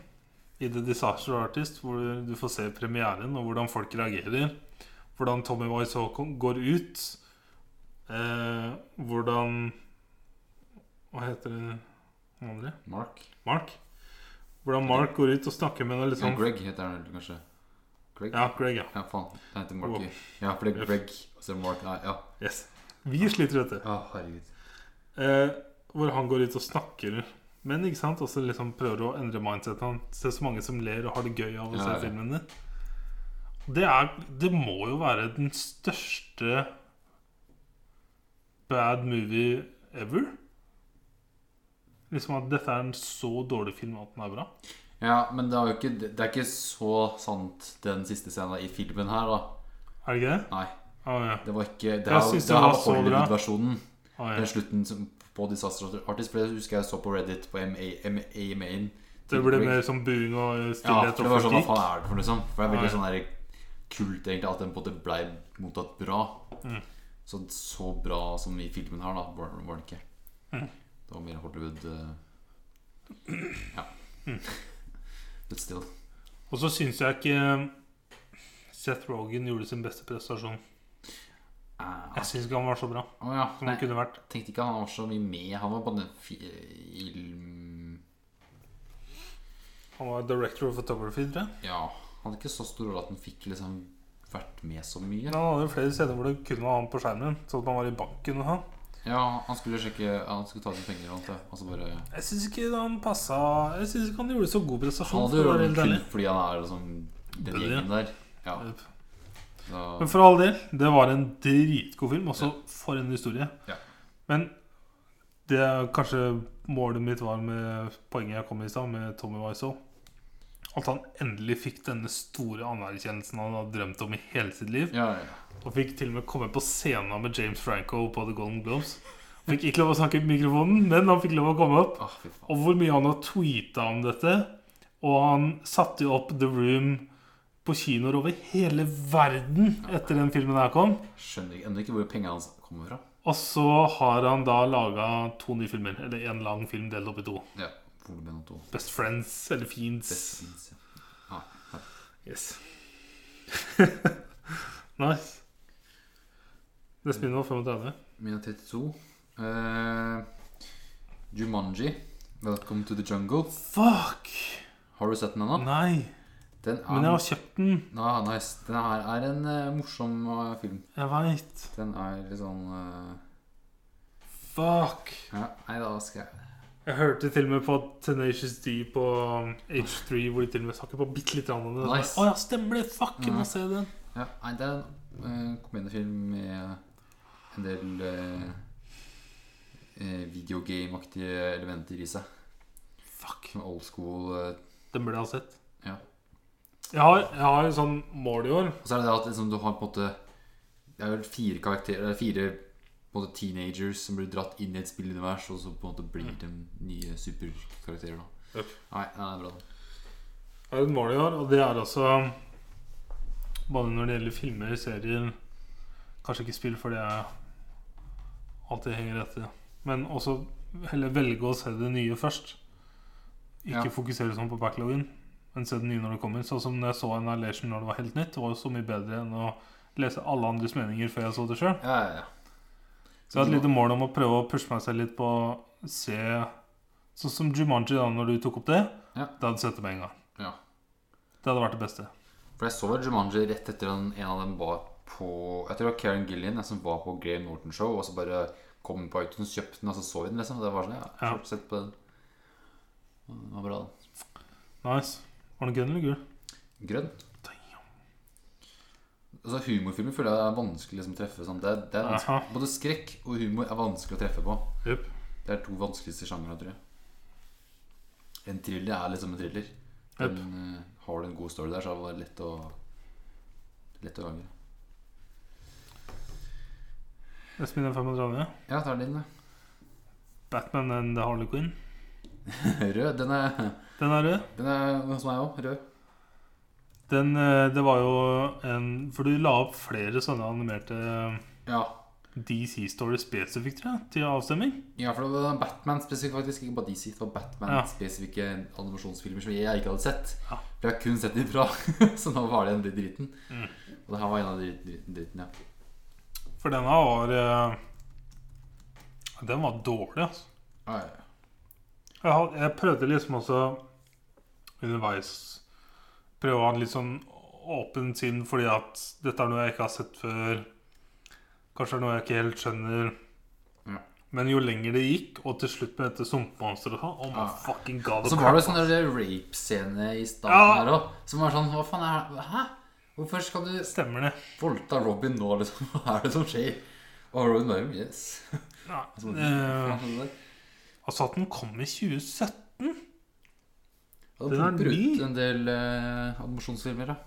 Speaker 2: i The Disaster Artist, hvor du får se premieren og hvordan folk reagerer, hvordan Tommy Wiseau kom- går ut, eh, hvordan Hva heter det han andre?
Speaker 1: Mark?
Speaker 2: Mark? Hvordan Mark går ut og snakker med henne
Speaker 1: Ja,
Speaker 2: liksom
Speaker 1: Greg heter han vel kanskje. Greg?
Speaker 2: Ja, Greg, ja.
Speaker 1: Ja, faen. Han heter Mark.
Speaker 2: Wow.
Speaker 1: i- Ja, for det er Greg. Og så er det Mark. Nei, ja.
Speaker 2: Yes. Vi sliter, vet du.
Speaker 1: Å, herregud.
Speaker 2: Eh, hvor han går ut og snakker Men ikke sant, også liksom prøver å endre mindsetet Han ser så mange som ler og har det gøy av å
Speaker 1: Ja,
Speaker 2: se
Speaker 1: ja.
Speaker 2: filmen din det, er, det må jo være den største Bad movie ever Liksom at dette er en så dårlig film at den er bra
Speaker 1: Ja, men det er jo ikke, det er ikke så sant den siste scenen i filmen her, da.
Speaker 2: Er det ikke det?
Speaker 1: Nei,
Speaker 2: Å, ja.
Speaker 1: det var ikke Det
Speaker 2: Jeg
Speaker 1: her
Speaker 2: synes
Speaker 1: det
Speaker 2: den
Speaker 1: her
Speaker 2: var
Speaker 1: var
Speaker 2: så bra.
Speaker 1: Hollywood-versjonen.
Speaker 2: Å,
Speaker 1: Den
Speaker 2: ja.
Speaker 1: slutten som- på Disaster Artist, for det husker jeg så på Reddit på AMA-en.
Speaker 2: Det ble mer som buing og
Speaker 1: Ja,
Speaker 2: stillhet
Speaker 1: for det
Speaker 2: og
Speaker 1: var sånn Hva
Speaker 2: kritikk
Speaker 1: faen er det for noe sånt? For det er
Speaker 2: Ja,
Speaker 1: veldig
Speaker 2: ja.
Speaker 1: sånn der kult, egentlig, at den på en måte blei mottatt bra.
Speaker 2: Mm.
Speaker 1: Så, så bra som i filmen her, da, var, var den ikke.
Speaker 2: Mm.
Speaker 1: Det var mer Hollywood eh, Ja.
Speaker 2: Mm.
Speaker 1: But still.
Speaker 2: Og så synes jeg ikke Seth Rogen gjorde sin beste prestasjon
Speaker 1: Eh,
Speaker 2: Jeg synes ikke han var så bra
Speaker 1: Å ja.
Speaker 2: som
Speaker 1: Nei,
Speaker 2: han kunne vært.
Speaker 1: tenkte ikke han var så mye med. Han var på den film...
Speaker 2: Han var director of photography, tror jeg.
Speaker 1: Ja. Han hadde ikke så stor rolle at han fikk liksom vært med så mye.
Speaker 2: Men han hadde jo flere steder hvor det kun var han på skjermen. Sånn at han var i banken og sånn.
Speaker 1: Ja, han skulle sjekke Han skulle ta sine penger og alt det. Og så bare
Speaker 2: Jeg syns ikke han passa Jeg synes ikke han gjorde så god
Speaker 1: Han
Speaker 2: prestasjon.
Speaker 1: hadde
Speaker 2: For å
Speaker 1: jo
Speaker 2: være
Speaker 1: rollen
Speaker 2: helt
Speaker 1: kun
Speaker 2: ærlig.
Speaker 1: fordi han er liksom den
Speaker 2: Buddy.
Speaker 1: gjengen der. Ja, da,
Speaker 2: Men for all del, det var en dritgod film. Også for en historie.
Speaker 1: Ja.
Speaker 2: Men det er kanskje målet mitt var med poenget jeg kom med i stad, med Tommy Wiseau. At han endelig fikk denne store anerkjennelsen han hadde drømt om i hele sitt liv.
Speaker 1: ja, ja.
Speaker 2: Og fikk til og med komme på scenen med James Franco på The Golden Globes. Han Fikk ikke lov å snakke i mikrofonen, men han fikk lov å komme opp.
Speaker 1: Åh, Ah, fy faen.
Speaker 2: Og hvor mye han har tweeta om dette. Og han satte jo opp The Room på kinoer over hele verden etter den filmen her kom.
Speaker 1: Skjønner ikke, enda ikke hvor pengene hans kommer fra.
Speaker 2: Og så har han da laga to nye filmer. Eller én lang film delt opp i to.
Speaker 1: Ja, Volumen 2.
Speaker 2: Best Friends eller Fiends.
Speaker 1: Fins, ja. Ah, ja.
Speaker 2: Yes. nice. Neste film var 35.
Speaker 1: Mine 32. Eh, Jumanji. Welcome to the jungle.
Speaker 2: Fuck!
Speaker 1: Har du sett den ennå?
Speaker 2: Nei.
Speaker 1: Den er,
Speaker 2: Men jeg har kjøpt den.
Speaker 1: Ah, nice. den her er en eh, morsom eh, film.
Speaker 2: Jeg veit.
Speaker 1: Den er litt sånn eh,
Speaker 2: Fuck.
Speaker 1: ja, Nei, da skal jeg
Speaker 2: Jeg hørte til og med på Tenacious D på um, H3, hvor de til og med snakker på bitte litt om det. Å
Speaker 1: Nice.
Speaker 2: ja, stemmer det! Fuck, jeg må se den.
Speaker 1: Ja, nei, det er en eh, komediefilm med en del eh, eh, videogame-aktige elementer i seg.
Speaker 2: Fuck.
Speaker 1: Som old school eh,
Speaker 2: Den burde jeg ha sett.
Speaker 1: Ja.
Speaker 2: Jeg har, jeg har et sånn mål i år.
Speaker 1: Og så er det det at liksom, du har på en måte Det er vel fire karakterer eller Fire på en måte, teenagers som blir dratt inn i et spillunivers, og så på en måte blir de nye superkarakterer. Da.
Speaker 2: Mm. Yep.
Speaker 1: Nei, nei, det er bra. da.
Speaker 2: um, Jeg har et mål i år, og det er også Både når det gjelder filmer, serier Kanskje ikke spill fordi jeg alltid henger etter. Men også heller velge å se det nye først. Ikke
Speaker 1: Ja.
Speaker 2: fokusere sånn på backloggen, men se det nye når det kommer. Sånn som når jeg så Annihilation når det var helt nytt. Det var jo så mye bedre enn å lese alle andres meninger før jeg så det sjøl.
Speaker 1: Ja, ja, ja.
Speaker 2: Så jeg har et lite mål om å prøve å pushe meg selv litt på å se Sånn som Jumanji, da når du tok opp det.
Speaker 1: Ja.
Speaker 2: Da hadde du sett det med en gang.
Speaker 1: Ja.
Speaker 2: Det hadde vært det beste.
Speaker 1: For jeg så vel Jumanji rett etter en, en av dem var på Jeg tror det var Karen Gillian jeg, som var på Graham Norton Show, og så bare kom den på iTunes, kjøpte den, og så så vi den, liksom. Det var sånn, ja,
Speaker 2: Ja.
Speaker 1: kort sett på den. Den var bra, den.
Speaker 2: Nice. Var den grønn eller gul?
Speaker 1: Grønn. Altså, humorfilmer føler jeg er vanskelig liksom, å treffe. Sånn. Det, er- det er vanskelig.
Speaker 2: Aha.
Speaker 1: Både skrekk og humor er vanskelig å treffe på.
Speaker 2: Yep.
Speaker 1: Det er to vanskeligste sjangere, tror jeg. En thriller er liksom en thriller. Den, eh, har du en god story der, så er det lett å Lett å gange.
Speaker 2: Espen er 35.
Speaker 1: Ja, ta din, da.
Speaker 2: Batman and the Harley Quinn.
Speaker 1: Rød. Den er
Speaker 2: Den er rød.
Speaker 1: Den er hos meg òg, rød.
Speaker 2: Den, eh, det var jo en For du la opp flere sånne animerte eh,
Speaker 1: Ja.
Speaker 2: DC-stories spesifikt, tror jeg, til avstemning.
Speaker 1: ja, for det var Batman spesifikt, faktisk. Ikke bare DC. Det var
Speaker 2: Ja.
Speaker 1: Batman-spesifikke animasjonsfilmer som jeg ikke hadde sett.
Speaker 2: Ja.
Speaker 1: For jeg har kun sett de bra. Så nå var det en dritt dritten.
Speaker 2: Mm.
Speaker 1: Og det her var en av de dritt- dritten, ja.
Speaker 2: For den her var eh, Den var dårlig, altså.
Speaker 1: Ja, ja, ja.
Speaker 2: Jeg, had, jeg prøvde liksom også underveis prøve å ha en litt sånn åpen sinn, fordi at dette er noe jeg ikke har sett før. Kanskje er noe jeg ikke helt skjønner.
Speaker 1: Ja.
Speaker 2: Men jo lenger det gikk, og til slutt med dette sumpemonsteret og sånn Oh my
Speaker 1: Ja.
Speaker 2: fucking god.
Speaker 1: Og så var det sånn der rape-scene i starten
Speaker 2: Ja.
Speaker 1: her òg. Som var sånn Hva faen er det Hæ? Hvorfor skal du
Speaker 2: Stemmer det.
Speaker 1: voldta Robin nå, liksom? Hva er det som skjer? Og Robin bare Yes.
Speaker 2: Ja.
Speaker 1: Så-
Speaker 2: Eh,
Speaker 1: Sånn der.
Speaker 2: altså at den kom i 2017
Speaker 1: Og
Speaker 2: den
Speaker 1: det
Speaker 2: er
Speaker 1: pumper
Speaker 2: ny.
Speaker 1: ut en del eh, animasjonsfilmer, da.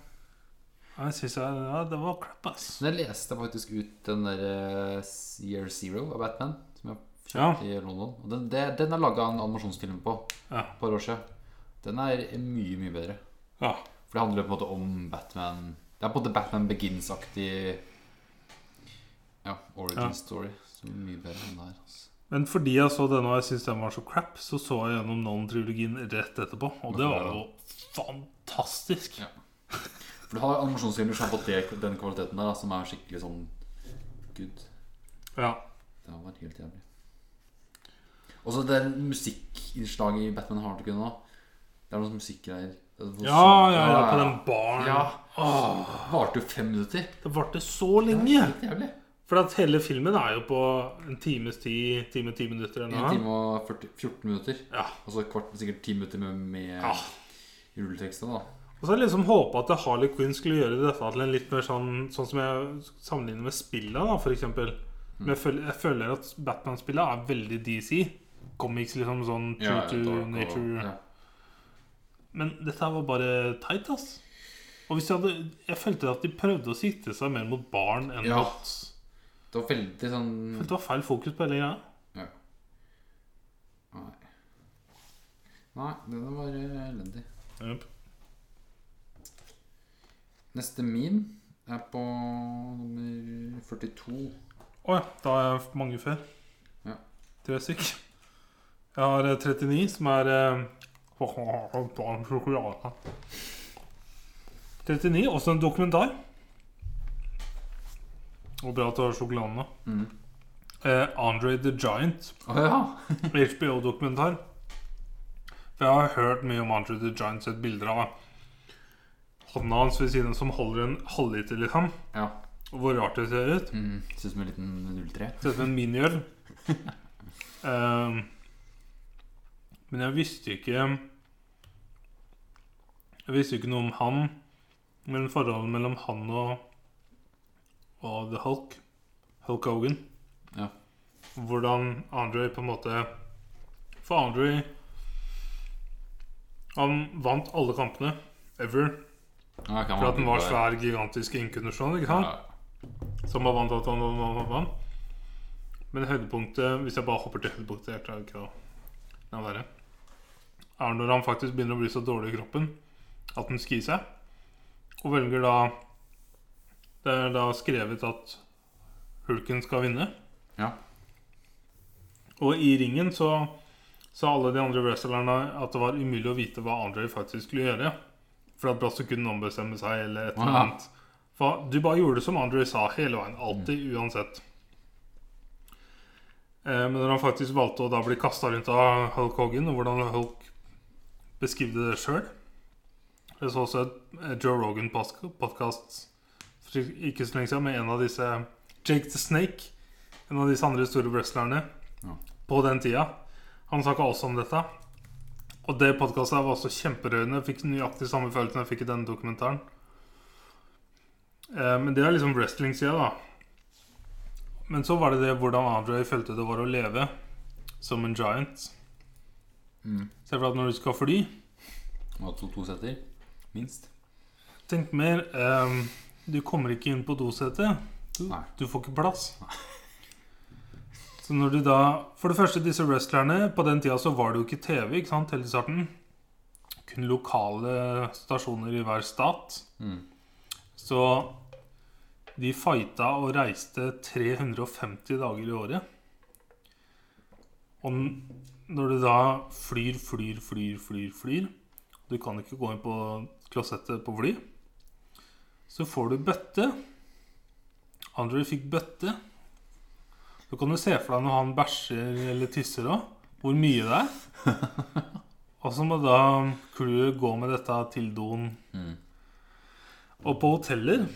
Speaker 2: ja, jeg synes jeg, ja, Det var crap, ass.
Speaker 1: Men jeg leste faktisk ut den der eh, Year Zero av Batman, som jeg
Speaker 2: Ja.
Speaker 1: kjøpte i London. Og den, det, den er laga en animasjonsfilm på
Speaker 2: Ja.
Speaker 1: et par år siden. Den er mye, mye bedre.
Speaker 2: ja.
Speaker 1: For det handler på en måte om Batman Det er på en måte Batman Begins-aktig ja, origin
Speaker 2: Ja.
Speaker 1: story. Så mye bedre enn det her. Altså.
Speaker 2: Men fordi jeg så denne og jeg syntes den var så crap, så så jeg gjennom Nolan-trilogien rett etterpå. Og det var jo fantastisk.
Speaker 1: Ja. For du har animasjonsfilmer som har fått det, den kvaliteten der, da, som er skikkelig sånn good.
Speaker 2: Ja.
Speaker 1: Det var helt jævlig. Og så det musikkinnslaget i Batman Hard nå. Det er noen musikkgreier. Det er noe
Speaker 2: Ja,
Speaker 1: sånn-
Speaker 2: ja, ja, på den baren.
Speaker 1: Ja.
Speaker 2: Åh,
Speaker 1: Varte jo fem minutter.
Speaker 2: det varte så lenge!
Speaker 1: Helt jævlig.
Speaker 2: For at hele filmen er jo på en times tid, time, ti minutter eller
Speaker 1: En
Speaker 2: noe.
Speaker 1: time og 40, 14 minutter.
Speaker 2: Ja.
Speaker 1: Og så kvart, sikkert ti minutter med, med
Speaker 2: Ja.
Speaker 1: rulleteksten, da.
Speaker 2: Og så hadde jeg liksom håpa at Harley Quinn skulle gjøre dette til en litt mer sånn Sånn som jeg sammenligner med spillene, da, for eksempel. Men jeg føler, jeg føler at Batman-spillene er veldig DC. Comics, liksom sånn true to
Speaker 1: Dark og-
Speaker 2: nature.
Speaker 1: ja.
Speaker 2: Men dette her var bare teit, ass. Og hvis jeg, hadde, jeg følte at de prøvde å sikte seg mer mot barn enn
Speaker 1: Ja.
Speaker 2: mot
Speaker 1: Det var veldig sånn
Speaker 2: Jeg følte det var feil fokus på hele greia.
Speaker 1: ja. Nei. Nei, den var eh, elendig. Neste min er på nummer 42.
Speaker 2: Å ja. Da er jeg mange før.
Speaker 1: Ja.
Speaker 2: Tre stykk. Jeg har eh, 39, som er eh, 39, også en dokumentar. Og bra at du har sjokoladen nå.
Speaker 1: Mm.
Speaker 2: Eh, Andre the Giant.
Speaker 1: Å ja!
Speaker 2: HBO-dokumentar. For jeg har hørt mye om Andrew the Giant sett bilder av hånda hans ved siden av som holder en halvliter, liksom.
Speaker 1: ja.
Speaker 2: Og hvor rart det ser ut.
Speaker 1: Mm, Ser ut som en liten 03.
Speaker 2: Ser ut som en miniøl. Ehm, men jeg visste ikke Jeg visste ikke noe om han, men forholdet mellom han og, og The Hulk, Hulk Hogan
Speaker 1: Ja.
Speaker 2: Hvordan Andre på en måte For Andre Han vant alle kampene ever
Speaker 1: Ja, kan
Speaker 2: for at han var
Speaker 1: bruke-
Speaker 2: svær, gigantisk innkondisjon. Ikke sant?
Speaker 1: Ja.
Speaker 2: Som har vant alt han vant, vant, vant, vant. Men høydepunktet, hvis jeg bare hopper til høydepunktet Jeg klarer ikke å la være. Er når han faktisk begynner å bli så dårlig i kroppen at han skier seg. Og velger da Det er da skrevet at Hulken skal vinne.
Speaker 1: Ja.
Speaker 2: Og i ringen så sa alle de andre wrestlerne at det var umulig å vite hva Andre faktisk skulle gjøre. For at Brasso kunne ombestemme seg eller et eller
Speaker 1: Ja.
Speaker 2: annet. For du bare gjorde som Andre sa hele veien. Alltid, uansett. Eh, Men når han faktisk valgte å da bli kasta rundt av Hulk Hogan, og hvordan Hulk beskrev det sjøl Jeg så også et et Joe Rogan-podkast for ikke så lenge siden med en av disse Jake the Snake, en av disse andre store wrestlerne
Speaker 1: Ja.
Speaker 2: på den tida. Han snakka også om dette. Og det podkastet var også kjemperørende. Jeg fikk nøyaktig samme følelsen jeg fikk i denne dokumentaren. Eh, Men det er liksom wrestling-sida, da. Men så var det det hvordan Andre følte det var å leve som en giant.
Speaker 1: Mm.
Speaker 2: Se for deg at når du skal fly
Speaker 1: Og to, to setter, minst.
Speaker 2: Tenk mer ehm, Du kommer ikke inn på dosetet. Du,
Speaker 1: Nei.
Speaker 2: du får ikke plass. Så når du da For det første, disse wrestlerne På den tida så var det jo ikke TV, ikke sant, helt i starten. Kun lokale stasjoner i hver stat.
Speaker 1: Mm.
Speaker 2: Så de fighta og reiste 350 dager i året. Og n- når du da flyr, flyr, flyr, flyr, flyr Du kan ikke gå inn på klosettet på fly. Så får du bøtte. Andre fikk bøtte. Så kan du se for deg når han bæsjer eller tisser òg, hvor mye det er. Og så må da crewet gå med dette til doen.
Speaker 1: Mm.
Speaker 2: Og på hoteller,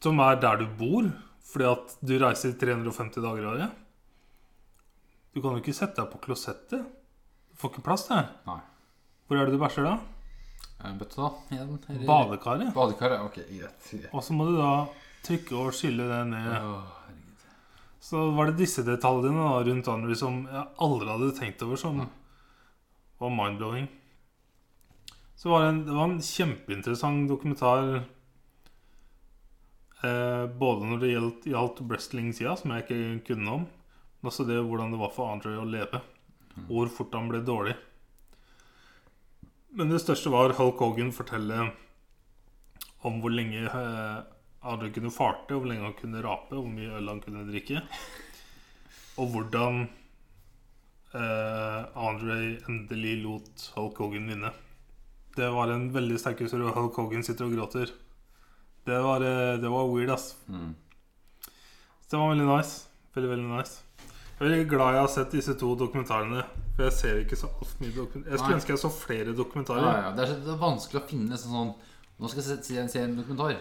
Speaker 2: som er der du bor, fordi at du reiser 350 dager i året Du kan jo ikke sette deg på klosettet. Du får ikke plass der.
Speaker 1: Nei.
Speaker 2: Hvor er det du bæsjer da?
Speaker 1: Eh, Bøtte, da? Igjen? eller-
Speaker 2: Badekaret.
Speaker 1: Badekar, ja. Ok, greit. greit.
Speaker 2: Og så må du da trykke og skylle det ned.
Speaker 1: Åh, herregud.
Speaker 2: Så var det disse detaljene da, rundt Andrew som jeg aldri hadde tenkt over, som var mind-blowing. Så var det, en, det var en kjempeinteressant dokumentar eh, både når det gjaldt, gjaldt wrestling-sida, som jeg ikke kunne om, men også det hvordan det var for Andrew å leve, og hvor fort han ble dårlig. Men det største var Hulk Hogan fortelle om hvor lenge eh, Andre kunne farte, hvor lenge han kunne rape, hvor mye øl han kunne drikke. Og hvordan eh, Andre endelig lot Hulk Hogan vinne. Det var en veldig sterk historie, og Hulk Hogan sitter og gråter. Det var, eh, det var weird, ass.
Speaker 1: Mm.
Speaker 2: Så det var veldig nice. Veldig, veldig nice. Jeg er veldig glad jeg har sett disse to dokumentarene. For jeg ser ikke så altfor mye dokument Jeg skulle
Speaker 1: Nei.
Speaker 2: ønske jeg så flere dokumentarer.
Speaker 1: Ja, ja, det, er, så- det er vanskelig å finne sånn sånn Nå skal jeg se, se, se en dokumentar.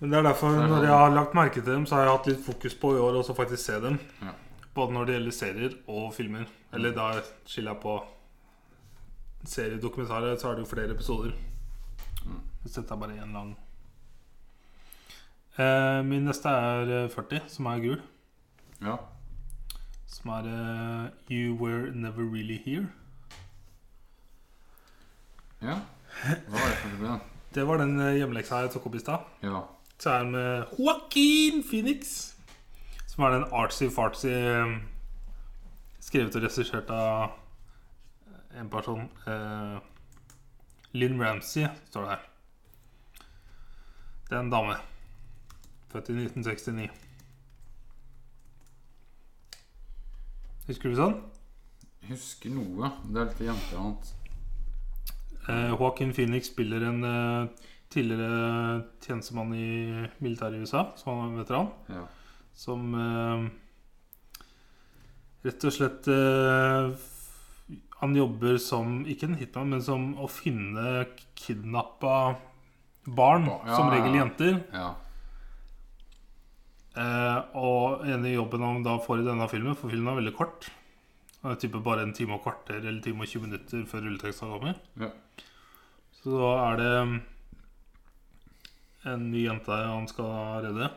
Speaker 2: Men det er derfor
Speaker 1: Så er det
Speaker 2: når
Speaker 1: sånn-
Speaker 2: jeg har lagt merke til dem, så har jeg hatt litt fokus på i år også faktisk se dem.
Speaker 1: Ja.
Speaker 2: Både når det gjelder serier og filmer. Eller da skiller jeg på seriedokumentarer, så er det jo flere episoder.
Speaker 1: Mm.
Speaker 2: Hvis dette er bare én lang. Eh, min neste er eh, 40, som er gul.
Speaker 1: Ja.
Speaker 2: Som er eh, You Were Never Really Here.
Speaker 1: ja. Hva var det for noe?
Speaker 2: Det var den eh, hjemmeleksa jeg tok opp i stad.
Speaker 1: Ja.
Speaker 2: Så er det med Joaquin Phoenix. Som er den artsy-fartsy eh, Skrevet og regissert av en person eh, Lynn Ramsey, står det her. Det er en dame. Født i 1969. Husker du sånn?
Speaker 1: Jeg Husker noe. Det er litt jenter og annet.
Speaker 2: Eh, Joaquin Phoenix spiller en eh, tidligere tjenestemann i militæret i USA, som han er veteran.
Speaker 1: Ja.
Speaker 2: Som eh, rett og slett eh, f- Han jobber som, ikke en hitman, men som å finne kidnappa barn.
Speaker 1: Ba- ja,
Speaker 2: som regel
Speaker 1: ja, ja.
Speaker 2: jenter.
Speaker 1: ja.
Speaker 2: Eh, og ene jobben han da får i denne filmen, for filmen er veldig kort. Han er type bare en time og kvarter eller time og 20 minutter før rulleteksten kommer.
Speaker 1: Ja.
Speaker 2: Så da er det mm, en ny jente han skal redde.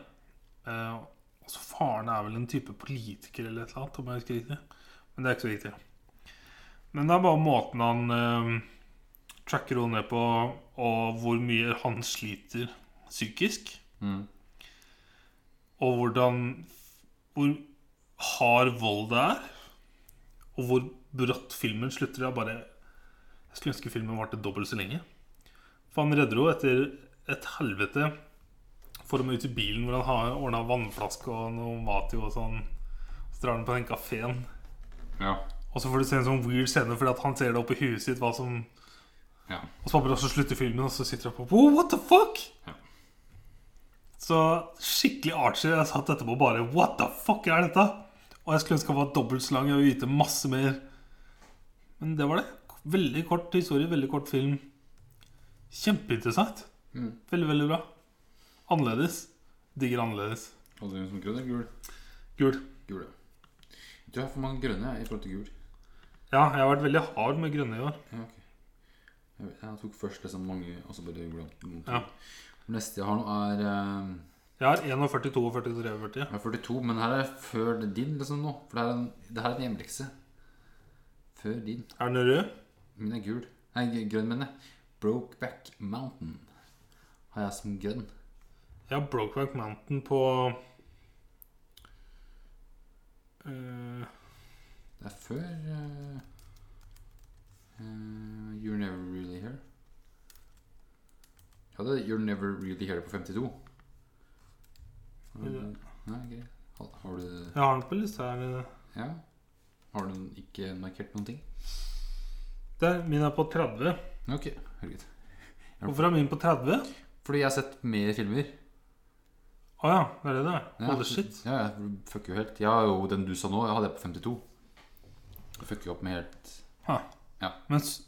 Speaker 2: Eh, også faren er vel en type politiker eller et eller annet, om jeg husker riktig. Men det er ikke så viktig. Men det er bare måten han eh, tracker henne ned på, og hvor mye han sliter psykisk.
Speaker 1: Mm.
Speaker 2: Og hvordan Hvor hard vold det er. Og hvor brått filmen slutter. Jeg bare Jeg skulle ønske filmen varte dobbelt så lenge. For han redder henne etter et helvete får dem ut i bilen hvor han har ordna vannflaske og noe mat i. Og sånn. Så drar han på den kafeen.
Speaker 1: Ja.
Speaker 2: Og så får du se en sånn weird scene fordi at han ser det oppi huet sitt. Hva som
Speaker 1: ja.
Speaker 2: Og så bare så slutter filmen, og så sitter han på oh, What the fuck?
Speaker 1: Ja.
Speaker 2: Så skikkelig artsy. Jeg satt etterpå og bare What the fuck er dette? Og jeg skulle ønske han var dobbelt så lang. Jeg vil vite masse mer. Men det var det. Veldig kort historie, veldig kort film. Kjempeinteressant.
Speaker 1: Mm.
Speaker 2: Veldig, veldig bra. Annerledes. Digger annerledes.
Speaker 1: Hadde du den som grønn eller gul?
Speaker 2: Gul.
Speaker 1: Gul, ja. Jeg tror jeg har for mange grønne jeg, i forhold til gul.
Speaker 2: Ja, jeg har vært veldig hard med grønne i år.
Speaker 1: Ja, ok. Jeg, vet- jeg tok først liksom mange, og så bare glemt noen.
Speaker 2: Ja.
Speaker 1: Neste jeg har nå, er eh,
Speaker 2: Jeg har 41, 42, 43.
Speaker 1: Jeg er 42, men her er før din liksom nå. For det her er en, det her er en hjemlekse. Før din.
Speaker 2: Er den rød?
Speaker 1: Min er gul. Nei, g- grønn, mener jeg. Brokeback Mountain har jeg som grønn.
Speaker 2: Jeg har Brokeback Mountain på eh,
Speaker 1: Det er før eh, eh, You're Never Really Here. Jeg hadde You're Never Really Here på 52.
Speaker 2: Er det-
Speaker 1: Nei, greit. Har, har du
Speaker 2: Jeg har den på lista her.
Speaker 1: Ja? Har du ikke markert noen ting?
Speaker 2: Der, min er på 30.
Speaker 1: Ok, herregud.
Speaker 2: Hvorfor er min på 30?
Speaker 1: Fordi jeg har sett mer filmer.
Speaker 2: Å ja, det er det det er.
Speaker 1: Ja,
Speaker 2: Holy shit.
Speaker 1: Ja, jeg fucker jo helt. Jeg har jo den du sa nå, jeg hadde jeg på 52. Jeg fucker jo opp med helt
Speaker 2: Men s-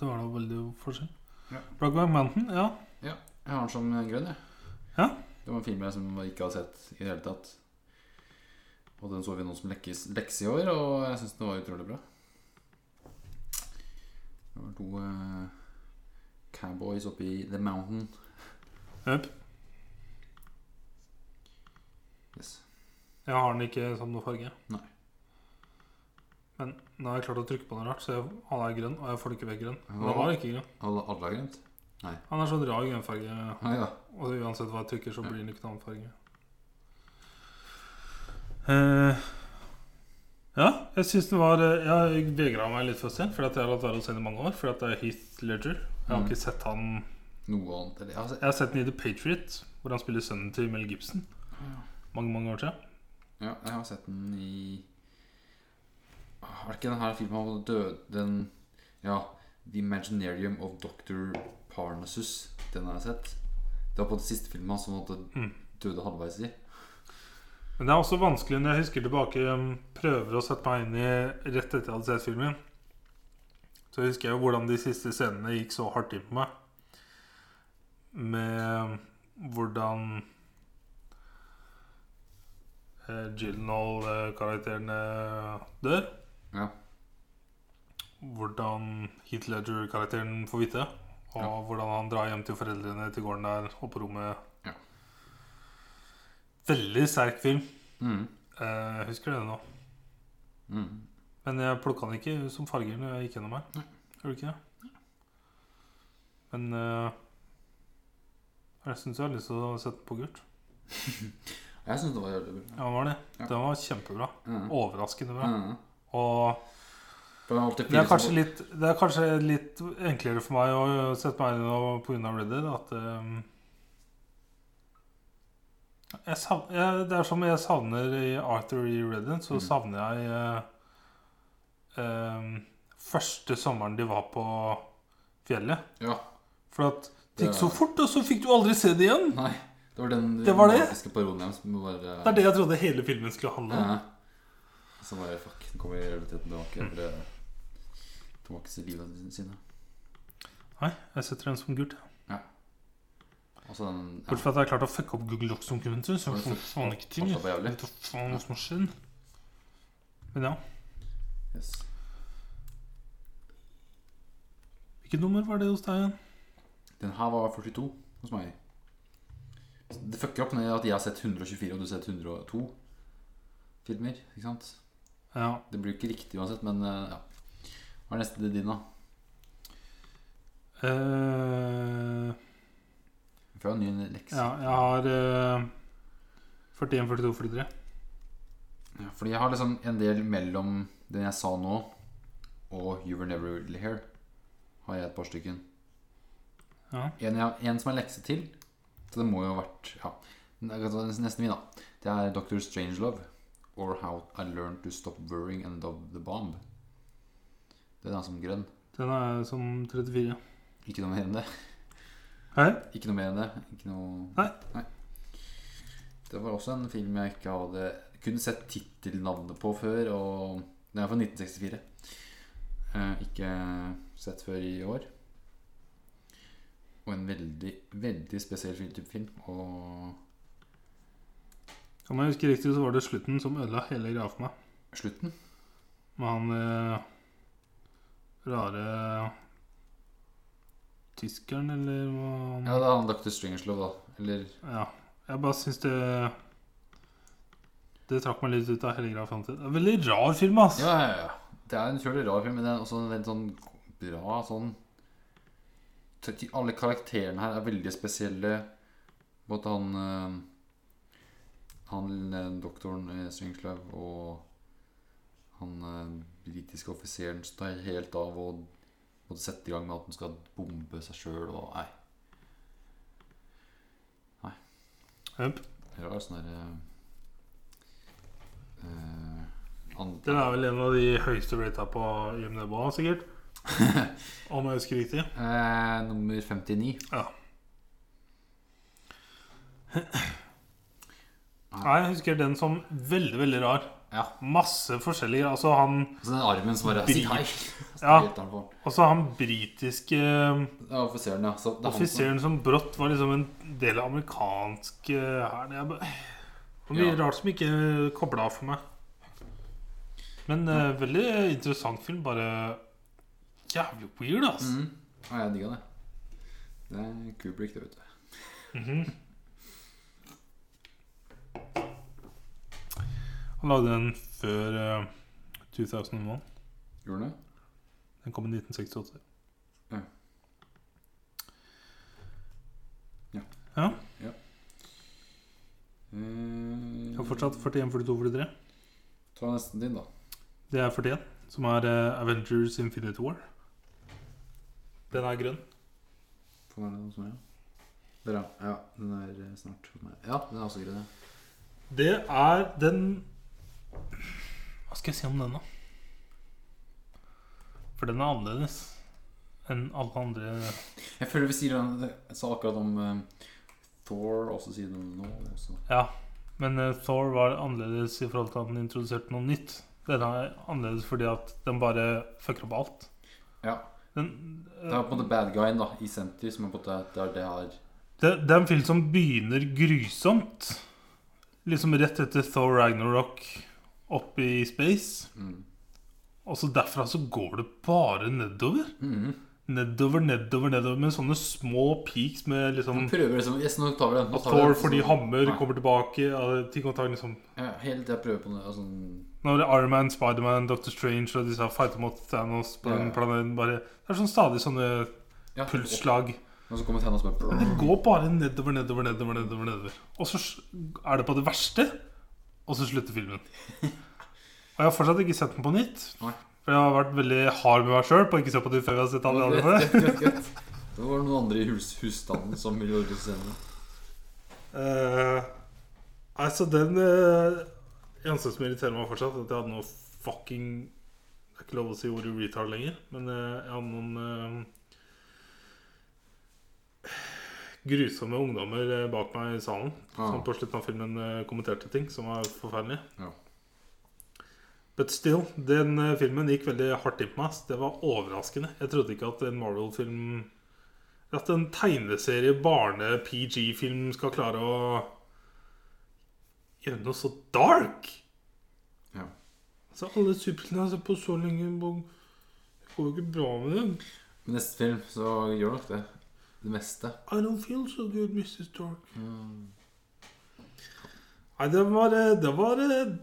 Speaker 2: det var da veldig forskjell.
Speaker 1: Ja.
Speaker 2: Brokeback Mountain, ja.
Speaker 1: Jeg har den som grønn, jeg.
Speaker 2: Ja.
Speaker 1: Det var en film jeg som jeg ikke hadde sett i det hele tatt. Og den så vi nå som lekkes, lekse i år, og jeg syns den var utrolig bra. Det var to eh, cowboys oppe i The Mountain.
Speaker 2: Jep.
Speaker 1: Yes.
Speaker 2: Jeg har den ikke som noe farge.
Speaker 1: Nei.
Speaker 2: Men nå har jeg klart å trykke på noe rart, så jeg, han er grønn, og jeg får det ikke vekk grønn. Men
Speaker 1: Hva?
Speaker 2: han var ikke grønn.
Speaker 1: Alle, alle har grønt?
Speaker 2: Han er sånn rar grønnfarge,
Speaker 1: Ah, ja.
Speaker 2: og uansett hva jeg trykker, så
Speaker 1: Ja.
Speaker 2: blir den ikke noen annen farge. Eh, ja, jeg syns den var eh, Jeg vegra meg litt for å se, fordi at jeg har latt være å se den i mange år. Fordi at det er Heath Ledger. Jeg har
Speaker 1: Mm.
Speaker 2: ikke sett han
Speaker 1: Noe annet eller, altså,
Speaker 2: Jeg har sett den i The Patriot, hvor han spiller sønnen til Mel Gibson. Mange, mange år siden.
Speaker 1: Ja, jeg har sett den i Var det ikke den her filmen om død... Den Ja. The Imaginarium of Dr. Parnassus. Den har jeg sett. Det var på den siste filmen hans som han måtte
Speaker 2: Mm.
Speaker 1: døde halvveis i.
Speaker 2: Men det er også vanskelig når jeg husker tilbake um, prøver å sette meg inn i rett etter jeg hadde sett filmen. Så husker jeg jo hvordan de siste scenene gikk så hardt inn på meg. Med um, hvordan eh, Gyllenhaal-karakterene dør.
Speaker 1: Ja.
Speaker 2: Hvordan Heath Ledger-karakteren får vite. Og
Speaker 1: Ja.
Speaker 2: hvordan han drar hjem til foreldrene til gården der og på rommet.
Speaker 1: Ja.
Speaker 2: Veldig sterk film.
Speaker 1: Mm.
Speaker 2: Eh, Jeg husker det nå.
Speaker 1: Mm.
Speaker 2: Men jeg plukka den ikke som farger når jeg gikk gjennom her. Gjorde du ikke det? Men eh, jeg syns jeg har lyst til å sette den på gult.
Speaker 1: Jeg syns det var jævlig bra.
Speaker 2: Ja, den var det.
Speaker 1: Ja.
Speaker 2: Den var kjempebra.
Speaker 1: Mm.
Speaker 2: Overraskende bra.
Speaker 1: Mm.
Speaker 2: Og
Speaker 1: For det var alltid
Speaker 2: det
Speaker 1: fire
Speaker 2: er kanskje
Speaker 1: som-
Speaker 2: litt, det er kanskje litt enklere for meg å sette meg inn i pga. Red Dead at eh, jeg savner, jeg, Det er som jeg savner i Arthur i Red Dead, så
Speaker 1: Mm.
Speaker 2: savner jeg eh, eh, første sommeren de var på fjellet.
Speaker 1: Ja.
Speaker 2: For at det gikk
Speaker 1: Det-
Speaker 2: så fort, og så fikk du aldri se det igjen!
Speaker 1: Nei. Det var den
Speaker 2: Det var det.
Speaker 1: magiske parodien deres som var eh,
Speaker 2: Det er det jeg trodde hele filmen skulle handle om.
Speaker 1: Ja. Som bare Fuck, den kommer i realiteten
Speaker 2: Mm.
Speaker 1: tilbake. For det tilbake til livet sine.
Speaker 2: Nei, jeg setter den som gult.
Speaker 1: Og så den ja.
Speaker 2: Bortsett fra at jeg klarte å fucke opp Google Docs-dokumenter. Så
Speaker 1: Var det
Speaker 2: jeg får
Speaker 1: fuck-
Speaker 2: faen ikke til.
Speaker 1: fucka på
Speaker 2: Jeg
Speaker 1: jævlig?
Speaker 2: vet da faen hva som har skjedd. Men ja.
Speaker 1: Yes.
Speaker 2: Hvilket nummer var det hos deg igjen?
Speaker 1: Den her var 42 hos meg. Så Det fucker opp med at jeg har sett 124, og du har sett 102 filmer. Ikke sant?
Speaker 2: Ja.
Speaker 1: Det blir jo ikke riktig uansett, men eh, ja. Hva er neste din, da?
Speaker 2: eh,
Speaker 1: Vi får jo en ny lekse.
Speaker 2: ja, jeg har eh, 41, 42, 43.
Speaker 1: Ja, Fordi jeg har liksom en del mellom den jeg sa nå, og You Were Never Really Here. Har jeg et par stykken.
Speaker 2: Ja.
Speaker 1: En, jeg, en som er lekse til. Så det må jo ha vært ja. Den er ganske- Nesten min, da. Det er Dr. Strangelove. Or How I Learned To Stop Worrying and Love The Bomb. Den er som grønn.
Speaker 2: Den er som 34.
Speaker 1: Ikke noe mer enn det.
Speaker 2: Hæ?
Speaker 1: Ikke noe mer enn det. Ikke noe...
Speaker 2: Nei.
Speaker 1: Det var også en film jeg ikke hadde kun sett tittelnavnet på før. Og Den er fra 1964. Eh, ikke sett før i år. Og en veldig, veldig spesiell film- type film. Og
Speaker 2: Om jeg husker riktig, så var det slutten som ødela hele greia for meg.
Speaker 1: slutten
Speaker 2: Med han eh, rare tyskeren, eller hva han
Speaker 1: Ja, det er han Dr. Stringerslow, da. Eller
Speaker 2: Ja. Jeg bare syns det Det trakk meg litt ut av hele greia fram til. Det er en veldig rar film, ass.
Speaker 1: Ja, ja, ja. Det er en utrolig rar film, men det er også en veldig sånn bra sånn Alle karakterene her er veldig spesielle. Både han eh, Han eh, doktoren eh, Stringslav og han eh, britiske offiseren som tar helt av og måtte sette i gang med at han skal bombe seg sjøl og Nei.
Speaker 2: Jep.
Speaker 1: Rar sånn derre eh, han-
Speaker 2: Den er vel en av de høyeste rata på IMDb, sikkert. Om jeg husker riktig.
Speaker 1: eh, Nummer 59.
Speaker 2: Ja. Nei, jeg husker den som veldig, veldig rar.
Speaker 1: Ja.
Speaker 2: Masse forskjellige Altså han,
Speaker 1: Så den armen som bare
Speaker 2: Bri-
Speaker 1: sier hei.
Speaker 2: Ja.
Speaker 1: Helt der på.
Speaker 2: altså han britiske eh,
Speaker 1: Det er offiseren, ja. Så det er han som,
Speaker 2: offiseren som brått var liksom en del av amerikansk eh, hær. Det er bare- det er mye
Speaker 1: Ja.
Speaker 2: rart som ikke kobla av for meg. Men eh, veldig interessant film. Bare jævlig weird, altså.
Speaker 1: mm. Ja, jeg digga det. Det er Kubrick, det, vet du.
Speaker 2: Mhm. Han lagde den før eh, 2001.
Speaker 1: Gjorde han det?
Speaker 2: Den kom i 1968.
Speaker 1: Ja. Ja.
Speaker 2: Ja,
Speaker 1: Mm.
Speaker 2: Jeg har fortsatt 41, 42, 43.
Speaker 1: Eh, Ta nesten din, da.
Speaker 2: Det er 41, som er eh, Avengers Infinity War. Den er grønn.
Speaker 1: Få den her, sånn, ja. Der, ja. ja. Den er eh, snart for meg. Ja, den er også grønn, ja.
Speaker 2: Det er den Hva skal jeg si om den, da? For den er annerledes enn alle andre.
Speaker 1: Jeg føler vi sier den Jeg sa akkurat om eh, Thor, og så sier den nå også.
Speaker 2: Ja, men eh, Thor var annerledes i forhold til at den introduserte noe nytt. Den er annerledes fordi at den bare fucker opp alt.
Speaker 1: Ja.
Speaker 2: Den, eh,
Speaker 1: Det er på en måte bad guyen da, i senter, som er på en måte det er det her
Speaker 2: Det, det er en film som begynner grusomt. Liksom rett etter Thor Ragnarok oppe i space.
Speaker 1: mm.
Speaker 2: Og så derfra så går det bare nedover.
Speaker 1: Mhm.
Speaker 2: Nedover, nedover, nedover med sånne små peaks med liksom
Speaker 1: Han prøver liksom Yes, nå tar vi den. Nå tar vi
Speaker 2: Thor
Speaker 1: den.
Speaker 2: fordi
Speaker 1: Så-
Speaker 2: hammer
Speaker 1: Nei.
Speaker 2: kommer tilbake. ja, Ting og tang liksom
Speaker 1: Ja, hele tida prøver på noe og sånn
Speaker 2: Når Iron Man, Spiderman, Doctor Strange og disse her fighter mot Thanos på den
Speaker 1: Ja.
Speaker 2: planeten bare Det er sånn stadig sånne
Speaker 1: ja,
Speaker 2: pulsslag.
Speaker 1: Og så kommer Thanos og
Speaker 2: Det
Speaker 1: bare
Speaker 2: går bare nedover, nedover, nedover, nedover, nedover. Og så er det på det verste, og så slutter filmen. Og jeg har fortsatt ikke sett den på nytt.
Speaker 1: Nei.
Speaker 2: For jeg har vært veldig hard med meg sjøl på å ikke se på den før jeg har sett alle de andre.
Speaker 1: Greit, greit, greit. Det var noen andre i hus husstanden som ville ordne scenen.
Speaker 2: Eh, altså, den uh, eneste som irriterer meg fortsatt, er at jeg hadde noe fucking Det er ikke lov å si ordet retard lenger, men eh, jeg hadde noen eh, grusomme ungdommer eh, bak meg i salen
Speaker 1: Ah.
Speaker 2: som Sånn på slutten av filmen eh, kommenterte ting som var forferdelig.
Speaker 1: Ja.
Speaker 2: But still, den eh, filmen gikk veldig hardt inn på meg. ass. Det var overraskende. Jeg trodde ikke at en Marvel-film At en tegneserie, barne-PG-film skal klare å gjøre noe så dark!
Speaker 1: Ja.
Speaker 2: Altså, alle superheltene jeg har sett på så lenge og Det går jo ikke bra med dem.
Speaker 1: Men neste film så gjør nok det. Det meste.
Speaker 2: I don't feel so good, Mrs. Dark. Nei, den var eh, Den var, eh,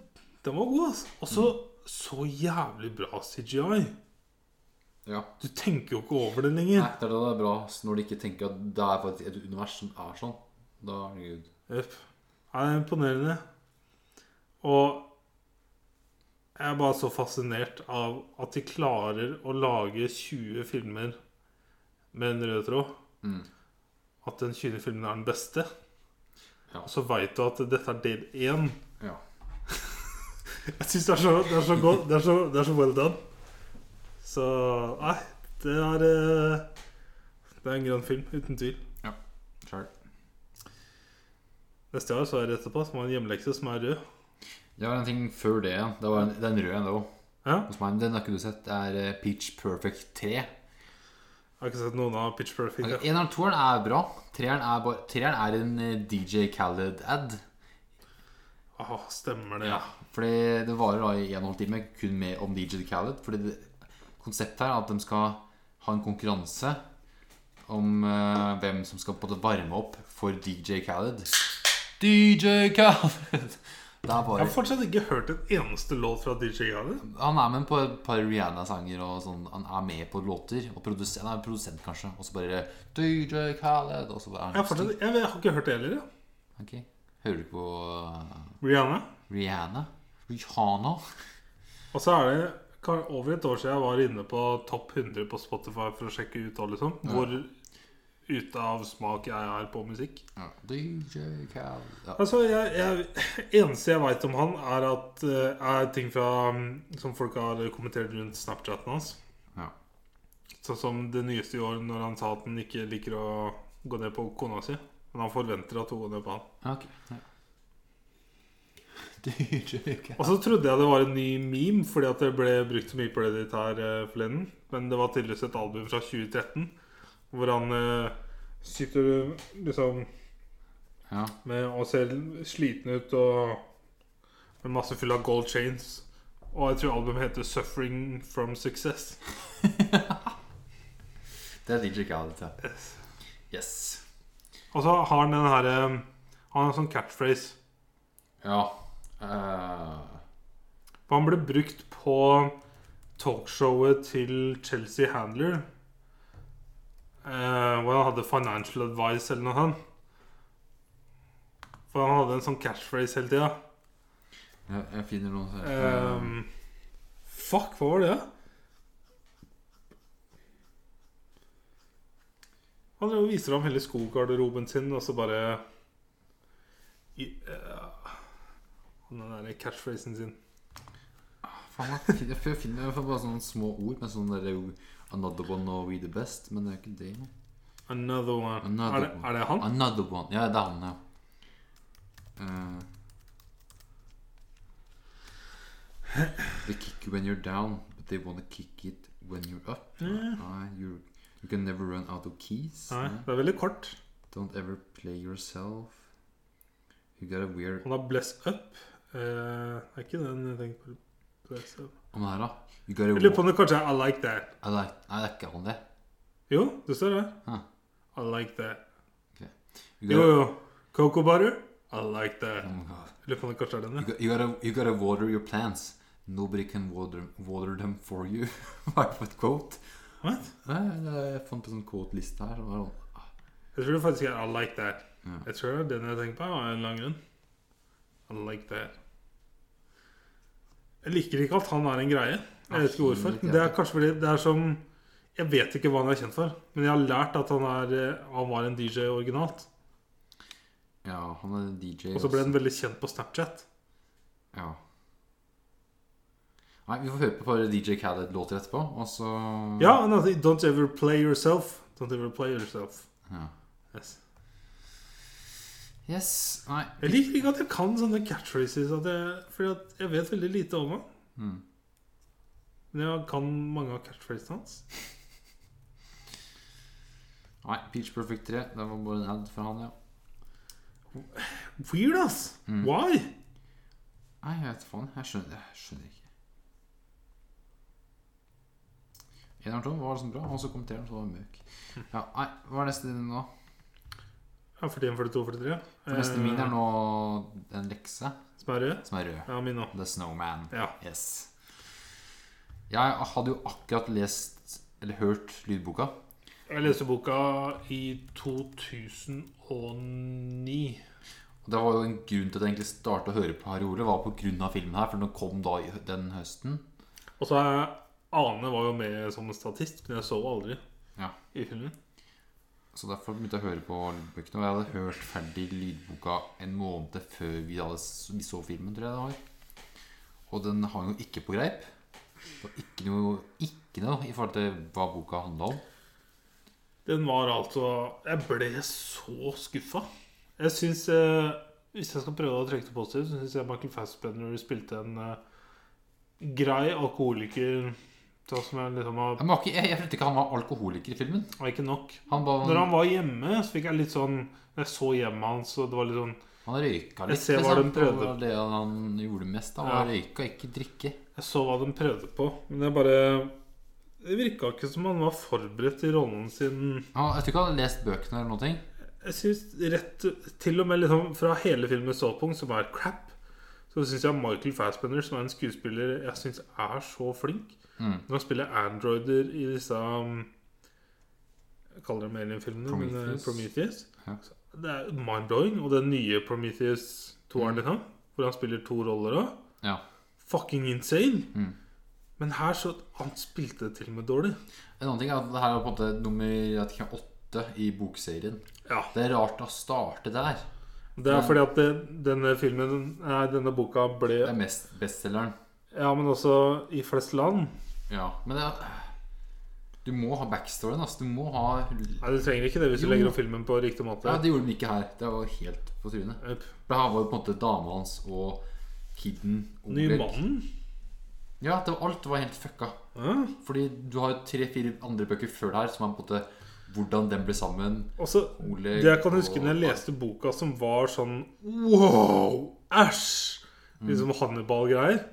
Speaker 2: den var god, altså. Og så så jævlig bra CGI.
Speaker 1: Ja.
Speaker 2: Du tenker jo ikke over det
Speaker 1: Nei,
Speaker 2: lenger.
Speaker 1: det er da det er bra når de ikke tenker at det er faktisk et univers som er sånn. Da er det gud.
Speaker 2: Jepp. Nei, det er imponerende. Og jeg er bare så fascinert av at de klarer å lage 20 filmer med en rød tråd.
Speaker 1: Mm.
Speaker 2: At den 20. filmen er den beste.
Speaker 1: Ja.
Speaker 2: og så veit du at dette er del én.
Speaker 1: Ja.
Speaker 2: Jeg syns det, er så- det er så godt. Det er så, det er så well done. Så nei, det er eh, Det er en grann film, uten tvil.
Speaker 1: Sure.
Speaker 2: Neste år så er det etterpå som har en hjemmelekse som er rød.
Speaker 1: Det var en ting før det igjen. Det var en, den røde en, det òg.
Speaker 2: Ja?
Speaker 1: Hos meg, Den har ikke du sett. Det er eh, Peach Perfect 3.
Speaker 2: Jeg har ikke sett noen av Pitch Perfect.
Speaker 1: Okay,
Speaker 2: jeg.
Speaker 1: en av toeren er bra. Treeren er, bare, treeren er en eh, DJ Khaled-ad.
Speaker 2: Ah, stemmer det.
Speaker 1: Ja, fordi det varer da i en og en halv time kun med om DJ Khaled. Fordi det, konseptet her er at de skal ha en konkurranse om eh, hvem som skal på en måte varme opp for DJ Khaled. DJ Khaled! Det er
Speaker 2: Jeg har
Speaker 1: bare,
Speaker 2: fortsatt ikke hørt en eneste låt fra DJ Khaled.
Speaker 1: han er med på et par Rihanna-sanger og sånn. Han er med på låter. Og produs- han er produsent, kanskje. Og så bare DJ Khaled. Og så bare
Speaker 2: Jeg har, fortsatt, jeg, jeg har ikke hørt det heller. jeg.
Speaker 1: Ok. Hører du på eh,
Speaker 2: Rihanna.
Speaker 1: Rihanna? Rihanna?
Speaker 2: Og så er det ka- over et år siden jeg var inne på topp 100 på Spotify for å sjekke ut og liksom, hvor ute av smak jeg er på musikk.
Speaker 1: Ja. DJ Khaled. Ja.
Speaker 2: Altså, jeg, jeg, eneste jeg veit om han, er at eh, er ting fra, mm, som folk har kommentert rundt Snapchaten hans.
Speaker 1: Ja.
Speaker 2: Sånn som det nyeste i år, når han sa at han ikke liker å gå ned på kona si. Men han forventer at hun går ned på han.
Speaker 1: Ok. Ja. DJ Khaled.
Speaker 2: Og så trodde jeg det var en ny meme, fordi at det ble brukt så mye Reddit her eh, forleden. Men det var tydeligvis et album fra 2013, hvor han eh, sitter liksom
Speaker 1: Ja.
Speaker 2: med og ser sliten ut og med masse full av gold chains. Og jeg tror albumet heter 'Suffering from Success'.
Speaker 1: Det er DJ Khaled, ja. Yes.
Speaker 2: Og så har han den herre Han har en sånn catchphrase.
Speaker 1: Ja. eh,
Speaker 2: For han ble brukt på talkshowet til Chelsea Handler. eh, hvor han hadde financial advice eller noe sånt. For han hadde en sånn catchphrase hele tida.
Speaker 1: jeg, jeg finner noen sånne
Speaker 2: Ehm, fuck, hva var det? Han drev og viser ham hele skogarderoben sin, og så bare i, eh, Den der catchphrasen sin.
Speaker 1: Faen, jeg finner, jeg finner jeg får bare sånne små ord med sånn derre Another one og We the best, men det er ikke det. nå.
Speaker 2: Another one.
Speaker 1: Another
Speaker 2: er, det,
Speaker 1: one.
Speaker 2: er det han?
Speaker 1: Another one. Ja, det er han, ja. Eh, they kick you when you're down, but they wanna kick it when you're up.
Speaker 2: Ja.
Speaker 1: Nei, you, you can never run out of keys.
Speaker 2: Nei,
Speaker 1: Nei.
Speaker 2: det er veldig kort.
Speaker 1: Don't ever play yourself. You gotta wear
Speaker 2: Han har bless up. Eh, er ikke den jeg tenker på? Bless up.
Speaker 1: Om det her, da. You gotta
Speaker 2: Jeg lurer på
Speaker 1: wear
Speaker 2: om det kanskje er I like that.
Speaker 1: I like, Nei, det er ikke han, det.
Speaker 2: Jo, det står det.
Speaker 1: Hæ.
Speaker 2: I like that.
Speaker 1: You
Speaker 2: Jo,
Speaker 1: gotta,
Speaker 2: jo. Cocoa butter. I like that.
Speaker 1: Oh my God.
Speaker 2: Jeg lurer på om det kanskje er den.
Speaker 1: You
Speaker 2: ja.
Speaker 1: go- you gotta, you gotta water your plants. Nobody can water, water them for you. Hva er det for et quote?
Speaker 2: What?
Speaker 1: Nei, det er- jeg fant på sånn quote-liste her. som var sånn, ah,
Speaker 2: Jeg tror det faktisk er I like that.
Speaker 1: Ja.
Speaker 2: Jeg tror det er den jeg tenker på. Av en eller annen grunn. I like that. Jeg liker ikke at han er en greie. Jeg vet ikke hvorfor. Det er kanskje fordi det er som Jeg vet ikke hva han er kjent for, men jeg har lært at han, er, eh, han var en DJ originalt.
Speaker 1: Ja, han er en DJ.
Speaker 2: Og så ble
Speaker 1: også.
Speaker 2: den veldig kjent på Snapchat.
Speaker 1: Ja. Nei, vi får høre på et par DJ Khaled-låter etterpå, og så
Speaker 2: Ja, han hadde 'Don't ever play yourself'. Don't ever play yourself.
Speaker 1: Ja.
Speaker 2: Yes.
Speaker 1: Yes. Nei.
Speaker 2: Jeg liker ikke at jeg kan sånne catchphrases, at jeg, fordi at jeg vet veldig lite om ham.
Speaker 1: Mm.
Speaker 2: Men jeg kan mange av catchphrasene hans.
Speaker 1: Nei, Peach Perfect 3. Det var bare en ad fra han, ja.
Speaker 2: Weird, ass!
Speaker 1: Mm.
Speaker 2: Why?
Speaker 1: Nei, jeg vet faen. Jeg skjønner, jeg skjønner ikke. Eneren Tom var liksom bra, og så kommenterte han, så var han møk. Ja, nei, hva er neste din nå?
Speaker 2: Ja, 41, 42, 43.
Speaker 1: For neste min er nå en lekse
Speaker 2: Som er rød?
Speaker 1: som er rød.
Speaker 2: Eh, Ja, min òg.
Speaker 1: The Snowman.
Speaker 2: Ja.
Speaker 1: Yes. Jeg hadde jo akkurat lest, eller hørt, lydboka.
Speaker 2: Jeg leste boka i 2009.
Speaker 1: Og det var jo en grunn til at jeg egentlig startet å høre på Harry Ole, var på grunn av filmen her, for den kom da i hø- den høsten.
Speaker 2: Og så er Ane var jo med som statist, men jeg så henne aldri
Speaker 1: Ja.
Speaker 2: i filmen.
Speaker 1: Så derfor begynte jeg å høre på lydbøkene. Og jeg hadde hørt ferdig lydboka en måned før vi, hadde, s- vi så filmen, tror jeg det var. Og den hang jo ikke på greip. Det var ikke noe, ikke noe i forhold til hva boka handla om.
Speaker 2: Den var altså Jeg ble så skuffa. Jeg syns eh, Hvis jeg skal prøve å trekke det positivt, så syns jeg Michael Fassbender spilte en eh, grei alkoholiker sånn som jeg liksom var,
Speaker 1: Jeg, må ikke, jeg, jeg følte ikke han var alkoholiker i filmen.
Speaker 2: var ikke nok.
Speaker 1: Han,
Speaker 2: Når
Speaker 1: bare,
Speaker 2: han var hjemme, så fikk jeg litt sånn Jeg så hjemmet hans, og det var litt sånn
Speaker 1: han røyka litt.
Speaker 2: ser hva
Speaker 1: liksom.
Speaker 2: de prøvde.
Speaker 1: Det var det han gjorde mest. Han
Speaker 2: Ja.
Speaker 1: røyka, ikke drikke.
Speaker 2: Jeg så hva de prøvde på, men jeg bare Det virka ikke som han var forberedt i rollen sin.
Speaker 1: Han, jeg tror ikke han hadde lest bøkene eller noe.
Speaker 2: Jeg synes rett Til og med liksom fra hele filmens ståpunkt, som er crap, så syns jeg Michael Fassbender, som er en skuespiller jeg syns er så flink
Speaker 1: Mm.
Speaker 2: Når han spiller androider i disse um, Jeg kaller dem Alien-filmene, men eh,
Speaker 1: Prometheus.
Speaker 2: Prometheus.
Speaker 1: Ja.
Speaker 2: Det er mind-blowing. Og den nye Prometheus
Speaker 1: Mm.
Speaker 2: 2-eren, liksom, hvor han spiller to roller òg.
Speaker 1: Ja.
Speaker 2: Fucking insane!
Speaker 1: Mm.
Speaker 2: Men her så Han spilte det til og med dårlig.
Speaker 1: En annen ting er at det her var på en måte nummer jeg vet ikke, åtte i bokserien.
Speaker 2: Ja.
Speaker 1: Det er rart å starte der.
Speaker 2: Det er fordi at det, denne filmen Nei, denne boka ble
Speaker 1: Det er mest bestselgeren.
Speaker 2: Ja, men også i flest land.
Speaker 1: Ja, men det er, Du må ha backstoryen. Altså. Du må ha
Speaker 2: Nei, du trenger ikke det hvis du
Speaker 1: Jo.
Speaker 2: legger opp filmen på riktig måte.
Speaker 1: Ja, Det gjorde de ikke her. Det var helt på trynet.
Speaker 2: Jep.
Speaker 1: For her var jo på en måte dama hans og kiden
Speaker 2: Ny
Speaker 1: Oleg.
Speaker 2: mannen?
Speaker 1: Ja, det var, alt var helt fucka.
Speaker 2: Ja.
Speaker 1: Fordi du har jo tre-fire andre bøker før det her som er på en måte hvordan den ble sammen.
Speaker 2: Også,
Speaker 1: Oleg
Speaker 2: det jeg kan huske
Speaker 1: og-
Speaker 2: når jeg leste boka som var sånn Wow! Æsj! Liksom Hannibal-greier.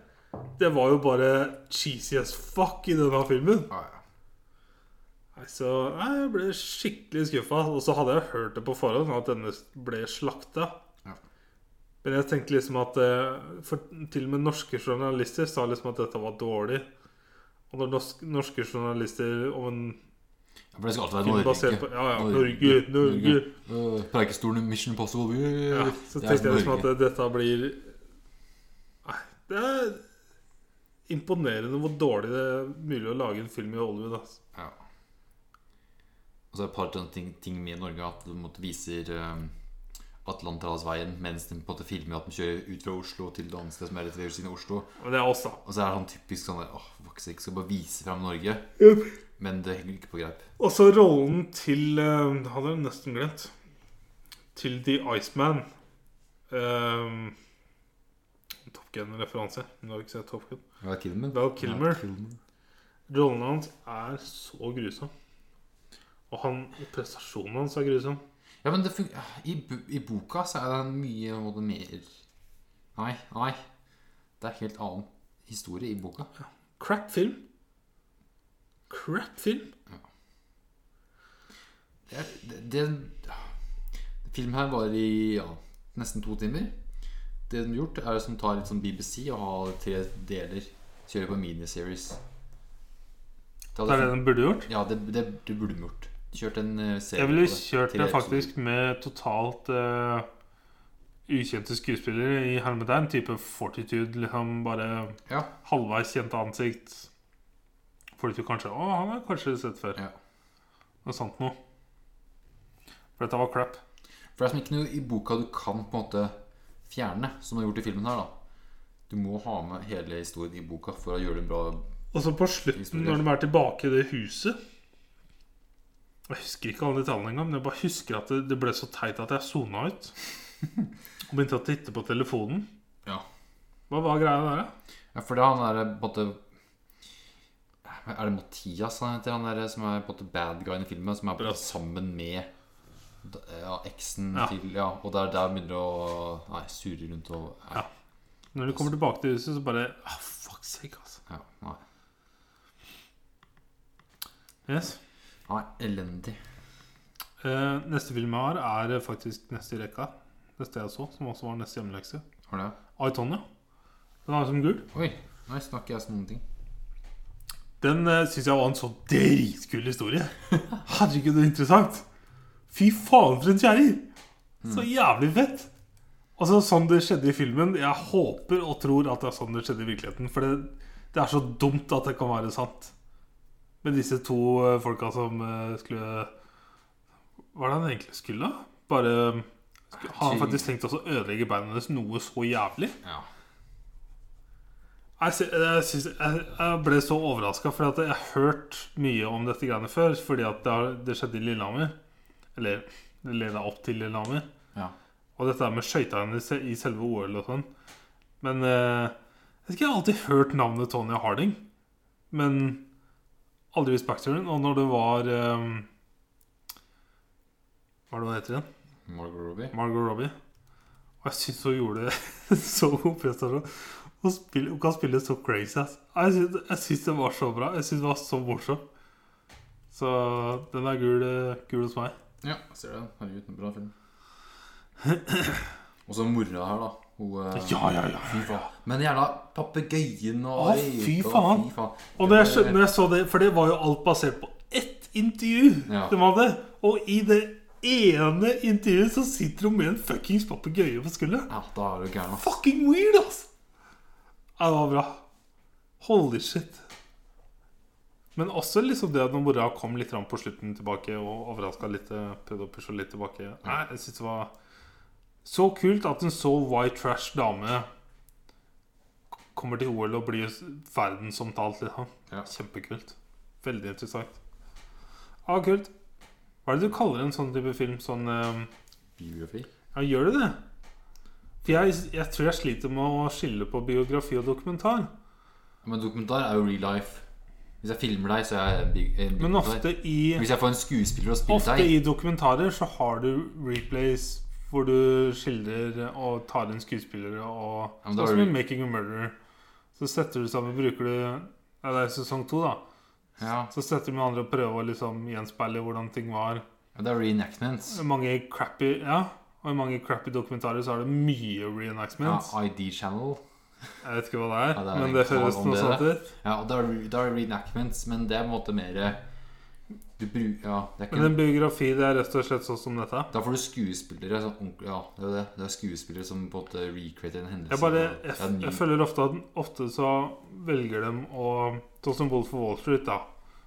Speaker 2: Det var jo bare cheesy as fuck i denne filmen.
Speaker 1: Ja, ja.
Speaker 2: Nei, Så nei, jeg ble skikkelig skuffa. Og så hadde jeg hørt det på forhånd, at denne ble slakta.
Speaker 1: Ja.
Speaker 2: Men jeg tenkte liksom at eh, for, Til og med norske journalister sa liksom at dette var dårlig. Og når norsk, norske journalister om en
Speaker 1: Ja, For det skal alltid være
Speaker 2: film
Speaker 1: Norge.
Speaker 2: basert på Ja, ja, Norge, Norge.
Speaker 1: Øh, Preikestolen, Mission Impossible
Speaker 2: Ja, så tenkte jeg liksom at eh, dette blir Nei, det er imponerende hvor dårlig det er mulig å lage en film i Hollywood. Altså.
Speaker 1: Ja. Og så er det et par sånne ting, ting med Norge at du måtte viser um, Atlanterhavsveien mens de på en måte filmer at de kjører ut fra Oslo til det andre stedet som er rett ved siden av Oslo.
Speaker 2: Men det er oss, da.
Speaker 1: Og så er det sånn typisk sånn der, åh, faktisk ikke skal bare vise fram Norge. Men det henger ikke på greip.
Speaker 2: Og så rollen til eh, Det hadde jeg nesten glemt. Til The Iceman. Um, Top Gun-referanse. Men du har ikke sett Top Gun.
Speaker 1: Val Kilmer.
Speaker 2: Val Kilmer. Rollen hans er så grusom. Og han, prestasjonen hans er grusom.
Speaker 1: Ja, men det fun I, bu- I boka så er det mye på en måte, mer Nei, nei. Det er helt annen historie i boka.
Speaker 2: Crap film. Crap film.
Speaker 1: Det, er- det, det Filmen her var i ja, nesten to timer. Det den har gjort, er som tar litt sånn BBC og har tre deler. Kjører på miniseries. Det
Speaker 2: Det
Speaker 1: hadde,
Speaker 2: er det den burde gjort.
Speaker 1: fun- ja, det, det, det burde de gjort. Kjørt en eh, serie
Speaker 2: Jeg ville
Speaker 1: på det.
Speaker 2: kjørt
Speaker 1: Tre
Speaker 2: det
Speaker 1: episoder.
Speaker 2: faktisk med totalt eh, ukjente skuespillere i hermetegn. Type fortitude, liksom bare
Speaker 1: Ja.
Speaker 2: halvveis kjente ansikt. Fordi du kanskje Å, han har kanskje sett før.
Speaker 1: Ja.
Speaker 2: Noe sånt noe. For dette var crap.
Speaker 1: For det er som ikke noe i boka du kan på en måte fjerne, som du har gjort i filmen her. da Du må ha med hele historien i boka for å gjøre det bra.
Speaker 2: Og så på slutten,
Speaker 1: Historie.
Speaker 2: når de er tilbake i det huset Jeg husker ikke alle detaljene engang, men jeg bare husker at det, det ble så teit at jeg sona ut. Og begynte å titte på telefonen.
Speaker 1: Ja
Speaker 2: Hva var greia der, da?
Speaker 1: Ja, for det er han der på en måte Er det Mathias han heter? Han der eh, som er på en måte bad guyen i filmen? Som er på en måte sammen med ja, eksen
Speaker 2: Ja.
Speaker 1: til Ja, og der, der begynner det å Nei, surre rundt og Nei.
Speaker 2: Ja. Når de kommer tilbake til huset, så bare ah, Fuck sake, altså.
Speaker 1: Ja, nei.
Speaker 2: Yes.
Speaker 1: nei, elendig.
Speaker 2: Eh, neste film jeg har, er faktisk neste i rekka. Neste jeg så, som også var neste hjemmelekse.
Speaker 1: Har du det?
Speaker 2: Aitonia. Den er som gul.
Speaker 1: Oi, nei, snakker jeg sånn noen ting.
Speaker 2: Den uh, syns jeg var en så dritkul historie. Herregud, det er interessant. Fy faen, for en kjerring! Så jævlig fett. Altså, sånn det skjedde i filmen Jeg håper og tror at det er sånn det skjedde i virkeligheten. For det, det er så dumt at det kan være sant. Med disse to eh, folka som eh, skulle Hva er det han egentlig skulle? Bare Har han faktisk tenkt også å ødelegge bandet hennes noe så jævlig?
Speaker 1: Ja.
Speaker 2: Jeg, sy- jeg, syns- jeg, jeg ble så overraska, for at jeg har hørt mye om dette greiene før. Fordi at det, har, det skjedde i Lillehammer. Eller det leda opp til Lillehammer.
Speaker 1: Ja.
Speaker 2: Og dette her med skøyta hennes i selve OL og sånn. Men eh, Jeg vet ikke, jeg har alltid hørt navnet Tonya Harding. Men aldri visst backstoryen. Og når det var eh, Hva er det hun heter igjen?
Speaker 1: Margot Robbie.
Speaker 2: Margot Robbie. Og jeg syns hun gjorde en så god prestasjon. Hun, spill, hun kan spille så crazy. Ass. Jeg syns- Jeg syns det var så bra. Jeg syns det var så morsomt. Så den er gul, eh, gul hos meg.
Speaker 1: Ja, ser du den? Herregud, en bra film. Og så mora her, da. Hun eh,
Speaker 2: ja, ja.
Speaker 1: Fy faen. Men gjerne papegøyen og
Speaker 2: Å, fy
Speaker 1: røyka,
Speaker 2: faen.
Speaker 1: fy faen.
Speaker 2: Og når jeg, skjø- når jeg så det, for det var jo alt basert på ett intervju
Speaker 1: Ja.
Speaker 2: de hadde. Og i det ene intervjuet så sitter hun med en fuckings papegøye på skulderen.
Speaker 1: Ja, da er du gæren, ass.
Speaker 2: Fucking weird, ass! Ja, det var bra. Holy shit. Men også liksom det at når mora kom litt grann på slutten tilbake og overraska litt, eh, prøvde å pushe litt tilbake Nei, jeg synes det var så kult at en så white trash dame kommer til OL og blir verdensomtalt, liksom.
Speaker 1: Ja.
Speaker 2: Kjempekult. Veldig interessant. Ja, kult. Hva er det du kaller en sånn type film? Sånn eh,
Speaker 1: Biografi.
Speaker 2: ja, gjør du det? For jeg, jeg tror jeg sliter med å skille på biografi og dokumentar.
Speaker 1: Ja, Men dokumentar er jo real life. Hvis jeg filmer deg, så er jeg en big, en big
Speaker 2: Men ofte i,
Speaker 1: Hvis jeg får en skuespiller og spiller
Speaker 2: ofte
Speaker 1: deg
Speaker 2: i dokumentarer så har du replays hvor du skildrer og tar inn skuespillere og
Speaker 1: Ja, men
Speaker 2: Sånn
Speaker 1: da er
Speaker 2: som i
Speaker 1: det-
Speaker 2: 'Making a Murderer'. Så setter du sammen Bruker du ja, Det er sesong to, da.
Speaker 1: Ja,
Speaker 2: Så setter du med andre og prøver å liksom gjenspeile hvordan ting var.
Speaker 1: men det er reenactments.
Speaker 2: Mange crappy, ja, og i mange crappy dokumentarer så er det mye
Speaker 1: Ja,
Speaker 2: reenactments.
Speaker 1: ID Channel.
Speaker 2: Jeg vet ikke hva det er,
Speaker 1: Ja, det er en
Speaker 2: men det
Speaker 1: kanal
Speaker 2: høres
Speaker 1: om
Speaker 2: noe
Speaker 1: det,
Speaker 2: sånt
Speaker 1: det.
Speaker 2: ut.
Speaker 1: Ja, og det er, det er reenactments, men det er på en måte mer Du bruker Ja, det er
Speaker 2: Men
Speaker 1: ikke
Speaker 2: en biografi det er rett og slett sånn som dette?
Speaker 1: Da får du skuespillere sånn ordentlig Ja, det er jo det. Det er skuespillere som på en måte recreater en hendelse.
Speaker 2: Jeg bare,
Speaker 1: og
Speaker 2: jeg,
Speaker 1: det er en ny-
Speaker 2: jeg føler ofte at ofte så velger dem å Sånn som Wolf of Wall Street, da.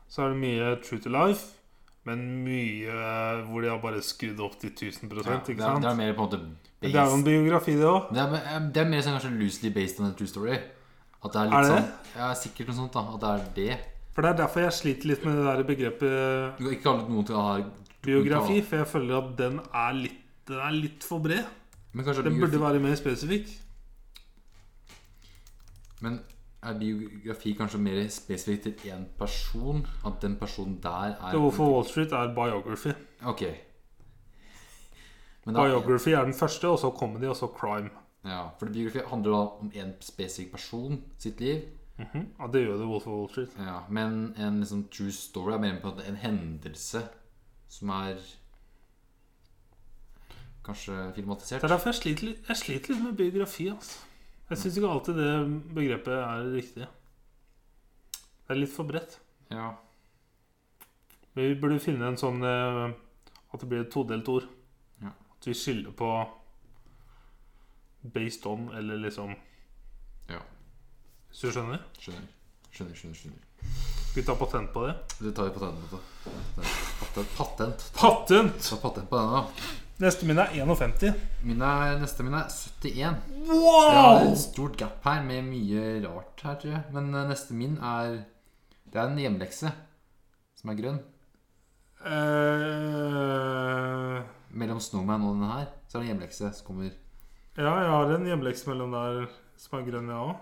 Speaker 2: Så er det mye true to life, men mye hvor de har bare skrudd opp til 1000
Speaker 1: ja, det, er,
Speaker 2: ikke sant?
Speaker 1: det er mer på en måte
Speaker 2: Men Det er jo en
Speaker 1: based
Speaker 2: biografi, det òg.
Speaker 1: det er, eh, det er mer sånn kanskje loosely based on a true story. At det er litt
Speaker 2: Er det
Speaker 1: sånn Ja, sikkert noe sånt, da. At det er det.
Speaker 2: For det er derfor jeg sliter litt med det der begrepet
Speaker 1: Du kan ikke kalle det noe til å ha
Speaker 2: biografi, for jeg føler at den er litt, den er litt for bred.
Speaker 1: Men kanskje
Speaker 2: Den burde
Speaker 1: biografi,
Speaker 2: være mer spesifikk.
Speaker 1: Men er biografi kanskje mer spesifikt til én person? At den personen der er
Speaker 2: Så Wolf of Wall Street er biography.
Speaker 1: Ok. Men da-
Speaker 2: Biography er den første, og så comedy, og så crime.
Speaker 1: Ja, for biografi handler da om en spesifikk person sitt liv.
Speaker 2: Mhm. Ja, det gjør det Wolf of Wall Street.
Speaker 1: Ja, men en liksom true story er mer på at en hendelse som er kanskje
Speaker 2: Det
Speaker 1: filmatisert.
Speaker 2: er derfor jeg sliter, litt- jeg sliter litt med biografi. Altså. Jeg syns ikke alltid det begrepet er riktig. Det er litt for bredt.
Speaker 1: Ja,
Speaker 2: Men Vi burde finne en sånn eh, at det blir et todelt ord.
Speaker 1: Ja.
Speaker 2: At vi skylder på based on, eller liksom
Speaker 1: Ja.
Speaker 2: Hvis du skjønner?
Speaker 1: skjønner. Skjønner, skjønner, skjønner.
Speaker 2: Skal vi ta patent på det?
Speaker 1: Det tar vi på den måten. Patent. Patent.
Speaker 2: Patent!
Speaker 1: Ta patent på den, da.
Speaker 2: Neste min er 51.
Speaker 1: Min er, neste min er 71. Det er
Speaker 2: Wow!
Speaker 1: et stort gap her med mye rart her, tror jeg. Men eh, neste min er Det er en hjemlekse som er grønn.
Speaker 2: Eh,
Speaker 1: Mellom Snowman og denne her, så er det en hjemlekse som kommer.
Speaker 2: ja, jeg har en hjemleks mellom der som er grønn, jeg òg.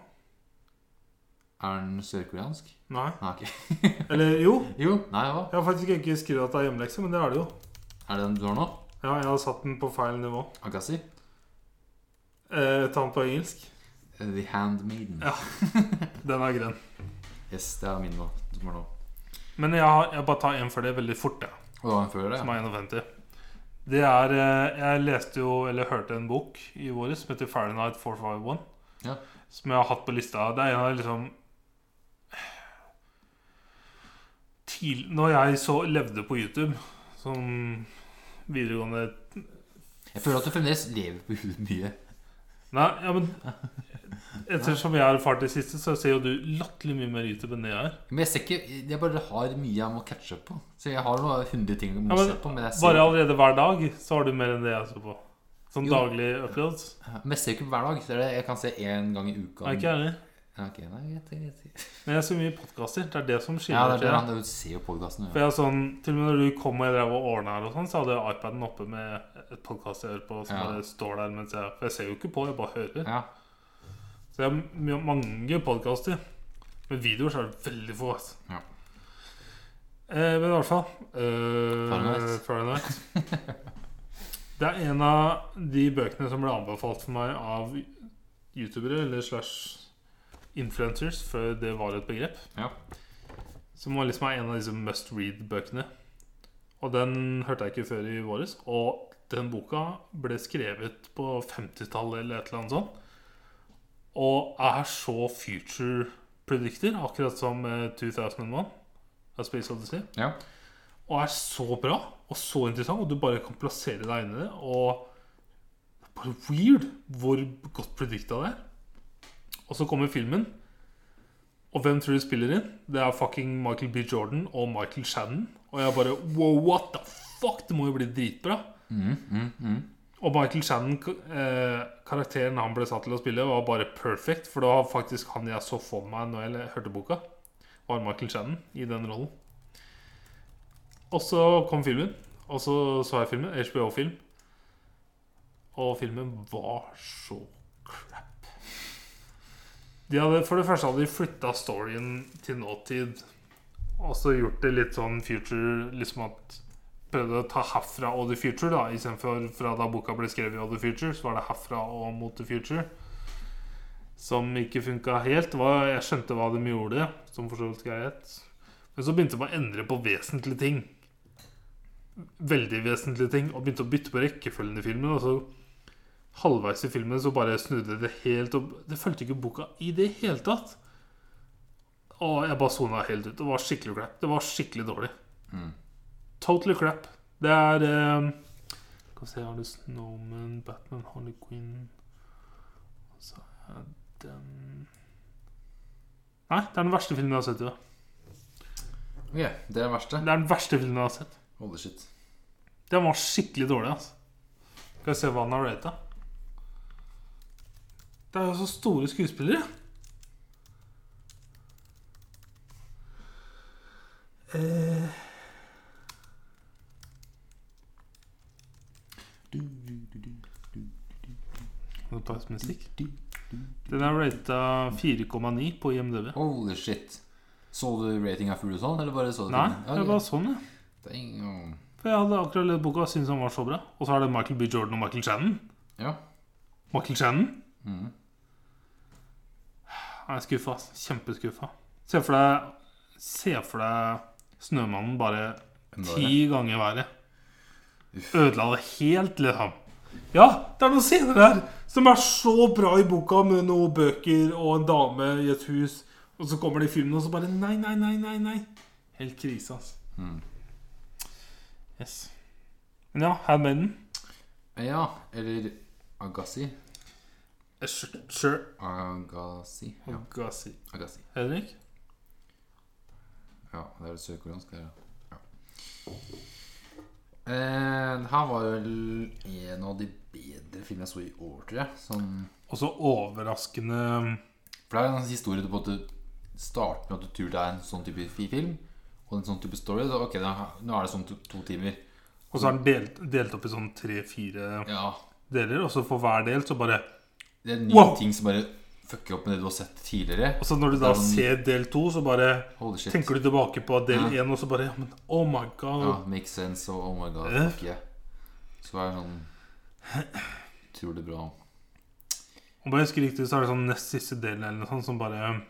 Speaker 1: Er den sørkoreansk?
Speaker 2: Nei.
Speaker 1: Nei, ok.
Speaker 2: Eller jo.
Speaker 1: Jo, nei, hva?
Speaker 2: Jeg har faktisk ikke skrevet at det er hjemmelekse, men det er det jo.
Speaker 1: Er det den du har nå?
Speaker 2: Ja, jeg har satt den på feil nivå.
Speaker 1: Agassi?
Speaker 2: Eh, ta den på engelsk.
Speaker 1: Eh, The Handmaiden.
Speaker 2: Ja. Den er grønn.
Speaker 1: Yes, det er min nå. Du må nå.
Speaker 2: Men jeg, har, jeg bare tar en for det veldig fort, jeg,
Speaker 1: Og det var en før det?
Speaker 2: som er 51. Det er eh, Jeg leste jo, eller hørte en bok i våres som heter Fahrenheit 451.
Speaker 1: Ja.
Speaker 2: Som jeg har hatt på lista. Det er en av liksom Til, Når jeg så levde på YouTube som videregående
Speaker 1: Jeg føler at du fremdeles lever på huet mye.
Speaker 2: Nei, ja, men Ettersom jeg har erfart det siste, så ser jo du latterlig mye mer YouTube enn det jeg er.
Speaker 1: Men jeg ser ikke Jeg bare har mye jeg må catche opp på. Så jeg har noe 100 ting jeg må
Speaker 2: Ja, men
Speaker 1: se på, men jeg ser,
Speaker 2: Bare allerede hver dag så har du mer enn det jeg ser på. Sånn
Speaker 1: Jo.
Speaker 2: daglig uploads.
Speaker 1: men jeg ser ikke på hver dag. Så det, jeg kan se én gang i uka.
Speaker 2: Nei, ikke jeg heller.
Speaker 1: Ja, ok, nei, jeg vet- jeg vet-
Speaker 2: Men jeg ser mye podkaster. Det er det som
Speaker 1: Ja, det
Speaker 2: skiller.
Speaker 1: er det
Speaker 2: Ja,
Speaker 1: han du ser jo podkasten.
Speaker 2: For jeg er sånn, til og med når du kom og jeg drev og ordna her, og sånn, så hadde jeg iPaden oppe med et podkast jeg hører på, som
Speaker 1: Ja.
Speaker 2: bare står der mens jeg For jeg ser jo ikke på, jeg bare hører.
Speaker 1: Ja.
Speaker 2: Så jeg har mye- mange podkaster. Men videoer så er det veldig få. Altså.
Speaker 1: Ja.
Speaker 2: Eh, men i hvert fall eh,
Speaker 1: Fahrenheit.
Speaker 2: Fahrenheit. Det er en av de bøkene som ble anbefalt for meg av youtubere eller slash influencers før det var et begrep.
Speaker 1: Ja.
Speaker 2: Som var liksom en av disse must read-bøkene. Og den hørte jeg ikke før i våres. Og den boka ble skrevet på 50-tallet eller et eller annet sånt. Og er så future predictor, akkurat som eh, 2001. av Space Odyssey.
Speaker 1: ja.
Speaker 2: Og er så bra og så interessant, og du bare kan plassere deg inn i det. Og det er bare weird hvor godt predikta det er. Og så kommer filmen. Og hvem tror du spiller inn? Det er fucking Michael B. Jordan og Michael Shannon. Og jeg bare Wow, what the fuck? Det må jo bli dritbra.
Speaker 1: Mm, mm, mm.
Speaker 2: Og Michael Shannon, eh, karakteren han ble satt til å spille, var bare perfect. For det var faktisk han jeg så for meg når jeg hørte boka. Var Michael Shannon i den rollen. Og så kom filmen. Og så så jeg filmen. HBO-film. Og filmen var så crap. De hadde, for det første hadde de flytta storyen til nåtid. Og så gjort det litt sånn future liksom at prøvde å ta herfra og the future, da istedenfor fra da boka ble skrevet og the future, så var det herfra og mot the future. Som ikke funka helt. Det var- Jeg skjønte hva de gjorde, som for så vidt greit. Men så begynte de å endre på vesentlige ting. Veldig vesentlige ting. Og begynte å bytte på rekkefølgen i filmen. Og så halvveis i filmen så bare snudde det helt opp. Det fulgte ikke boka i det hele tatt. Og jeg bare sona helt ut. Det var skikkelig crap. Det var skikkelig dårlig. Totally crap. Det er eh, Skal vi se, har du Snowman, Batman, Harley Quinn Og Så er den Nei, det er den verste filmen jeg har sett. Ja.
Speaker 1: Ok, det er det verste.
Speaker 2: Det er den verste filmen jeg har sett.
Speaker 1: Holy shit.
Speaker 2: Den var skikkelig dårlig, altså. Skal vi se hva den har rata. Det er jo så store skuespillere. Eh, det er bare musikk. Den er rata 4,9 på IMDb.
Speaker 1: Holy shit. Så du ratinga for Ruton, eller bare så du
Speaker 2: Nei,
Speaker 1: filmen?
Speaker 2: det er
Speaker 1: ok.
Speaker 2: bare sånn, ja.
Speaker 1: Dang, og-
Speaker 2: For jeg hadde akkurat lest boka og syntes han var så bra. Og så er det Michael B. Jordan og Michael Shannon.
Speaker 1: Ja.
Speaker 2: Michael Shannon?
Speaker 1: Mhm.
Speaker 2: Jeg er skuffa. ass. Kjempeskuffa. Se for deg Se for deg Snømannen bare
Speaker 1: Enda
Speaker 2: ti ganger verre. Ødela det helt, liksom. Ja, det er noen scener der som er så bra i boka, med noen bøker og en dame i et hus, og så kommer det i filmen, og så bare Nei, nei, nei, nei. nei Helt krise, altså.
Speaker 1: Mhm.
Speaker 2: Yes. Men ja, Handmaiden.
Speaker 1: Ja, eller Agassi.
Speaker 2: Sure.
Speaker 1: Agassi. Ja,
Speaker 2: Agassi.
Speaker 1: Agassi.
Speaker 2: Henrik?
Speaker 1: Ja, det er det sørkoreanske her, ja. Eh, det her var vel en av de bedre filmene jeg så i år, tror jeg. Som,
Speaker 2: Også overraskende
Speaker 1: for det er en sånn historie på at du starter med at du tror det er en sånn type fi- film, og en sånn type story. Så, ok, da, nå er det sånn to, to timer.
Speaker 2: Og så er den delt, delt opp i sånn tre-fire
Speaker 1: Ja,
Speaker 2: deler, og så for hver del så bare
Speaker 1: det er nye
Speaker 2: Wow!
Speaker 1: ting som bare fucker opp med det du har sett tidligere.
Speaker 2: Og så når du da
Speaker 1: Ja, men-
Speaker 2: ser del to, så bare
Speaker 1: Holy Sånn- shit.
Speaker 2: tenker du tilbake på del én, og så bare ja, men, Oh my god.
Speaker 1: Ja, makes sense og oh my god,
Speaker 2: Ja.
Speaker 1: fuck yeah. Så er det sånn utrolig bra.
Speaker 2: Om jeg husker riktig, så er det sånn nest siste delen eller noe sånt som bare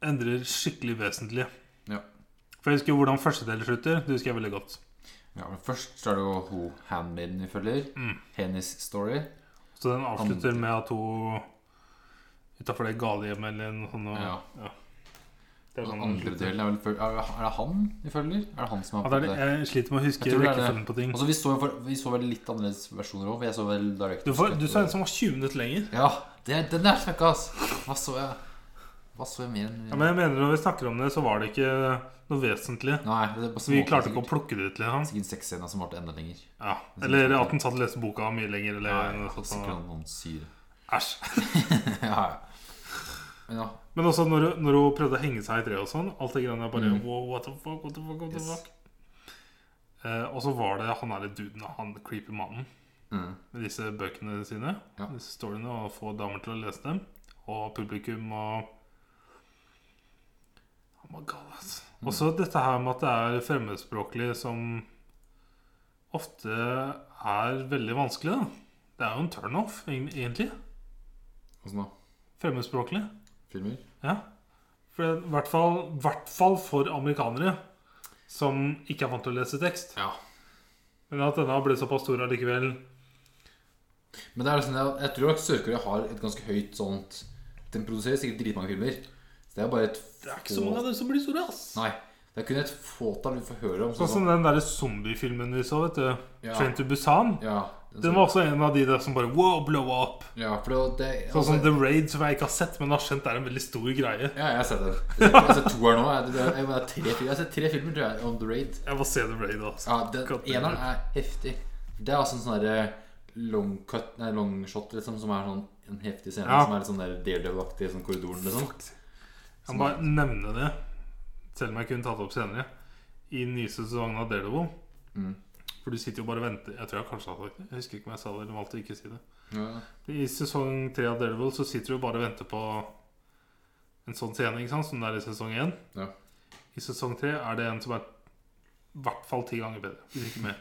Speaker 2: Endrer skikkelig vesentlig.
Speaker 1: Ja.
Speaker 2: For jeg husker hvordan første del slutter. Det husker jeg veldig godt.
Speaker 1: Ja, men Først så er det jo hun handmaiden vi følger.
Speaker 2: Mm.
Speaker 1: Hennes story.
Speaker 2: Så den avslutter med at hun utafor det galehjemmet eller noe sånt. Og,
Speaker 1: Ja.
Speaker 2: ja. Det er
Speaker 1: Den
Speaker 2: sånn
Speaker 1: andre delen er vel før- Er er det han vi følger? Er det han som har
Speaker 2: ja, det er,
Speaker 1: fått det?
Speaker 2: jeg sliter med å huske
Speaker 1: Jeg tror det er det.
Speaker 2: rekkefølgen på ting.
Speaker 1: Altså, vi, så, jo for, vi så vel litt annerledes versjoner òg. Jeg så vel Direct
Speaker 2: Du, får, du så en som var 20 minutter lenger.
Speaker 1: Ja, det, den er fucka, ass! Hva så jeg? Hva så jeg mer enn
Speaker 2: Ja, men jeg mener når vi snakker om det, så var det ikke noe vesentlig.
Speaker 1: Nei, det er bare
Speaker 2: Så vi
Speaker 1: småting,
Speaker 2: klarte ikke å
Speaker 1: sikkert.
Speaker 2: plukke det ut. Liksom.
Speaker 1: Sikkert sexscena som varte enda lenger.
Speaker 2: Ja. Eller at den satt og leste boka mye lenger. Eller,
Speaker 1: Nei,
Speaker 2: noe sånt.
Speaker 1: sikkert noen syre.
Speaker 2: Æsj.
Speaker 1: ja, ja. Men ja.
Speaker 2: Men også når, hun- når hun prøvde å henge seg i treet og sånn. Alt det greiene der bare
Speaker 1: Mm.
Speaker 2: wow, what the fuck, what the fuck, what the
Speaker 1: Yes.
Speaker 2: fuck. Eh, og så var det han derre duden, han creepy mannen,
Speaker 1: Mm.
Speaker 2: med disse bøkene sine.
Speaker 1: Ja.
Speaker 2: Disse storyene, og få damer til å lese dem. Og publikum og Han var gal, altså. Også dette her med at det er fremmedspråklige som ofte er veldig vanskelig, da. Det er jo en turnoff, egent- egentlig.
Speaker 1: Åssen da?
Speaker 2: Fremmedspråklig.
Speaker 1: Filmer?
Speaker 2: Ja. For det, i, hvert fall, I hvert fall for amerikanere som ikke er vant til å lese tekst.
Speaker 1: Ja.
Speaker 2: Men at denne ble såpass stor allikevel
Speaker 1: Men det er liksom, jeg, jeg tror at Sør-Korea har et ganske høyt sånt Den produserer sikkert dritmange filmer. Så det er bare et
Speaker 2: Det er ikke så mange av dem som blir store, ass.
Speaker 1: Nei. Det er kun et fåtall vi får høre om.
Speaker 2: Sånn som den derre zombiefilmen vi så, vet du.
Speaker 1: Ja.
Speaker 2: Train to Busan.
Speaker 1: ja,
Speaker 2: Den var også en av de der som bare wow, blow up.
Speaker 1: Ja, for det, det
Speaker 2: Sånn
Speaker 1: altså-
Speaker 2: som The Raid, som jeg ikke har sett, men har skjønt er en veldig stor greie.
Speaker 1: Ja, jeg har sett den. Jeg har sett to her nå. Jeg, jeg, jeg, har tre, fil- jeg har sett tre filmer, tror jeg, om The Raid.
Speaker 2: Jeg må se The Raid, altså.
Speaker 1: Ja, den eneren er heftig. Det er altså en sånn derre long cut, nei, long shot, liksom, som er sånn en heftig scene
Speaker 2: Ja.
Speaker 1: som er litt sånn der Daredevil-aktig, sånn korridoren, liksom.
Speaker 2: Jeg må bare nevne det, selv om jeg kunne tatt det opp senere, i den nye sesongen av Daredevil.
Speaker 1: Mm.
Speaker 2: For du sitter jo bare og venter. Jeg tror jeg kanskje har sagt det. Jeg husker ikke om jeg sa det eller valgte å ikke si det.
Speaker 1: Ja.
Speaker 2: I sesong tre av Daredevil så sitter du jo bare og venter på en sånn scene, ikke sant, som det er i sesong én.
Speaker 1: Ja.
Speaker 2: I sesong tre er det en som er i hvert fall ti ganger bedre, hvis ikke mer.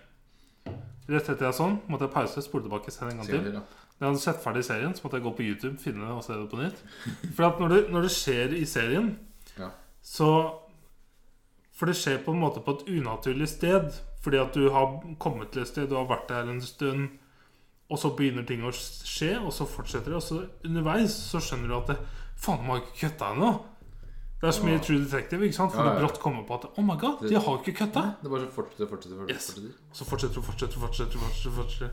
Speaker 2: Rett etter jeg sånn, måtte jeg pause, spole tilbake, se den en gang til.
Speaker 1: Sikkert, ja.
Speaker 2: Når jeg hadde sett ferdig serien, så måtte jeg gå på YouTube, finne det og se det på nytt. For at når det, når det skjer i serien,
Speaker 1: Ja.
Speaker 2: så For det skjer på en måte på et unaturlig sted. Fordi at du har kommet til et sted, du har vært der en stund, og så begynner ting å skje, og så fortsetter det. Og så underveis så skjønner du at det, Faen, de har ikke kutta ennå. Det er så mye
Speaker 1: Ja.
Speaker 2: True Detective, ikke sant? For
Speaker 1: Ja, ja.
Speaker 2: du brått kommer på at Oh my god, de har ikke kutta.
Speaker 1: Det bare fortsetter, fortsetter, fortsetter.
Speaker 2: Yes.
Speaker 1: fortsetter.
Speaker 2: Og så fortsetter og fortsetter og fortsetter. og fortsetter, fortsetter.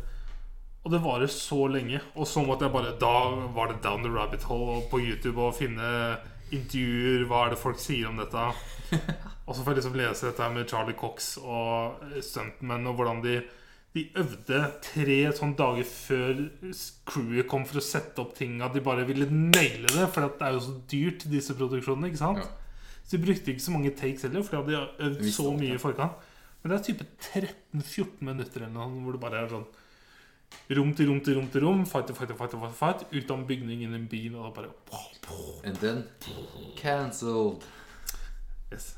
Speaker 2: Og det varer så lenge. Og så måtte jeg bare Da var det down the rabbit hole på YouTube og finne intervjuer. Hva er det folk sier om dette? Og så får jeg liksom lese dette her med Charlie Cox og eh, stuntmen og hvordan de de øvde tre sånne dager før s- crewet kom for å sette opp ting. At de bare ville naile det, for det er jo så dyrt, disse produksjonene. ikke sant?
Speaker 1: Ja.
Speaker 2: Så de brukte ikke så mange takes heller, for de hadde øvd
Speaker 1: Vi
Speaker 2: så
Speaker 1: så det.
Speaker 2: mye i forkant. Men det er type 13-14 minutter eller noe, hvor det bare er sånn rom til rom til rom til rom. Fight til fight til fight til fight, fight. Ut av en bygning, inn i en bil, og da bare
Speaker 1: And then cancelled.
Speaker 2: Yes.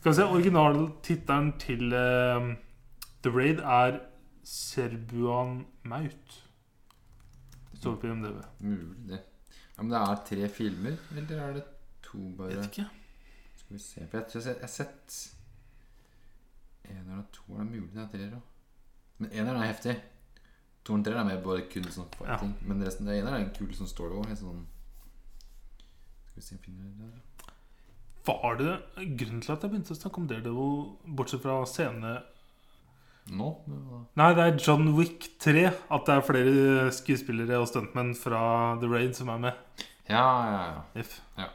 Speaker 2: Skal vi se, originaltittelen til eh, The Raid er Serbuan Maut. Det står på IMDb.
Speaker 1: Mulig det. Ja, men det er tre filmer, eller er det to bare?
Speaker 2: ikke.
Speaker 1: Skal vi se For jeg tror jeg jeg har sett En eller to er det mulig det er tre da. Men en er heftig To og tre er mer bare kun sånn fighting Men resten det ene er en kul sånn story også helt sånn... Skal vi se om jeg finner det der
Speaker 2: Var det grunnen til at jeg begynte å snakke om Daredevil, bortsett fra scene
Speaker 1: Nå? Ja.
Speaker 2: Nei, det er John Wick 3. At det er flere skuespillere og stuntmenn fra The Raid som er med.
Speaker 1: Ja, ja, ja
Speaker 2: If.
Speaker 1: Nei,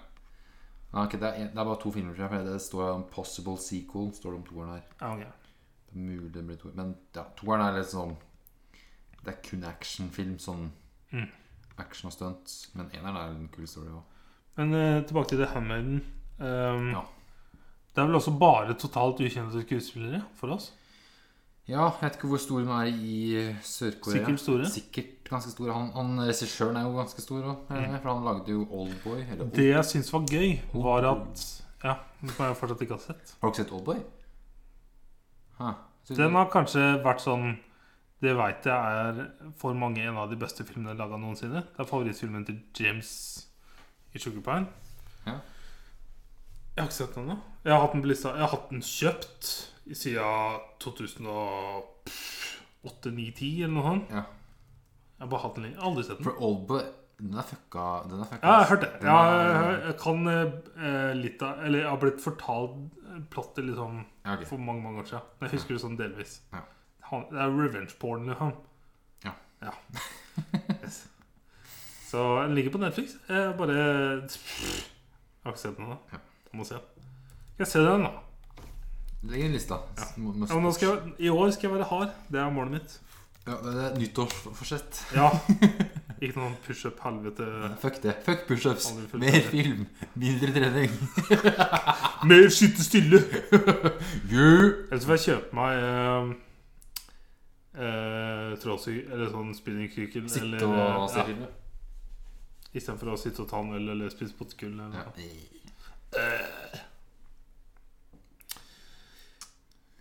Speaker 1: ok, det, er en, det er bare to filmer tror jeg, for Det står om Possible Sequel Står det om toeren her
Speaker 2: Ja, ok.
Speaker 1: Det er mulig det blir toer Men ja, toeren er litt sånn Det er kun actionfilm Sånn
Speaker 2: Mm.
Speaker 1: Action og stunt Men eneren er en kul story også
Speaker 2: Men eh, tilbake til The Handmaiden. Um,
Speaker 1: Ja.
Speaker 2: Det er vel også bare totalt ukjente skuespillere for oss?
Speaker 1: Ja, jeg vet ikke hvor stor hun er i eh, Sør-Korea.
Speaker 2: Sikkert store.
Speaker 1: Sikkert ganske stor. Han, han regissøren er jo ganske stor òg, for han lagde jo Oldboy. Eller Old...
Speaker 2: Mm. Det jeg syns var gøy, var at Ja, som jeg fortsatt ikke har sett.
Speaker 1: Har du ikke sett Oldboy? Hæ? Så-
Speaker 2: Den har kanskje vært sånn Det veit jeg er for mange en av de beste filmene laga noensinne. Det er favorittfilmen til James i Sugar Pine.
Speaker 1: Ja.
Speaker 2: Jeg har ikke sett den ennå. Jeg har hatt den på lista. Jeg har hatt den kjøpt i siden 2008-2010 eller noe sånt.
Speaker 1: Ja.
Speaker 2: Jeg har bare hatt den lenge. Aldri sett den.
Speaker 1: For Oldboy Den er fucka. Den er fucka
Speaker 2: Ja, jeg har
Speaker 1: ass.
Speaker 2: hørt det.
Speaker 1: Den
Speaker 2: Ja,
Speaker 1: er-
Speaker 2: jeg, jeg kan eh, litt av Eller jeg har blitt fortalt plottet liksom
Speaker 1: Ja, ok.
Speaker 2: for mange mange år siden. Men Jeg husker det sånn delvis.
Speaker 1: Ja.
Speaker 2: Han, det er revenge porn, liksom.
Speaker 1: Ja.
Speaker 2: ja. Yes. Så den ligger på Netflix. Jeg bare Jeg har ikke sett den ennå.
Speaker 1: Ja.
Speaker 2: Jeg må se den. Skal jeg se den, da?
Speaker 1: Legg en lista.
Speaker 2: Ja.
Speaker 1: Må- må-
Speaker 2: Ja, men nå skal jeg, I år skal jeg være hard. Det er målet mitt.
Speaker 1: Ja, det er nyttårsforsett.
Speaker 2: Ja. Ikke noe sånn pushup-helvete.
Speaker 1: Fuck det. Fuck pushups.
Speaker 2: Aldri fullført.
Speaker 1: Mer film. Mindre trening.
Speaker 2: Mer sitte stille!
Speaker 1: You.
Speaker 2: Ellers får jeg kjøpe meg eh, eh, trådsy- eller sånn spinningkykkel.
Speaker 1: Sitte
Speaker 2: eller, eh,
Speaker 1: og se
Speaker 2: ja,
Speaker 1: film.
Speaker 2: Istedenfor å sitte og ta en øl eller spise potetgull. eller
Speaker 1: Ja.
Speaker 2: noe.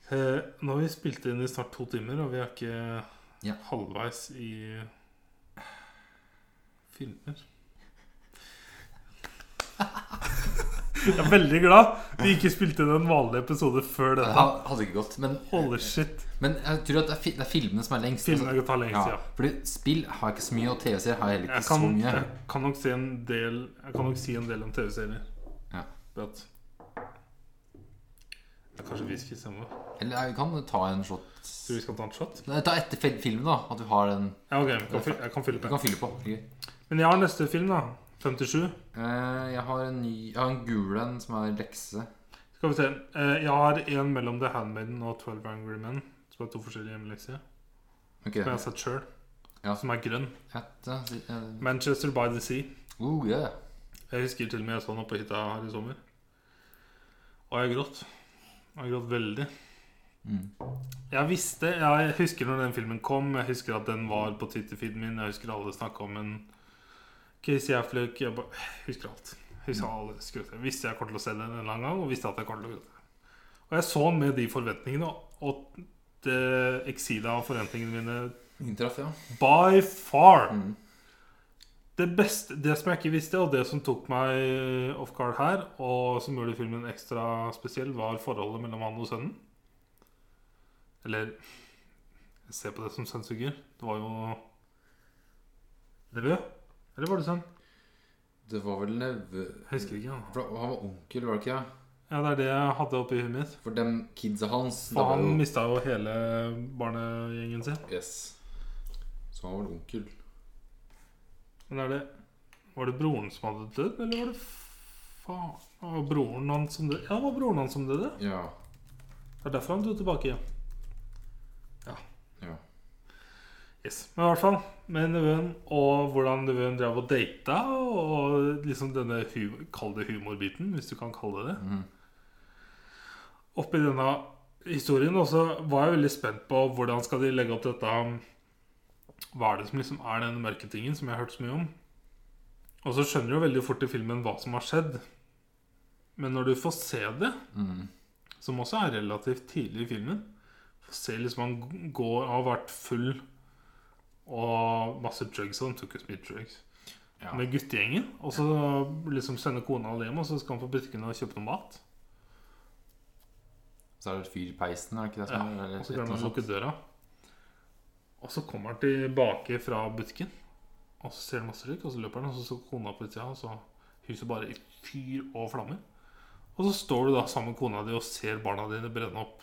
Speaker 2: Eh, nå har vi spilt inn i snart to timer, og vi er ikke
Speaker 1: Ja.
Speaker 2: halvveis i filmer. Jeg er veldig glad vi ikke spilte inn en vanlig episode før
Speaker 1: Det
Speaker 2: dette.
Speaker 1: ha- hadde ikke gått. Men,
Speaker 2: Holy shit.
Speaker 1: men jeg tror at det er, fi, det er filmene som er lengst.
Speaker 2: Filmene tar lengst,
Speaker 1: ja.
Speaker 2: ja.
Speaker 1: Fordi spill har jeg ikke så mye, og TV-serier har jeg heller
Speaker 2: Jeg
Speaker 1: ikke
Speaker 2: kan,
Speaker 1: så mye.
Speaker 2: jeg kan nok si en del Jeg kan nok si en del om TV-serier.
Speaker 1: Ja.
Speaker 2: For at- Det er kanskje whisky istedenfor.
Speaker 1: Eller jeg kan ta en shot
Speaker 2: Tror du vi skal ta en shot?
Speaker 1: Nei, Ta etter fil- filmen, da. At du har den
Speaker 2: Ja, ok, jeg kan, fylle- jeg kan fylle
Speaker 1: Du
Speaker 2: på.
Speaker 1: kan fylle på. ikke?
Speaker 2: Men jeg har neste film, da. 57.
Speaker 1: Eh, jeg har en ny Jeg har en gul en som er lekse.
Speaker 2: Skal vi se. Eh, Jeg har en mellom The Handmaiden og 12 Angry Men. Som er to forskjellige hjemmelekser.
Speaker 1: Ok.
Speaker 2: Som jeg har sett sjøl.
Speaker 1: Ja.
Speaker 2: Som er grønn.
Speaker 1: Et, eh, si- eh,
Speaker 2: Manchester by the Sea.
Speaker 1: oh, yeah.
Speaker 2: Jeg husker til og med jeg så den oppe på hytta her i sommer. Og jeg gråt. Jeg gråt veldig.
Speaker 1: Mm.
Speaker 2: Jeg visste, jeg husker når den filmen kom, jeg husker at den var på Twitter-feeden min, jeg husker alle snakket om en Casey Affleck, jeg bare, jeg husker alt. Jeg husker alle skrøter. Jeg visste jeg kom til å se den en eller annen gang, og visste at jeg kom til å gråte. Og jeg så den med de forventningene, og det eksila av forventningene mine
Speaker 1: Inntraff, ja.
Speaker 2: by far.
Speaker 1: Mm.
Speaker 2: Det beste, det som jeg ikke visste, og det som tok meg off guard her, og som gjorde filmen ekstra spesiell, var forholdet mellom han og sønnen. Eller Jeg ser på det som sønnsuger. Det var jo Nevø? Eller var det sønn?
Speaker 1: Det var vel neve...
Speaker 2: Jeg husker ikke. Ja.
Speaker 1: For da- han var onkel, var det ikke? ja?
Speaker 2: ja, Det er det jeg hadde oppi huet mitt.
Speaker 1: For dem kidsa hans det
Speaker 2: For
Speaker 1: var
Speaker 2: han
Speaker 1: jo-
Speaker 2: mista jo hele barnegjengen sin.
Speaker 1: Yes. Så han var vel onkel.
Speaker 2: Men er det Var det broren som hadde dødd, eller var det faen Det var broren hans som døde? Ja, det var broren hans som døde.
Speaker 1: Ja.
Speaker 2: Det er derfor han dro tilbake igjen.
Speaker 1: ja.
Speaker 2: Yes. Men i hvert fall, med nevøen og hvordan nevøen drev og data, og liksom denne hu kall det humorbiten, hvis du kan kalle det det.
Speaker 1: Mhm.
Speaker 2: Oppi denne historien også var jeg veldig spent på hvordan skal de legge opp dette um, Hva er det som liksom er den mørke tingen som jeg har hørt så mye om? Og så skjønner du jo veldig fort i filmen hva som har skjedd. Men når du får se det,
Speaker 1: Mm.
Speaker 2: som også er relativt tidlig i filmen. Se liksom han går har vært full og masse drugs, og han tok jo så mye drugs.
Speaker 1: Ja.
Speaker 2: Med guttegjengen. Og så liksom sender kona alle hjem, og så skal han på butikken og kjøpe noe mat.
Speaker 1: Så er det et fyr i peisen, er det ikke det?
Speaker 2: Ja,
Speaker 1: Som, eller,
Speaker 2: Og så
Speaker 1: et eller
Speaker 2: glemmer han å
Speaker 1: annet
Speaker 2: lukke døra. Og så kommer han tilbake fra butikken, og så ser han masse røyk, og så løper han, og så står kona på utsida, og så huset bare i fyr og flammer. Og så står du da sammen med kona di og ser barna dine brenne opp.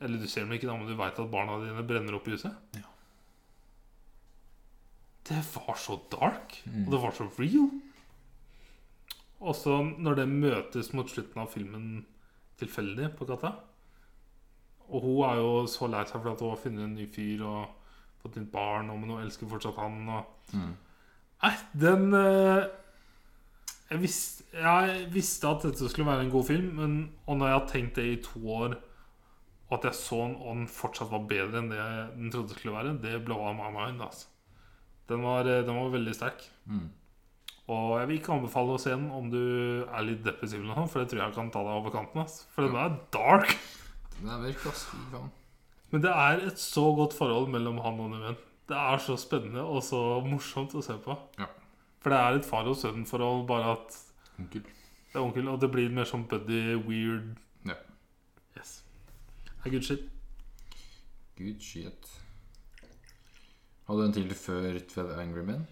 Speaker 2: Eller du ser dem ikke, da, men du veit at barna dine brenner opp i huset.
Speaker 1: Ja.
Speaker 2: Det var så dark,
Speaker 1: Mm.
Speaker 2: og det var så real. Og så når det møtes mot slutten av filmen tilfeldig på katta Og hun er jo så lei seg for at hun har funnet en ny fyr og fått nytt barn, og men hun elsker fortsatt han og
Speaker 1: sånt. Mm.
Speaker 2: Nei, den eh, jeg, visste, jeg visste at dette skulle være en god film, men, og når jeg har tenkt det i to år, og at jeg så den, og den fortsatt var bedre enn det den trodde det skulle være, det blowa my mind. Altså. Den, var, eh, den var veldig sterk.
Speaker 1: Mm.
Speaker 2: Og jeg vil ikke anbefale å se den om du er litt depressiv, eller noe, for det tror jeg kan ta deg over kanten. Altså. For den er dark.
Speaker 1: Den er mørk, ass. Fy faen.
Speaker 2: Men det er et så godt forhold mellom han og nevøen. Det er så spennende og så morsomt å se på.
Speaker 1: Ja.
Speaker 2: For det er et far og sønn-forhold, bare at
Speaker 1: Onkel.
Speaker 2: det er onkel, og det blir mer sånn buddy, weird
Speaker 1: Ja.
Speaker 2: Yes. Det er good shit.
Speaker 1: Good shit. Hadde du en til før 12 Angry Men?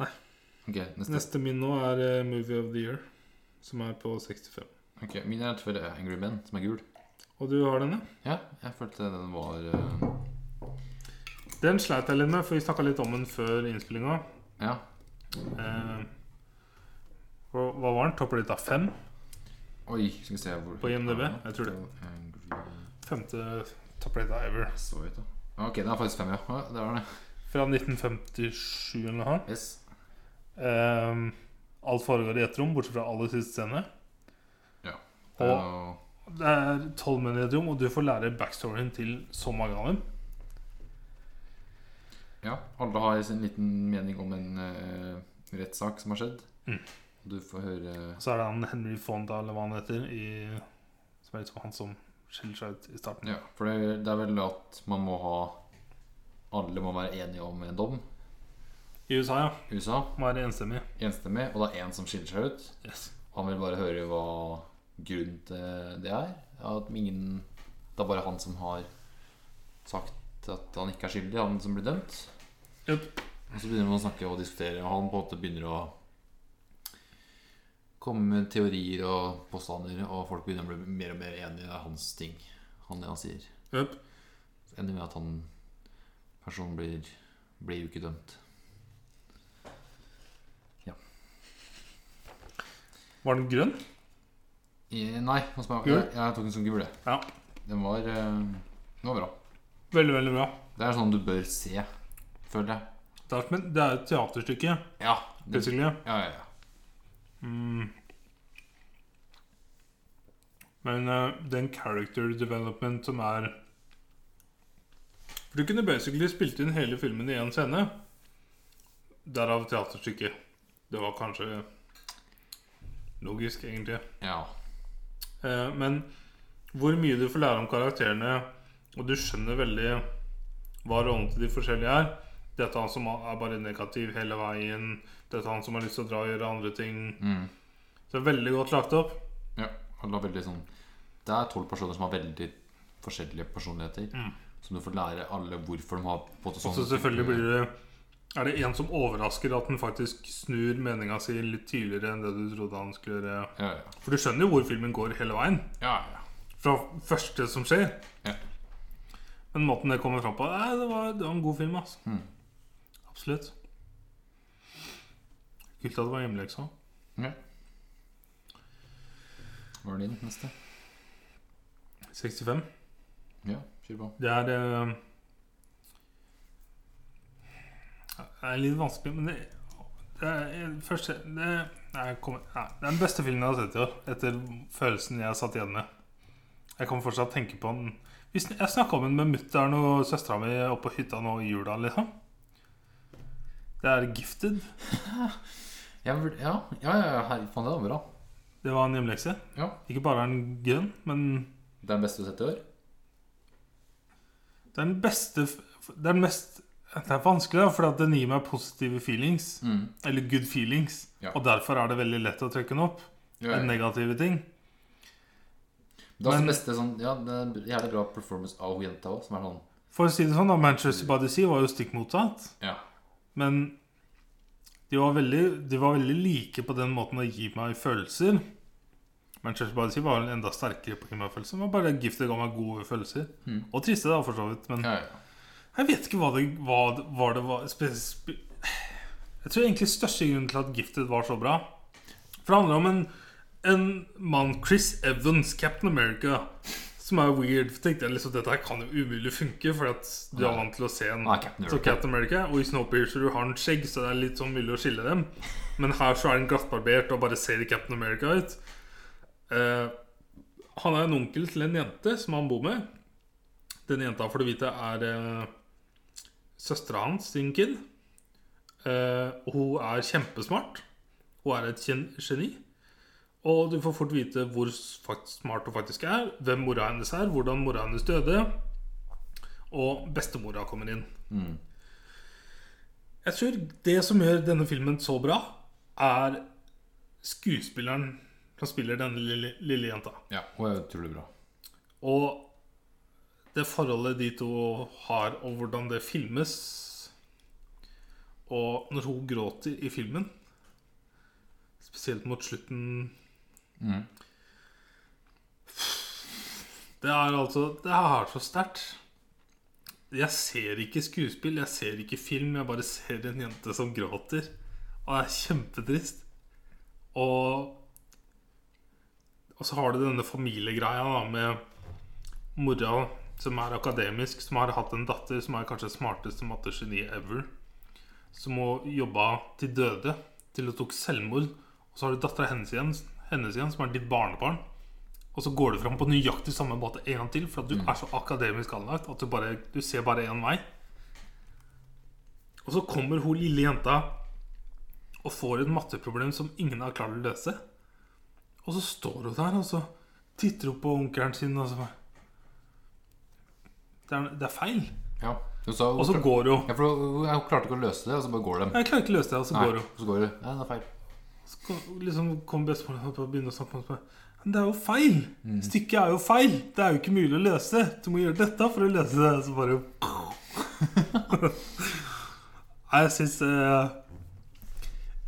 Speaker 1: Ok, neste.
Speaker 2: Neste min nå er eh, Movie of the Year, som er på 65.
Speaker 1: Ok, Min er selvfølgelig Angry Men, som er gul.
Speaker 2: Og du har den, ja?
Speaker 1: Ja, jeg følte den var eh,
Speaker 2: Den sleit jeg litt med, for vi snakka litt om den før innspillinga.
Speaker 1: Ja.
Speaker 2: Eh, hva hva var den? Topper litt av fem
Speaker 1: Oi, skal vi se hvor
Speaker 2: på IMDb? Jeg tror det.
Speaker 1: Angry
Speaker 2: Femte topper litt av ever.
Speaker 1: Så vidt, da. Ok, den er faktisk fem, ja. ja det var den, ja.
Speaker 2: Fra 1957 eller noe.
Speaker 1: Yes.
Speaker 2: Eh, alt foregår i ett rom, bortsett fra aller siste scene.
Speaker 1: Det
Speaker 2: Og-
Speaker 1: var-
Speaker 2: Det er tolv menn i et rom, og du får lære backstoryen til så mange av dem.
Speaker 1: Ja, alle har sin liten mening om en uh, rettssak som har skjedd.
Speaker 3: Mm.
Speaker 1: Du får høre
Speaker 2: Og så er det han Henry Fonda, eller hva han heter, i, som er liksom han som skiller seg ut i starten.
Speaker 1: Ja, for det, det er vel at man må ha Alle må være enige om en dom
Speaker 2: I USA, ja.
Speaker 1: i USA.
Speaker 2: Må være enstemmig.
Speaker 1: Enstemmig. Og det er én som skiller seg ut.
Speaker 2: Yes.
Speaker 1: Han vil bare høre hva grunnen til det er. At ingen Det er bare han som har sagt at han ikke er skyldig, han som blir dømt.
Speaker 2: Yep.
Speaker 1: Og så begynner man å snakke og diskutere, og han på en måte begynner å komme med teorier og påstander, og folk begynner å bli mer og mer enige i hans ting. Han det han sier.
Speaker 2: Yep.
Speaker 1: Så Ender med at han personen blir, blir jo ikke dømt.
Speaker 2: Var den grønn?
Speaker 1: I, nei, hos meg-
Speaker 2: Gul?
Speaker 1: jeg, jeg tok den som gul. jeg.
Speaker 2: Ja.
Speaker 1: Den var, eh, den var bra.
Speaker 2: Veldig, veldig bra.
Speaker 1: Det er sånn du bør se, føler jeg.
Speaker 2: Det er, men det er et teaterstykke,
Speaker 1: Ja. Det,
Speaker 2: basically.
Speaker 1: ja, ja, ja.
Speaker 2: Mm. Men eh, den character development som er For du kunne basically spilt inn hele filmen i én scene. Derav teaterstykket. Det var kanskje logisk, egentlig.
Speaker 1: ja.
Speaker 2: Eh, men hvor mye du får lære om karakterene, og du skjønner veldig hva rollen til de forskjellige er Dette er han som er bare negativ hele veien. Dette er han som har lyst til å dra og gjøre andre ting.
Speaker 1: Mm.
Speaker 2: Så det er veldig godt lagt opp.
Speaker 1: Ja, han har veldig sånn Det er tolv personer som har veldig forskjellige personligheter.
Speaker 2: Mm.
Speaker 1: Som du får lære alle hvorfor de har på en måte sånn-
Speaker 2: Og så selvfølgelig blir det Er det en som overrasker at den faktisk snur meninga si litt tidligere enn det du trodde han skulle gjøre?
Speaker 1: ja, ja.
Speaker 2: For du skjønner jo hvor filmen går hele veien.
Speaker 1: ja, ja.
Speaker 2: Fra første som skjer.
Speaker 1: Ja.
Speaker 2: Men måten det kommer fram på Nei, det var, det var en god film, altså.
Speaker 1: Mm.
Speaker 2: Absolutt. Kult at det var hjemmeleksa.
Speaker 1: ja. Hva er din neste?
Speaker 2: 65.
Speaker 1: Ja, kjør på.
Speaker 2: Det er eh, Det er litt vanskelig, men det, det er eh, første det, nei, jeg kommer- nei, det er den beste filmen jeg har sett i år, etter følelsen jeg satt igjen med. Jeg kan fortsatt tenke på den Vi sn- Jeg snakka om den med mutter'n og søstera mi oppe på hytta nå i jula, liksom. Det er 'Gifted'.
Speaker 1: Ja, vur- ja, ja, ja, ja her, faen, det var bra.
Speaker 2: Det var en hjemlekse.
Speaker 1: Ja.
Speaker 2: Ikke bare er den grønn, men
Speaker 1: Det er den beste du har sett i år?
Speaker 2: det er den beste f- Det er den mest Det er vanskelig, da, for den gir meg positive feelings.
Speaker 1: Mm.
Speaker 2: Eller good feelings.
Speaker 1: Ja.
Speaker 2: Og derfor er det veldig lett å trekke den opp.
Speaker 1: Ja, ja.
Speaker 2: enn Negative ting.
Speaker 1: Det er også
Speaker 2: men-
Speaker 1: beste sånn Ja, det er en jævlig bra performance av hun jenta òg, som er sånn
Speaker 2: For å si det sånn, da, Manchester by the Sea var jo stikk motsatt.
Speaker 1: Ja.
Speaker 2: Men de var, veldig, de var veldig like på den måten å gi meg følelser. Manchester by the Sea var vel enda sterkere på å gi meg følelser. Men bare giftet ga meg gode følelser.
Speaker 1: Mm.
Speaker 2: Og triste, da, for så vidt. Men
Speaker 1: Ja, ja.
Speaker 2: Jeg vet ikke hva det hva det- var. Det var spe, spe, jeg tror egentlig største grunnen til at Gifted var så bra. For det handler om en, en mann, Chris Evans, Captain America, som er weird. For tenkte jeg liksom, Dette her kan jo umulig funke, for at du er vant til å se en
Speaker 1: Ah, Captain
Speaker 2: så
Speaker 1: America.
Speaker 2: Captain America. Og i Snowpiercer du har han skjegg, så det er litt sånn mulig å skille dem. Men her så er han glattbarbert og bare ser Captain America ut. Eh, han er en onkel til en jente som han bor med. Den jenta, får du vite, er uh, søstera hans sin kid. Eh, og hun er kjempesmart. Hun er et gen- geni. Og du får fort vite hvor s- fakt- smart hun faktisk er, hvem mora hennes er, hvordan mora hennes døde, og bestemora kommer inn.
Speaker 1: Mm.
Speaker 2: Jeg tror det som gjør denne filmen så bra, er skuespilleren som spiller denne lille, lille jenta.
Speaker 1: ja. Hun er utrolig bra.
Speaker 2: Og det forholdet de to har, og hvordan det filmes Og når hun gråter i filmen Spesielt mot slutten.
Speaker 1: Mm.
Speaker 2: Det er altså Det er så sterkt. Jeg ser ikke skuespill, jeg ser ikke film. Jeg bare ser en jente som gråter. Og det er kjempetrist. Og Og så har du denne familiegreia da med mora som er akademisk, som har hatt en datter som er kanskje smarteste mattegeni ever, som må jobba til døde, til hun tok selvmord. Og så har du dattera hennes igjen, hennes igjen, som er ditt barnebarn. Og så går du fram på nøyaktig samme måte en gang til, for at du er så akademisk anlagt at du, bare, du ser bare én vei. Og så kommer hun lille jenta og får et matteproblem som ingen har klart å løse. Og så står hun der, og så titter hun på onkelen sin, og så bare Det er, det er feil.
Speaker 1: Ja. Hun sa,
Speaker 2: Og så går hun.
Speaker 1: ja, for hun, hun- hun klarte ikke å løse det, og så bare går de.
Speaker 2: Jeg klarer ikke å løse det, og så
Speaker 1: Nei,
Speaker 2: går hun.
Speaker 1: så går det. Nei, det er feil.
Speaker 2: Så kom- liksom kom bestemoren opp og begynte å snakke om det. Men det er jo feil! Stykket er jo feil! Det er jo ikke mulig å løse! Du må gjøre dette for å løse det. Så bare Nei, jeg syns eh,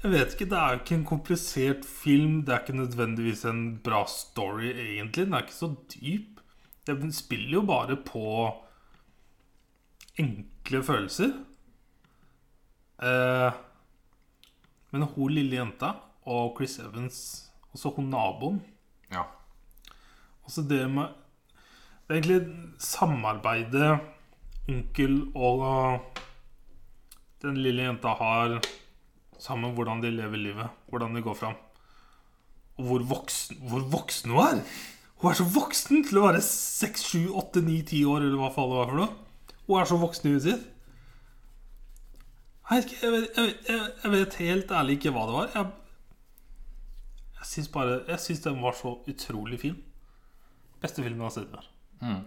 Speaker 2: Jeg vet ikke. Det er jo ikke en komplisert film. Det er ikke nødvendigvis en bra story, egentlig. Den er ikke så dyp. Den spiller jo bare på enkle følelser. Eh, men hun lille jenta og Chris Evans, og så hun naboen
Speaker 1: Ja.
Speaker 2: Altså det med Det er egentlig samarbeidet onkel og eh, den lille jenta har sammen hvordan de lever livet, hvordan de går fram. Og hvor voksen, hvor voksen hun er! Hun er så voksen til å være 6, 7, 8, 9, 10 år, eller hva faen det var for noe. Hun er så voksen i huet sitt. Nei, Jeg, jeg, vet- jeg, vet- jeg, jeg vet helt ærlig ikke hva det var. Jeg, jeg syns bare Jeg syns den var så utrolig fin. Beste filmen jeg har sett i år.
Speaker 1: Mm.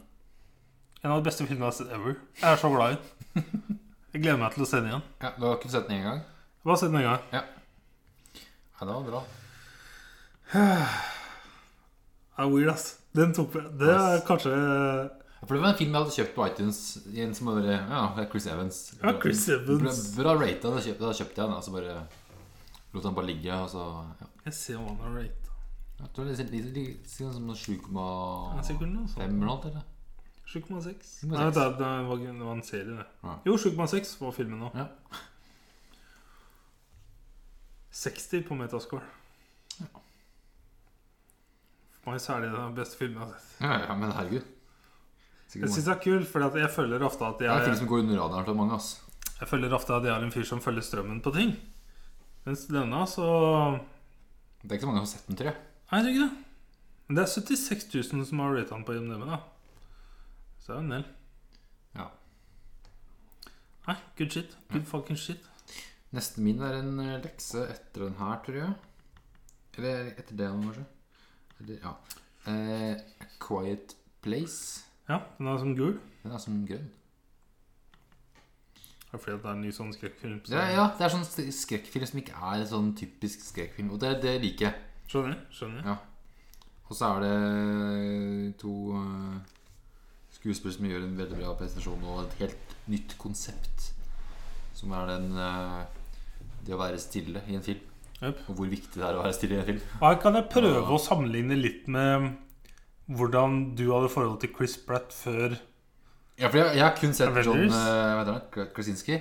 Speaker 2: En av de beste filmene jeg har sett ever. Jeg er så glad i den. Jeg gleder meg til å se den igjen.
Speaker 1: ja. Du har ikke sett den én gang?
Speaker 2: Jeg har sett den en gang.
Speaker 1: Ja. Nei, det var bra.
Speaker 2: Det er weird, ass. Den tok meg Det er
Speaker 1: Ass.
Speaker 2: kanskje
Speaker 1: Ja, For det var en film jeg hadde kjøpt på iTunes. I en som bare, ja, det er Chris Evans.
Speaker 2: Ja, Chris Evans.
Speaker 1: Bra, bra rata. Da kjøpte, da kjøpte jeg den. Og så bare lot han bare ligge. Og så ja.
Speaker 2: Jeg ser om han har rate.
Speaker 1: Jeg tror det er litt- litt- litt sånn som
Speaker 2: Han er
Speaker 1: 7,5
Speaker 2: sikkert noe sånt.
Speaker 1: eller noe sånt. eller?
Speaker 2: 7,6.
Speaker 1: 7,6.
Speaker 2: Nei, det, det, var, det var en serie, det.
Speaker 1: Ja.
Speaker 2: Jo, 7,6 var filmen nå.
Speaker 1: Ja.
Speaker 2: 60 på metascore. For meg så er det den beste filmen jeg har sett.
Speaker 1: Ja, ja, men herregud.
Speaker 2: Jeg
Speaker 1: Sikkert
Speaker 2: syns
Speaker 1: mange.
Speaker 2: det er kult, for jeg føler ofte at
Speaker 1: Det er en film
Speaker 2: jeg,
Speaker 1: som går under radaren til mange. ass
Speaker 2: jeg føler ofte at jeg er en fyr som følger strømmen på ting. Mens denne, så
Speaker 1: Det er ikke så mange som har sett den, tror jeg.
Speaker 2: Nei, jeg tror ikke det. Men det er 76 000 som har ratet den på IMDb, da. Så det er jo en del.
Speaker 1: Ja.
Speaker 2: Nei, good shit. Good fucking shit.
Speaker 1: Neste min er en eh, lekse etter den her, tror jeg. Eller etter det, kanskje. Eller, ja. Eh, A Quiet Place.
Speaker 2: Ja, den er som gul.
Speaker 1: Den er sånn grønn.
Speaker 2: Er det fordi at det er en ny sånn skrekkfilm? så-
Speaker 1: Det er, ja, det er sånn sk- skrekkfilm som ikke er sånn typisk skrekkfilm. Og det, det liker jeg.
Speaker 2: Skjønner. skjønner.
Speaker 1: Ja. Og så er det to eh, skuespillere som gjør en veldig bra presentasjon, og et helt nytt konsept. Som er den eh, det å være stille i en film.
Speaker 2: Jep.
Speaker 1: Og hvor viktig det er å være stille i en film.
Speaker 2: Her kan jeg prøve å sammenligne litt med hvordan du hadde forhold til Chris Pratt før
Speaker 1: Ja, for jeg, jeg har kun sett John
Speaker 2: Avengers?
Speaker 1: eh, hva heter han? Krasinski.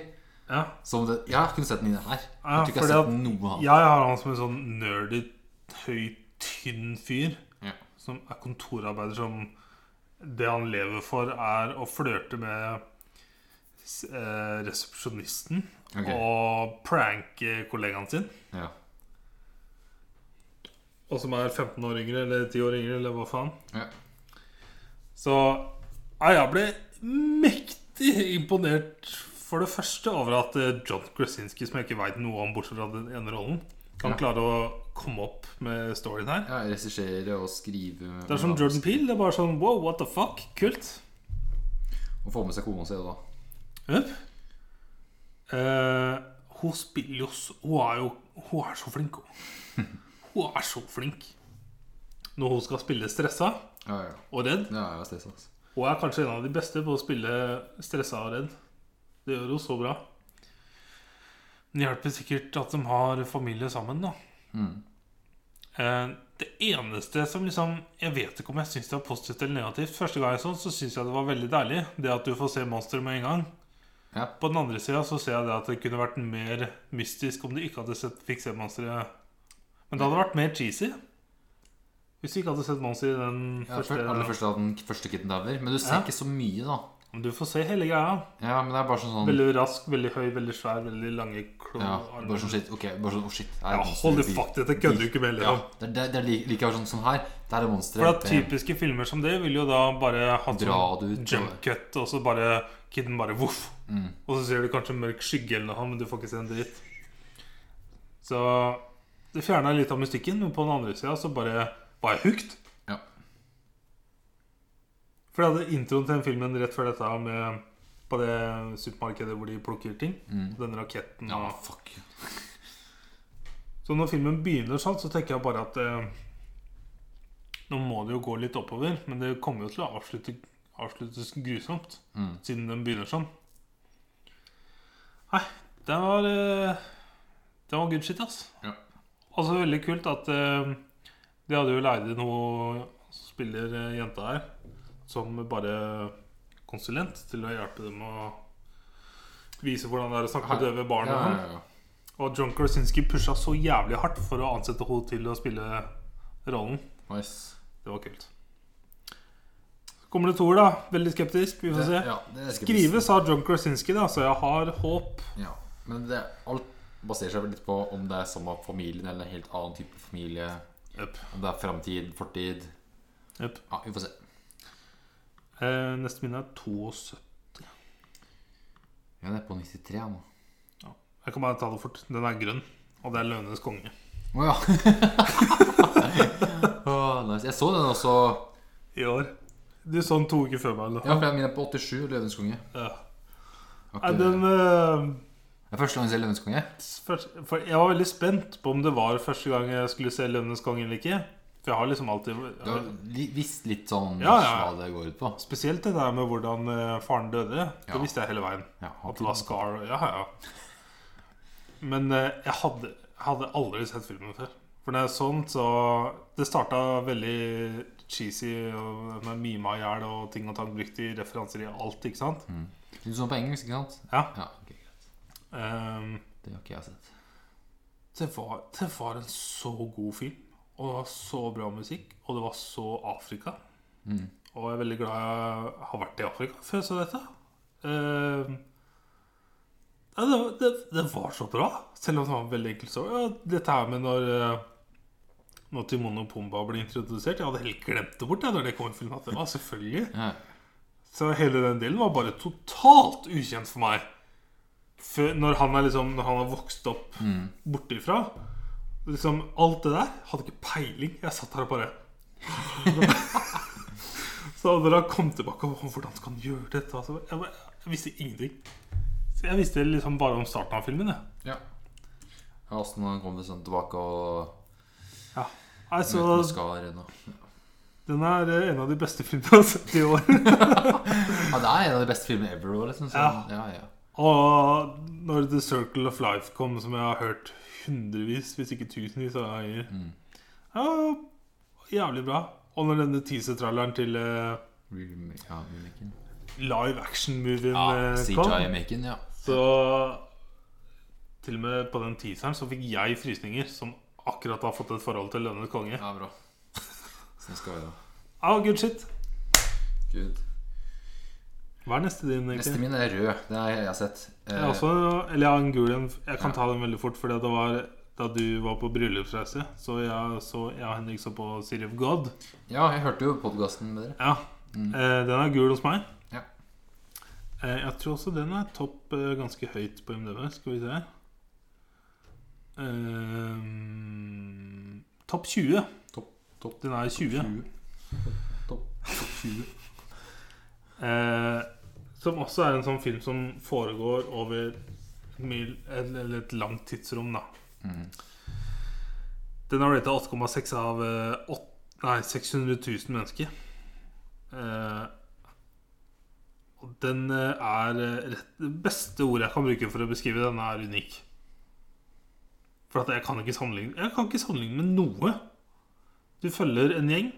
Speaker 2: Ja,
Speaker 1: Som det, jeg har kun sett den i det her.
Speaker 2: Ja,
Speaker 1: Jeg tror ikke jeg
Speaker 2: fordi
Speaker 1: har
Speaker 2: at-
Speaker 1: sett noe annet.
Speaker 2: Jeg har han som en sånn nerdy, høy, tynn fyr.
Speaker 1: Ja.
Speaker 2: Som er kontorarbeider som Det han lever for, er å flørte med s- eh, resepsjonisten
Speaker 1: Ok.
Speaker 2: og pranke kollegaen sin.
Speaker 1: Ja.
Speaker 2: Og som er 15 år yngre, eller 10 år yngre, eller hva faen.
Speaker 1: Ja.
Speaker 2: Så ja, jeg ble mektig imponert for det første over at eh, John Krasinski, som jeg ikke veit noe om bortsett fra den ene rollen, kan
Speaker 1: Ja.
Speaker 2: klare å komme opp med storyen her.
Speaker 1: ja Regissere og skrive
Speaker 2: Det er som Jordan Peele. Det er bare sånn wow, what the fuck? Kult.
Speaker 1: Og få med seg kona si, da.
Speaker 2: Jep. Eh, hun spiller jo så Hun er jo Hun er så flink, hun. Hun er så flink. Når hun skal spille stressa
Speaker 1: Ja, ja.
Speaker 2: og redd
Speaker 1: Ja, jeg er stressa. altså.
Speaker 2: Hun er kanskje en av de beste på å spille stressa og redd. Det gjør hun så bra. Men det hjelper sikkert at de har familie sammen, da.
Speaker 1: Mm.
Speaker 2: Eh, det eneste som liksom Jeg vet ikke om jeg syns det var positivt eller negativt. Første gang jeg så den, så syns jeg det var veldig deilig. Det at du får se monsteret med en gang.
Speaker 1: Ja.
Speaker 2: På den andre sida så ser jeg det at det kunne vært mer mystisk om du ikke hadde sett fikk se monsteret. Men det hadde vært mer cheesy. Hvis du ikke hadde sett monsteret i den
Speaker 1: Ja,
Speaker 2: første.
Speaker 1: før- aller først at den første kitten dauer. Men du ser
Speaker 2: Ja.
Speaker 1: ikke så mye, da.
Speaker 2: Men Du får se hele greia.
Speaker 1: Ja, men det er bare sånn sånn
Speaker 2: Veldig rask, veldig høy, veldig svær, veldig lange klo
Speaker 1: ja,
Speaker 2: armer.
Speaker 1: Bare sånn shit. Ok, bare sånn, oh, shit. er det
Speaker 2: Ja,
Speaker 1: monster
Speaker 2: hold the
Speaker 1: i by-
Speaker 2: fuck, dette kødder du ikke med.
Speaker 1: Ja,
Speaker 2: Liksom.
Speaker 1: det, det, det er li- like sånn som her. Der er monsteret.
Speaker 2: For at
Speaker 1: Bam.
Speaker 2: typiske filmer som det vil jo da bare ha
Speaker 1: Dra det ut,
Speaker 2: sånn jump
Speaker 1: og- Mm.
Speaker 2: cut, og så bare kidden bare voff. Og så ser du kanskje en mørk skygge eller noe, men du får ikke se en dritt. Så det fjerna litt av mystikken, men på den andre sida så bare var jeg hooked.
Speaker 1: Ja.
Speaker 2: For jeg hadde introen til den filmen rett før dette her med på det supermarkedet hvor de plukker ting. Den raketten
Speaker 1: Mm. ja,
Speaker 2: og
Speaker 1: fuck.
Speaker 2: Så når filmen begynner sånn, så tenker jeg bare at eh, Nå må det jo gå litt oppover, men det kommer jo til å avslutte, avsluttes grusomt.
Speaker 1: Mm.
Speaker 2: Siden den begynner sånn. Nei, det var eh, Det var good shit, ass.
Speaker 1: Ja.
Speaker 2: Altså veldig kult at eh, de hadde jo leid inn hun som spiller eh, jenta her, som bare konsulent til å hjelpe dem å vise hvordan det er å snakke med døve barn. og
Speaker 1: Ja,
Speaker 2: sånn.
Speaker 1: ja, ja.
Speaker 2: Og John Krasinski pusha så jævlig hardt for å ansette henne til å spille rollen.
Speaker 1: Nice.
Speaker 2: Det var kult. Så kommer det toer, da. Veldig skeptisk. Vi får
Speaker 1: Det-
Speaker 2: se.
Speaker 1: ja, det er skeptisk.
Speaker 2: Skrives av John Krasinski, da, så jeg har håp.
Speaker 1: Ja, men det, alt baserer seg vel litt på om det er samme familien eller en helt annen type familie.
Speaker 2: Jep.
Speaker 1: Om det er framtid, fortid.
Speaker 2: Jep.
Speaker 1: Ja, vi får se.
Speaker 2: Eh, neste min er 72.
Speaker 1: Ja, det er på 93 nå.
Speaker 2: Jeg kan bare ta det fort. Den er grønn. Og det er Løvenes konge.
Speaker 1: Å ja. Å, nice. Jeg så den også.
Speaker 2: I år. Du så den to uker før meg. Eller?
Speaker 1: Ja, for min er på 87, Løvens konge.
Speaker 2: Ja.
Speaker 1: Har
Speaker 2: Nei,
Speaker 1: ikke-
Speaker 2: den eh,
Speaker 1: Det er første gang jeg ser Løvens konge.
Speaker 2: først, for Jeg var veldig spent på om det var første gang jeg skulle se Løvenes konge eller ikke. For jeg har liksom alltid
Speaker 1: Du har li- visst litt sånn
Speaker 2: Ja, ja.
Speaker 1: hva det går ut på.
Speaker 2: Spesielt det der med hvordan eh, faren døde.
Speaker 1: Ja.
Speaker 2: Det visste jeg hele veien.
Speaker 1: Ja,
Speaker 2: At det var Scar og- Ja, ja. Men eh, jeg hadde, jeg hadde aldri sett filmen før. For når jeg så den, så Det starta veldig cheesy og med mima i hjel og ting og tang brukt i referanser i alt, ikke sant?
Speaker 1: Litt sånn på engelsk, ikke sant?
Speaker 2: Ja.
Speaker 1: Ja, ok, greit.
Speaker 2: Ehm,
Speaker 1: Det har ikke jeg sett.
Speaker 2: det, var, det var en så god film. Og det var så bra musikk. Og det var så Afrika.
Speaker 1: Mm.
Speaker 2: Og jeg er veldig glad jeg har vært i Afrika før jeg så dette. Eh, nei, det, var- det, det var så bra, selv om det var en veldig enkel story. Ja, dette her med når, eh, når Timon og Pumba ble introdusert Jeg hadde helt glemt det bort jeg, når det kom i filmen. At det var selvfølgelig
Speaker 1: Ja.
Speaker 2: Så hele den delen var bare totalt ukjent for meg. Før, når, han er liksom, når han har vokst opp
Speaker 1: Mm.
Speaker 2: bortifra. Liksom, alt det der hadde ikke peiling. Jeg satt her og bare Så når han kom tilbake og hvordan skal han gjøre dette altså, jeg, bare- jeg visste ingenting. Så jeg visste liksom bare om starten av filmen. Jeg.
Speaker 1: Ja. Ja, Åssen han kommer sånn tilbake og
Speaker 2: Nei,
Speaker 1: møter med
Speaker 2: så
Speaker 1: Skar og
Speaker 2: Den er eh, en av de beste filmene jeg har sett i år.
Speaker 1: Ja, det er en av de beste filmene ever. også, Liksom, så,
Speaker 2: Ja.
Speaker 1: ja, ja.
Speaker 2: Og når The Circle of Life kom, som jeg har hørt hundrevis, hvis ikke tusenvis av ganger
Speaker 1: Mm.
Speaker 2: Ja, Jævlig bra. Og når denne teaser-tralleren til eh,
Speaker 1: Remake- Ja, remaken.
Speaker 2: live action-movien
Speaker 1: Ja,
Speaker 2: eh, kom.
Speaker 1: CJI-maken, ja.
Speaker 2: Så til og med på den teaseren så fikk jeg frysninger, som akkurat har fått et forhold til Lønnet konge.
Speaker 1: Ja, bra. Sånn skal vi da.
Speaker 2: Ah, good shit.
Speaker 1: Gud.
Speaker 2: Hva er neste din?
Speaker 1: Neste
Speaker 2: egentlig?
Speaker 1: min er rød. Den har jeg sett. Eh,
Speaker 2: Jeg, har også, eller jeg har en gul en. Jeg kan ta den veldig fort, fordi det var da du var på bryllupsreise. Så jeg, så jeg og Henrik så på City of God.
Speaker 1: Eh, Ja, jeg hørte jo podkasten med dere. Mm.
Speaker 2: Ja, eh, Den er gul hos meg.
Speaker 1: Ja.
Speaker 2: Eh, jeg tror også den er topp eh, ganske høyt på MDV. Skal vi se eh, Topp 20.
Speaker 1: Topp- topp-
Speaker 2: den er 20.
Speaker 1: 20. Topp topp 20.
Speaker 2: Eh, som også er en sånn film som foregår over et mil, eller eller et langt tidsrom, da.
Speaker 1: Mhm.
Speaker 2: Den har rata 8,6 av eh, åt- nei, 600 000 mennesker. Eh, og den eh, er eh, rett, Det beste ordet jeg kan bruke for å beskrive den, er unik. For at jeg kan ikke sammenligne Jeg kan ikke sammenligne med noe. Du følger en gjeng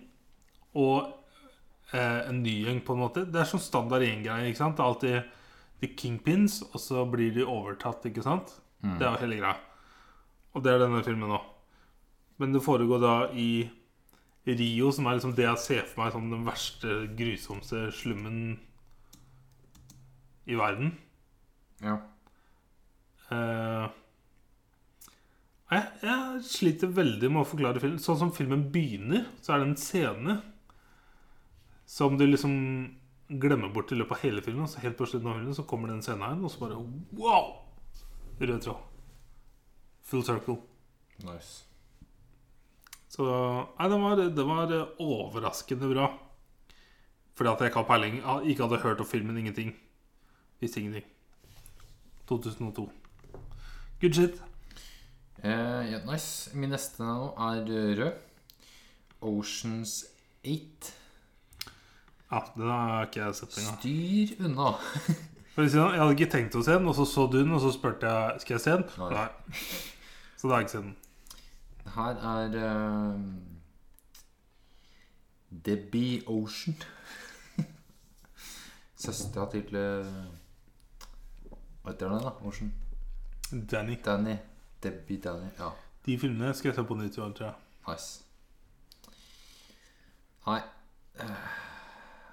Speaker 2: og eh, en ny gjeng, på en måte. Det er sånn standard gjenggreie. ikke sant? Det er alltid the kingpins, og så blir de overtatt, ikke sant? Det er jo hele greia. Og det er denne filmen nå. Men det foregår da i Rio, som er liksom det jeg ser for meg som den verste, grusomste slummen i verden.
Speaker 1: Ja.
Speaker 2: Eh, jeg, jeg sliter veldig med å forklare filmen. Sånn som filmen begynner, så er det en scene som du liksom glemmer bort i løpet av hele filmen. Så helt på slutten av filmen så kommer den scenen her, og så bare wow! Rød tråd. Full circle.
Speaker 1: Nice.
Speaker 2: Så nei, den var, den var overraskende bra. Fordi at jeg ikke har peiling. jeg Ikke hadde hørt om filmen. Ingenting. Visste ingenting. 2002. Good shit.
Speaker 1: Eh, ja, nice. Min neste nå er eh, rød. Oceans 8.
Speaker 2: Ja, den har ikke jeg sett engang.
Speaker 1: Styr unna.
Speaker 2: For å si det sånn, Jeg hadde ikke tenkt å se den, og så så du den, og så spurte jeg skal jeg se den.
Speaker 1: Nei.
Speaker 2: Nei. Så da har jeg ikke sett den.
Speaker 1: Her er uh, Debbie Ocean. Søstera til eh, Hva heter den, da? Ocean.
Speaker 2: Danny.
Speaker 1: Danny. Debbie Danny. Ja,
Speaker 2: De filmene skal jeg se på nytt i år, tror jeg.
Speaker 1: nice. Nei.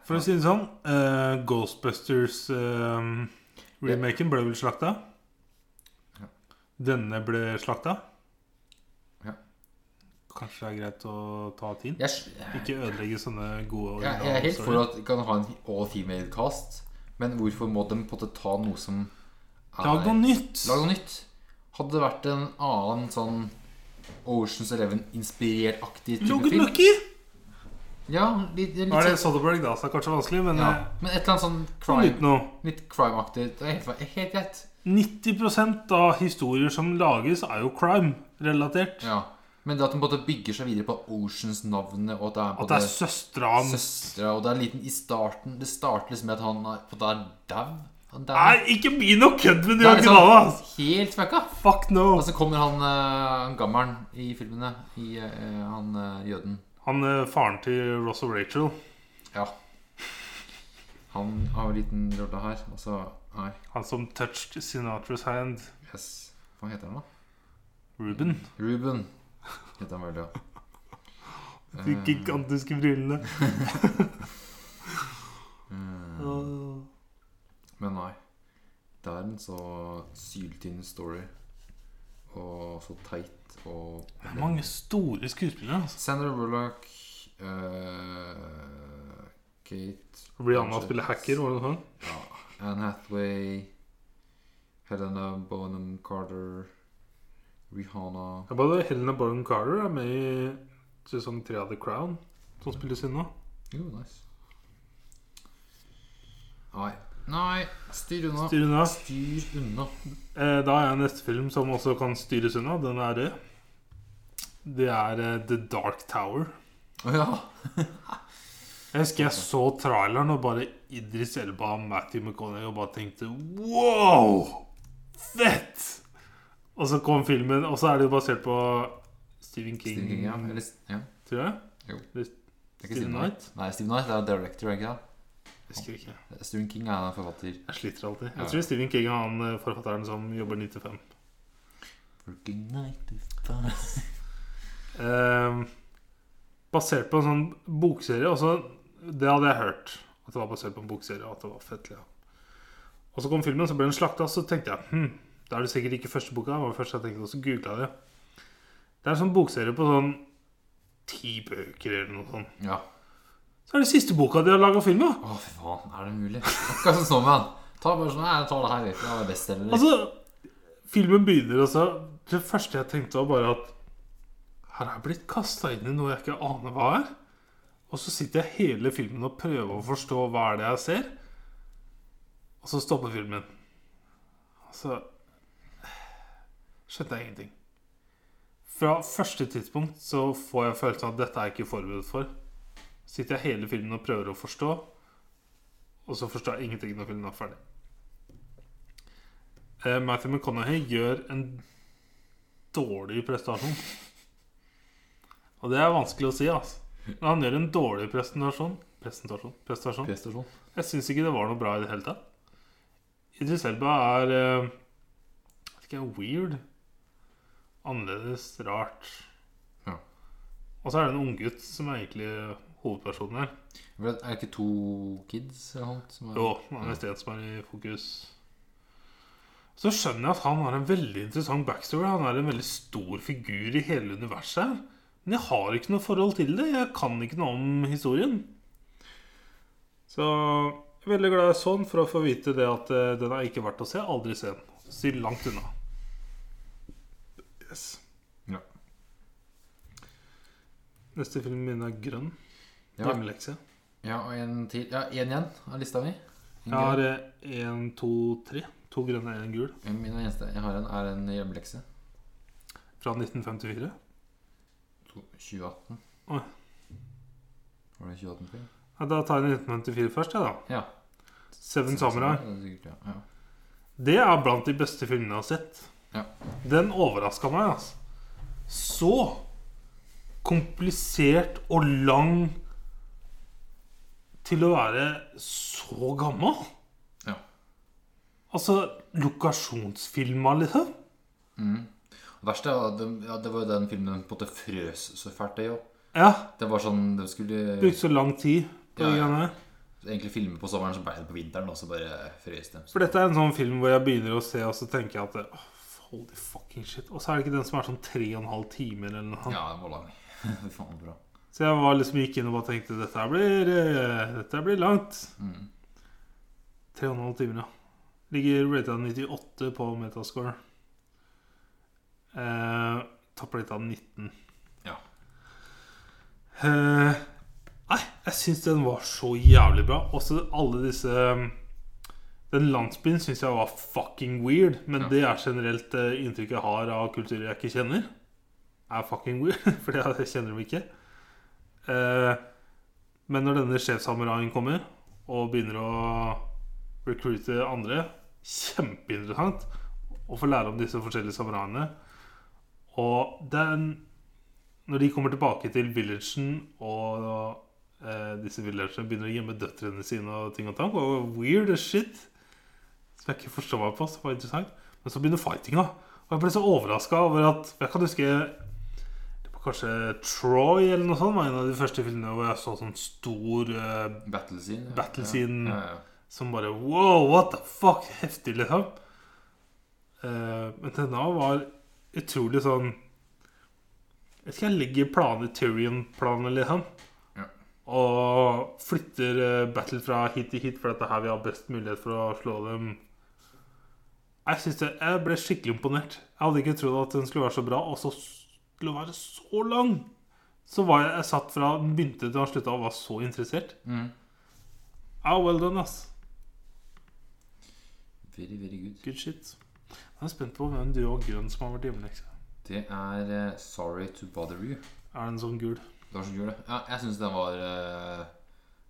Speaker 2: For å si det sånn, eh, Ghostbusters-remaken ble vel slakta?
Speaker 1: Ja.
Speaker 2: Denne ble slakta?
Speaker 1: Ja.
Speaker 2: Kanskje det er greit å ta tid?
Speaker 1: Jeg, s-
Speaker 2: Ikke ødelegge sånne gode
Speaker 1: jeg, jeg er helt for at vi kan ha en all female cast, men hvorfor må de på en måte ta noe som er
Speaker 2: Lag noe nytt!
Speaker 1: Lag noe nytt. Hadde det vært en annen sånn Oceans Eleven-inspirert-aktig type
Speaker 2: Logan
Speaker 1: film
Speaker 2: Lucky!
Speaker 1: Ja, litt, litt
Speaker 2: Nå er det
Speaker 1: sånn-
Speaker 2: Soderberg, da, så det er kanskje vanskelig, men
Speaker 1: ja.
Speaker 2: eh,
Speaker 1: Men et eller annet sånn
Speaker 2: Kom
Speaker 1: crime,
Speaker 2: ut nå.
Speaker 1: litt crime-aktig. Det er helt, helt greit.
Speaker 2: 90 av historier som lages, er jo crime-relatert.
Speaker 1: Ja. Men det at de på en måte bygger seg videre på Oceans-navnet, og at det er på
Speaker 2: At det er
Speaker 1: en måte
Speaker 2: søstera hans.
Speaker 1: søstre, og det er en liten i starten Det starter liksom med at han er, på en måte er dau. Han dau.
Speaker 2: Nei, ikke begynn å kødde med de
Speaker 1: Det er liksom
Speaker 2: originale! ass.
Speaker 1: Helt fucka.
Speaker 2: Fuck no!
Speaker 1: Og så kommer han, eh, han gammelen i filmene. I, eh, han eh, jøden.
Speaker 2: Han er faren til Ross og Rachel.
Speaker 1: Ja. Han har en liten rolle her. Og så Nei,
Speaker 2: Han som touched Sinatra's hand.
Speaker 1: yes. Hva heter han, da?
Speaker 2: Ruben.
Speaker 1: Ruben heter han vel, ja.
Speaker 2: De gigantiske brillene.
Speaker 1: Men nei. Det er en så syltynn story. Og så teit og
Speaker 2: Det er mange store skuespillere. altså.
Speaker 1: Sandra Bullock eh, Kate
Speaker 2: Rihanna spiller hacker. var det sånn? noe sånt?
Speaker 1: Ja. Anne Hathaway. Helena Bonham Carter. Rihanna
Speaker 2: Ja, Både Helena Bonham Carter er med i sesong tre av The Crown, som spilles inn nå.
Speaker 1: Jo, nice. Nei. Nei, styr unna.
Speaker 2: Styr unna.
Speaker 1: Styr unna.
Speaker 2: Eh, Da er neste film som også kan styres unna. Den er rød. Det er eh, The Dark Tower.
Speaker 1: Å ja.
Speaker 2: Jeg husker jeg så traileren og bare Idris Elba og Matthew McConaughey og bare tenkte Wow! Fett! Og så kom filmen, og så er det jo basert på Stephen King,
Speaker 1: Stephen King, ja. Eller, ja.
Speaker 2: tror jeg.
Speaker 1: Jo. Det er
Speaker 2: Eller
Speaker 1: ikke
Speaker 2: Stephen
Speaker 1: Stephen Knight. Nei, Stephen Knight er director, er det ikke det?
Speaker 2: Jeg husker ikke.
Speaker 1: Stephen King er forfatter.
Speaker 2: Jeg sliter alltid.
Speaker 1: Ja.
Speaker 2: Jeg tror Stephen King er han eh, forfatteren som jobber 95.
Speaker 1: Working night to five.
Speaker 2: Eh, basert på en sånn bokserie. Også, det hadde jeg hørt. At det var basert på en bokserie. Og at det var fett. Ja. Og så kom filmen, så ble den slakta. Så tenkte jeg hm, da er det sikkert ikke første boka. Det var det første jeg tenkte, og så googla jeg det. Det er en sånn bokserie på sånn ti bøker eller noe sånt.
Speaker 1: Ja.
Speaker 2: Så er det siste boka de har laga film av!
Speaker 1: Å, fy faen. Er det mulig? Akkurat som Snowman. Ta bare sånn Nei, jeg tar det her. Det er best, eller?
Speaker 2: Altså, filmen begynner altså Det første jeg tenkte var bare at Her har jeg blitt kasta inn i noe jeg ikke aner hva er. Og så sitter jeg hele filmen og prøver å forstå hva er det jeg ser. Og så stopper filmen. Og så skjønte jeg ingenting. Fra første tidspunkt så får jeg følelsen av at dette er jeg ikke forberedt for. Sitter jeg hele filmen og prøver å forstå, og så forstår jeg ingenting når filmen er ferdig. Eh, Matthew McConaughey gjør en dårlig prestasjon. Og det er vanskelig å si, altså. Men han gjør en dårlig presentasjon. Presentasjon? Prestasjon.
Speaker 1: Prestasjon.
Speaker 2: Jeg syns ikke det var noe bra i det hele tatt. Idris Elba er eh, vet ikke, weird. Annerledes, rart.
Speaker 1: Ja.
Speaker 2: Og så er det en unggutt som er egentlig hovedpersonen her.
Speaker 1: For det Er det ikke to kids eller noe sånt? som er-
Speaker 2: Jo, det er mest én som er i fokus. Så skjønner jeg at han har en veldig interessant backstory. Han er en veldig stor figur i hele universet. her. Men jeg har ikke noe forhold til det. Jeg kan ikke noe om historien. Så jeg er veldig glad jeg så den for å få vite det at eh, den er ikke verdt å se. Aldri se den. Styr langt unna. Yes.
Speaker 1: Ja.
Speaker 2: Neste film min er grønn.
Speaker 1: Ja.
Speaker 2: Hjemmelekse.
Speaker 1: ja, og en til. Ja, én igjen av lista mi. En
Speaker 2: Jeg har én, to, tre. To grønne, én gul.
Speaker 1: grønn. Min eneste jeg har en, er en hjemmelekse.
Speaker 2: Fra 1954.
Speaker 1: To- 2018.
Speaker 2: Oi.
Speaker 1: Var det 2018 film?
Speaker 2: Ja, da tar jeg 1954 først, jeg, da.
Speaker 1: Ja.
Speaker 2: Seven Samurai.
Speaker 1: Ja, det er sikkert, ja. ja.
Speaker 2: Det er blant de beste filmene jeg har sett.
Speaker 1: Ja.
Speaker 2: Den overraska meg, altså. Så komplisert og lang til å være så gammel.
Speaker 1: Ja.
Speaker 2: Altså lokasjonsfilma, liksom.
Speaker 1: Det verste er at de- ja, det var jo den filmen de på en måte frøs så fælt det jo.
Speaker 2: Ja.
Speaker 1: Det var sånn, de skulle
Speaker 2: Brukte så lang tid på
Speaker 1: Ja,
Speaker 2: de
Speaker 1: ja.
Speaker 2: greiene der.
Speaker 1: egentlig filme på sommeren, så ble det på vinteren, og så bare frøs de.
Speaker 2: For dette er en sånn film hvor jeg begynner å se, og så tenker jeg at åh, Holy fucking shit. Og så er det ikke den som er sånn tre og en halv timer eller noe.
Speaker 1: Ja, den var lang. Fy faen, bra.
Speaker 2: Så jeg var liksom gikk inn og bare tenkte dette her blir, eh, dette her blir langt.
Speaker 1: Mm.
Speaker 2: Tre og en halv time, ja. Ligger rata 98 på metascore. Eh, Tapper litt av 19.
Speaker 1: Ja.
Speaker 2: Eh, nei, jeg syns den var så jævlig bra. Også alle disse eh, Den landsbyen syns jeg var fucking weird,
Speaker 1: Ja.
Speaker 2: men det er generelt eh, inntrykket jeg har av kulturer jeg ikke kjenner. Er fucking weird, fordi jeg kjenner dem ikke. Eh, men når denne sjefsamuraien kommer og begynner å recruite andre Kjempeinteressant å få lære om disse forskjellige samuraiene. Og den Når de kommer tilbake til villagen, og eh, disse villagerne begynner å gjemme døtrene sine og ting og tang og Weird as shit. Som jeg ikke forstår meg på. Som var interessant. Men så begynner fightinga. Og jeg ble så overraska over at Jeg kan huske det var kanskje Troy eller noe sånt var en av de første filmene hvor jeg så sånn stor eh,
Speaker 1: Battle scene. ja.
Speaker 2: Battle scene.
Speaker 1: Ja, ja, ja.
Speaker 2: som bare Wow, what the fuck? Heftig, liksom. Eh, men denne var utrolig sånn Jeg vet ikke, jeg legger planer, Tyrion-planer, liksom.
Speaker 1: Ja.
Speaker 2: Og flytter eh, battle fra hit til hit, for dette er her vi har best mulighet for å slå dem. Jeg synes det, jeg ble skikkelig imponert. Jeg hadde ikke trodd at den skulle være så bra, og så skulle den være så lang. Så var jeg, jeg satt fra den begynte til den slutta og var så interessert.
Speaker 1: Mm.
Speaker 2: Ah, well done, ass.
Speaker 1: Very, very good.
Speaker 2: Good shit. Jeg er spent på hvem du og grønn som har vært hjemmelekse.
Speaker 1: Det er eh, Sorry to bother you.
Speaker 2: Er den sånn gul?
Speaker 1: Det var så kul, det. Ja, jeg syns den var eh,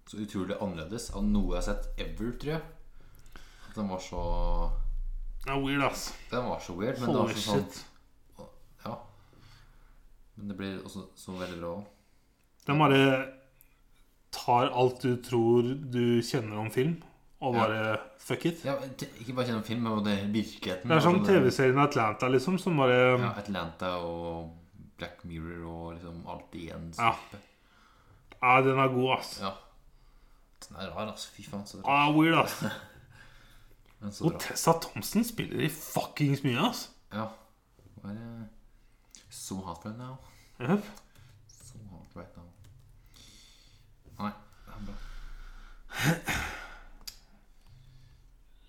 Speaker 1: så utrolig annerledes av noe jeg har sett ever, tror jeg. At Den var så
Speaker 2: Ja, weird, ass.
Speaker 1: Den var så weird, men det
Speaker 2: Holy
Speaker 1: var så sånn
Speaker 2: shit.
Speaker 1: Ja. Men det blir også så veldig bra òg.
Speaker 2: Den bare tar alt du tror du kjenner om film, og
Speaker 1: Ja.
Speaker 2: bare fuck it.
Speaker 1: Ja, men t- ikke bare gjennom film, men det er virkeligheten.
Speaker 2: Det er sånn
Speaker 1: Altså,
Speaker 2: TV-serien Atlanta, liksom, som bare
Speaker 1: Ja, Atlanta og Black Mirror og liksom alt i en
Speaker 2: Ja.
Speaker 1: suppe.
Speaker 2: Ja, den er god, ass.
Speaker 1: Ja. Den er rar, altså. Fy faen, så bra.
Speaker 2: Ah, weird, ass.
Speaker 1: Men så
Speaker 2: Og
Speaker 1: bra.
Speaker 2: Tessa Thompson spiller i fuckings mye, ass.
Speaker 1: Ja. Hva er det So hot right now.
Speaker 2: Jep.
Speaker 1: So hot right now. Nei, det er bra.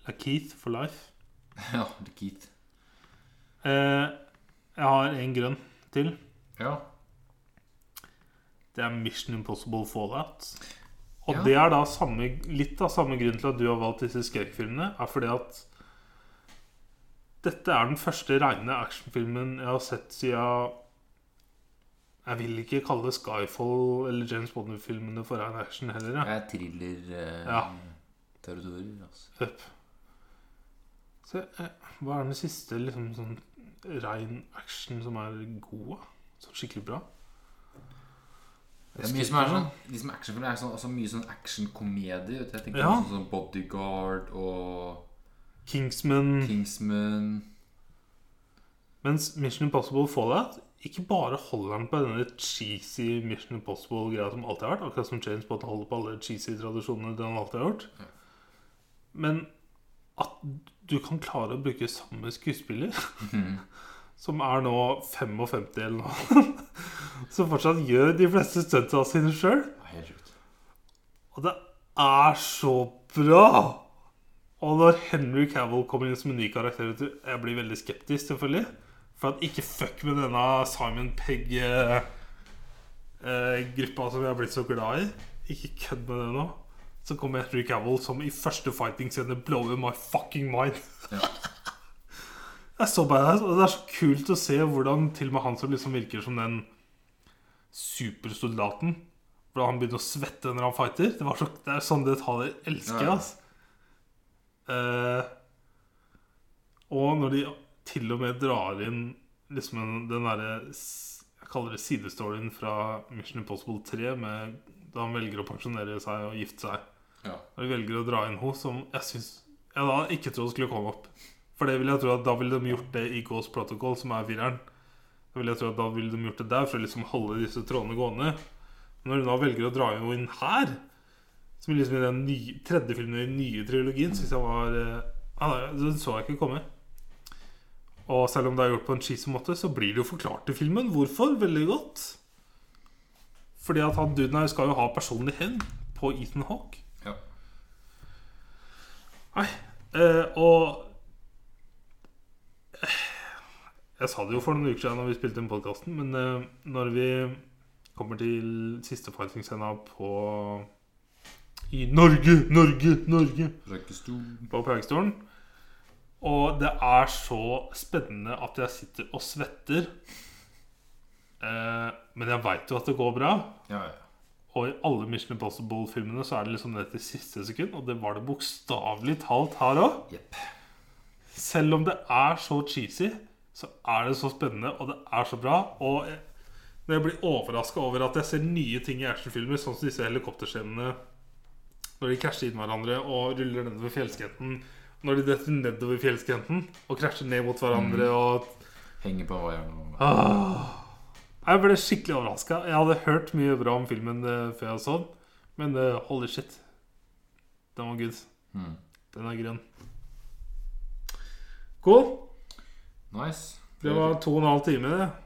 Speaker 2: Det er Keith for life.
Speaker 1: Ja, det er Keith.
Speaker 2: Eh, jeg har en grønn til.
Speaker 1: Ja.
Speaker 2: Det er Mission Impossible Fallout. Og
Speaker 1: Ja.
Speaker 2: det er da samme, litt av samme grunn til at du har valgt disse skrekkfilmene, er fordi at dette er den første rene actionfilmen jeg har sett siden Jeg vil ikke kalle Skyfall eller James Bond-filmene for ren action heller. jeg.
Speaker 1: Jeg er thriller eh,
Speaker 2: Ja.
Speaker 1: territorier, altså.
Speaker 2: Up. Så, eh, hva er den siste liksom, sånn rein action som er god? da? Sånn skikkelig bra?
Speaker 1: Det er mye som er sånn De som er actionfilmer, er sånn, altså mye sånn actionkomedie. vet du. Jeg tenker
Speaker 2: Ja.
Speaker 1: på sånn som Bodyguard og
Speaker 2: Kingsman
Speaker 1: Kingsman.
Speaker 2: Mens Mission Impossible Fallout ikke bare holder den på denne cheesy Mission Impossible-greia som alltid har vært, akkurat som James Bond holder på alle cheesy tradisjonene den alltid har gjort,
Speaker 1: Ja.
Speaker 2: men at du kan klare å bruke samme skuespiller, som er nå 55 eller noe, som fortsatt gjør de fleste stuntene sine sjøl,
Speaker 1: Det er Helt sjukt.
Speaker 2: og det er så bra! Og når Henry Cavill kommer inn som en ny karakter vet du, Jeg blir veldig skeptisk, selvfølgelig. For at ikke fuck med denne Simon eh, Pegg-gruppa Eh, som jeg har blitt så glad i. Ikke kødd med det nå. Så kommer Henry Cavill som i første fighting-scene blower my fucking mind.
Speaker 1: Ja.
Speaker 2: Det er så badass, og det er så kult å se hvordan til og med han som liksom virker som den supersoldaten Hvordan han begynner å svette når han fighter. Det, var så, det er sånne detaljer jeg elsker jeg,
Speaker 1: Ja, ja.
Speaker 2: ass. Eh, og når de til og med drar inn liksom en- den derre s- Jeg kaller det sidestoryen fra Mission Impossible 3, med, da han velger å pensjonere seg og gifte seg.
Speaker 1: Ja.
Speaker 2: Når de velger å dra inn henne som jeg syns jeg da ikke trodde skulle komme opp. For det vil jeg tro at da ville de gjort det i Ghost Protocol, som er fireren. Da vil jeg tro at da ville de gjort det der for å liksom holde disse trådene gående. Men Når de da velger å dra inn henne inn her, som er liksom i den nye, tredje filmen i den nye trilogien, syns jeg var eh, ja, nei, Den så jeg ikke komme. Og selv om det er gjort på en cheesy måte, så blir det jo forklart i filmen hvorfor veldig godt. Fordi at han duden her skal jo ha personlig hevn på Ethan Hawke.
Speaker 1: ja.
Speaker 2: Nei, eh, og eh, Jeg sa det jo for noen uker siden når vi spilte inn podkasten, men eh, når vi kommer til siste fighting-scena på I Norge, Norge, Norge
Speaker 1: Røykestol.
Speaker 2: på Pleiekstolen. Og det er så spennende at jeg sitter og svetter. Eh, men jeg veit jo at det går bra.
Speaker 1: Ja, ja.
Speaker 2: Og i alle Mission Impossible-filmene så er det liksom det til siste sekund, og det var det bokstavelig talt her òg.
Speaker 1: Jepp.
Speaker 2: Selv om det er så cheesy, så er det så spennende, og det er så bra. Og jeg, når jeg blir overraska over at jeg ser nye ting i actionfilmer, sånn som disse helikopterscenene når de krasjer inn hverandre og ruller nedover fjellskrenten, når de detter nedover fjellskrenten og krasjer ned mot hverandre og
Speaker 1: Henger på vaieren. og-
Speaker 2: Ah, jeg ble skikkelig overraska. Jeg hadde hørt mye bra om filmen eh, før jeg så den, men eh, holy shit. Den var good.
Speaker 1: Mm.
Speaker 2: Den er grønn. Cool.
Speaker 1: Nice.
Speaker 2: Det var to og en halv time. det.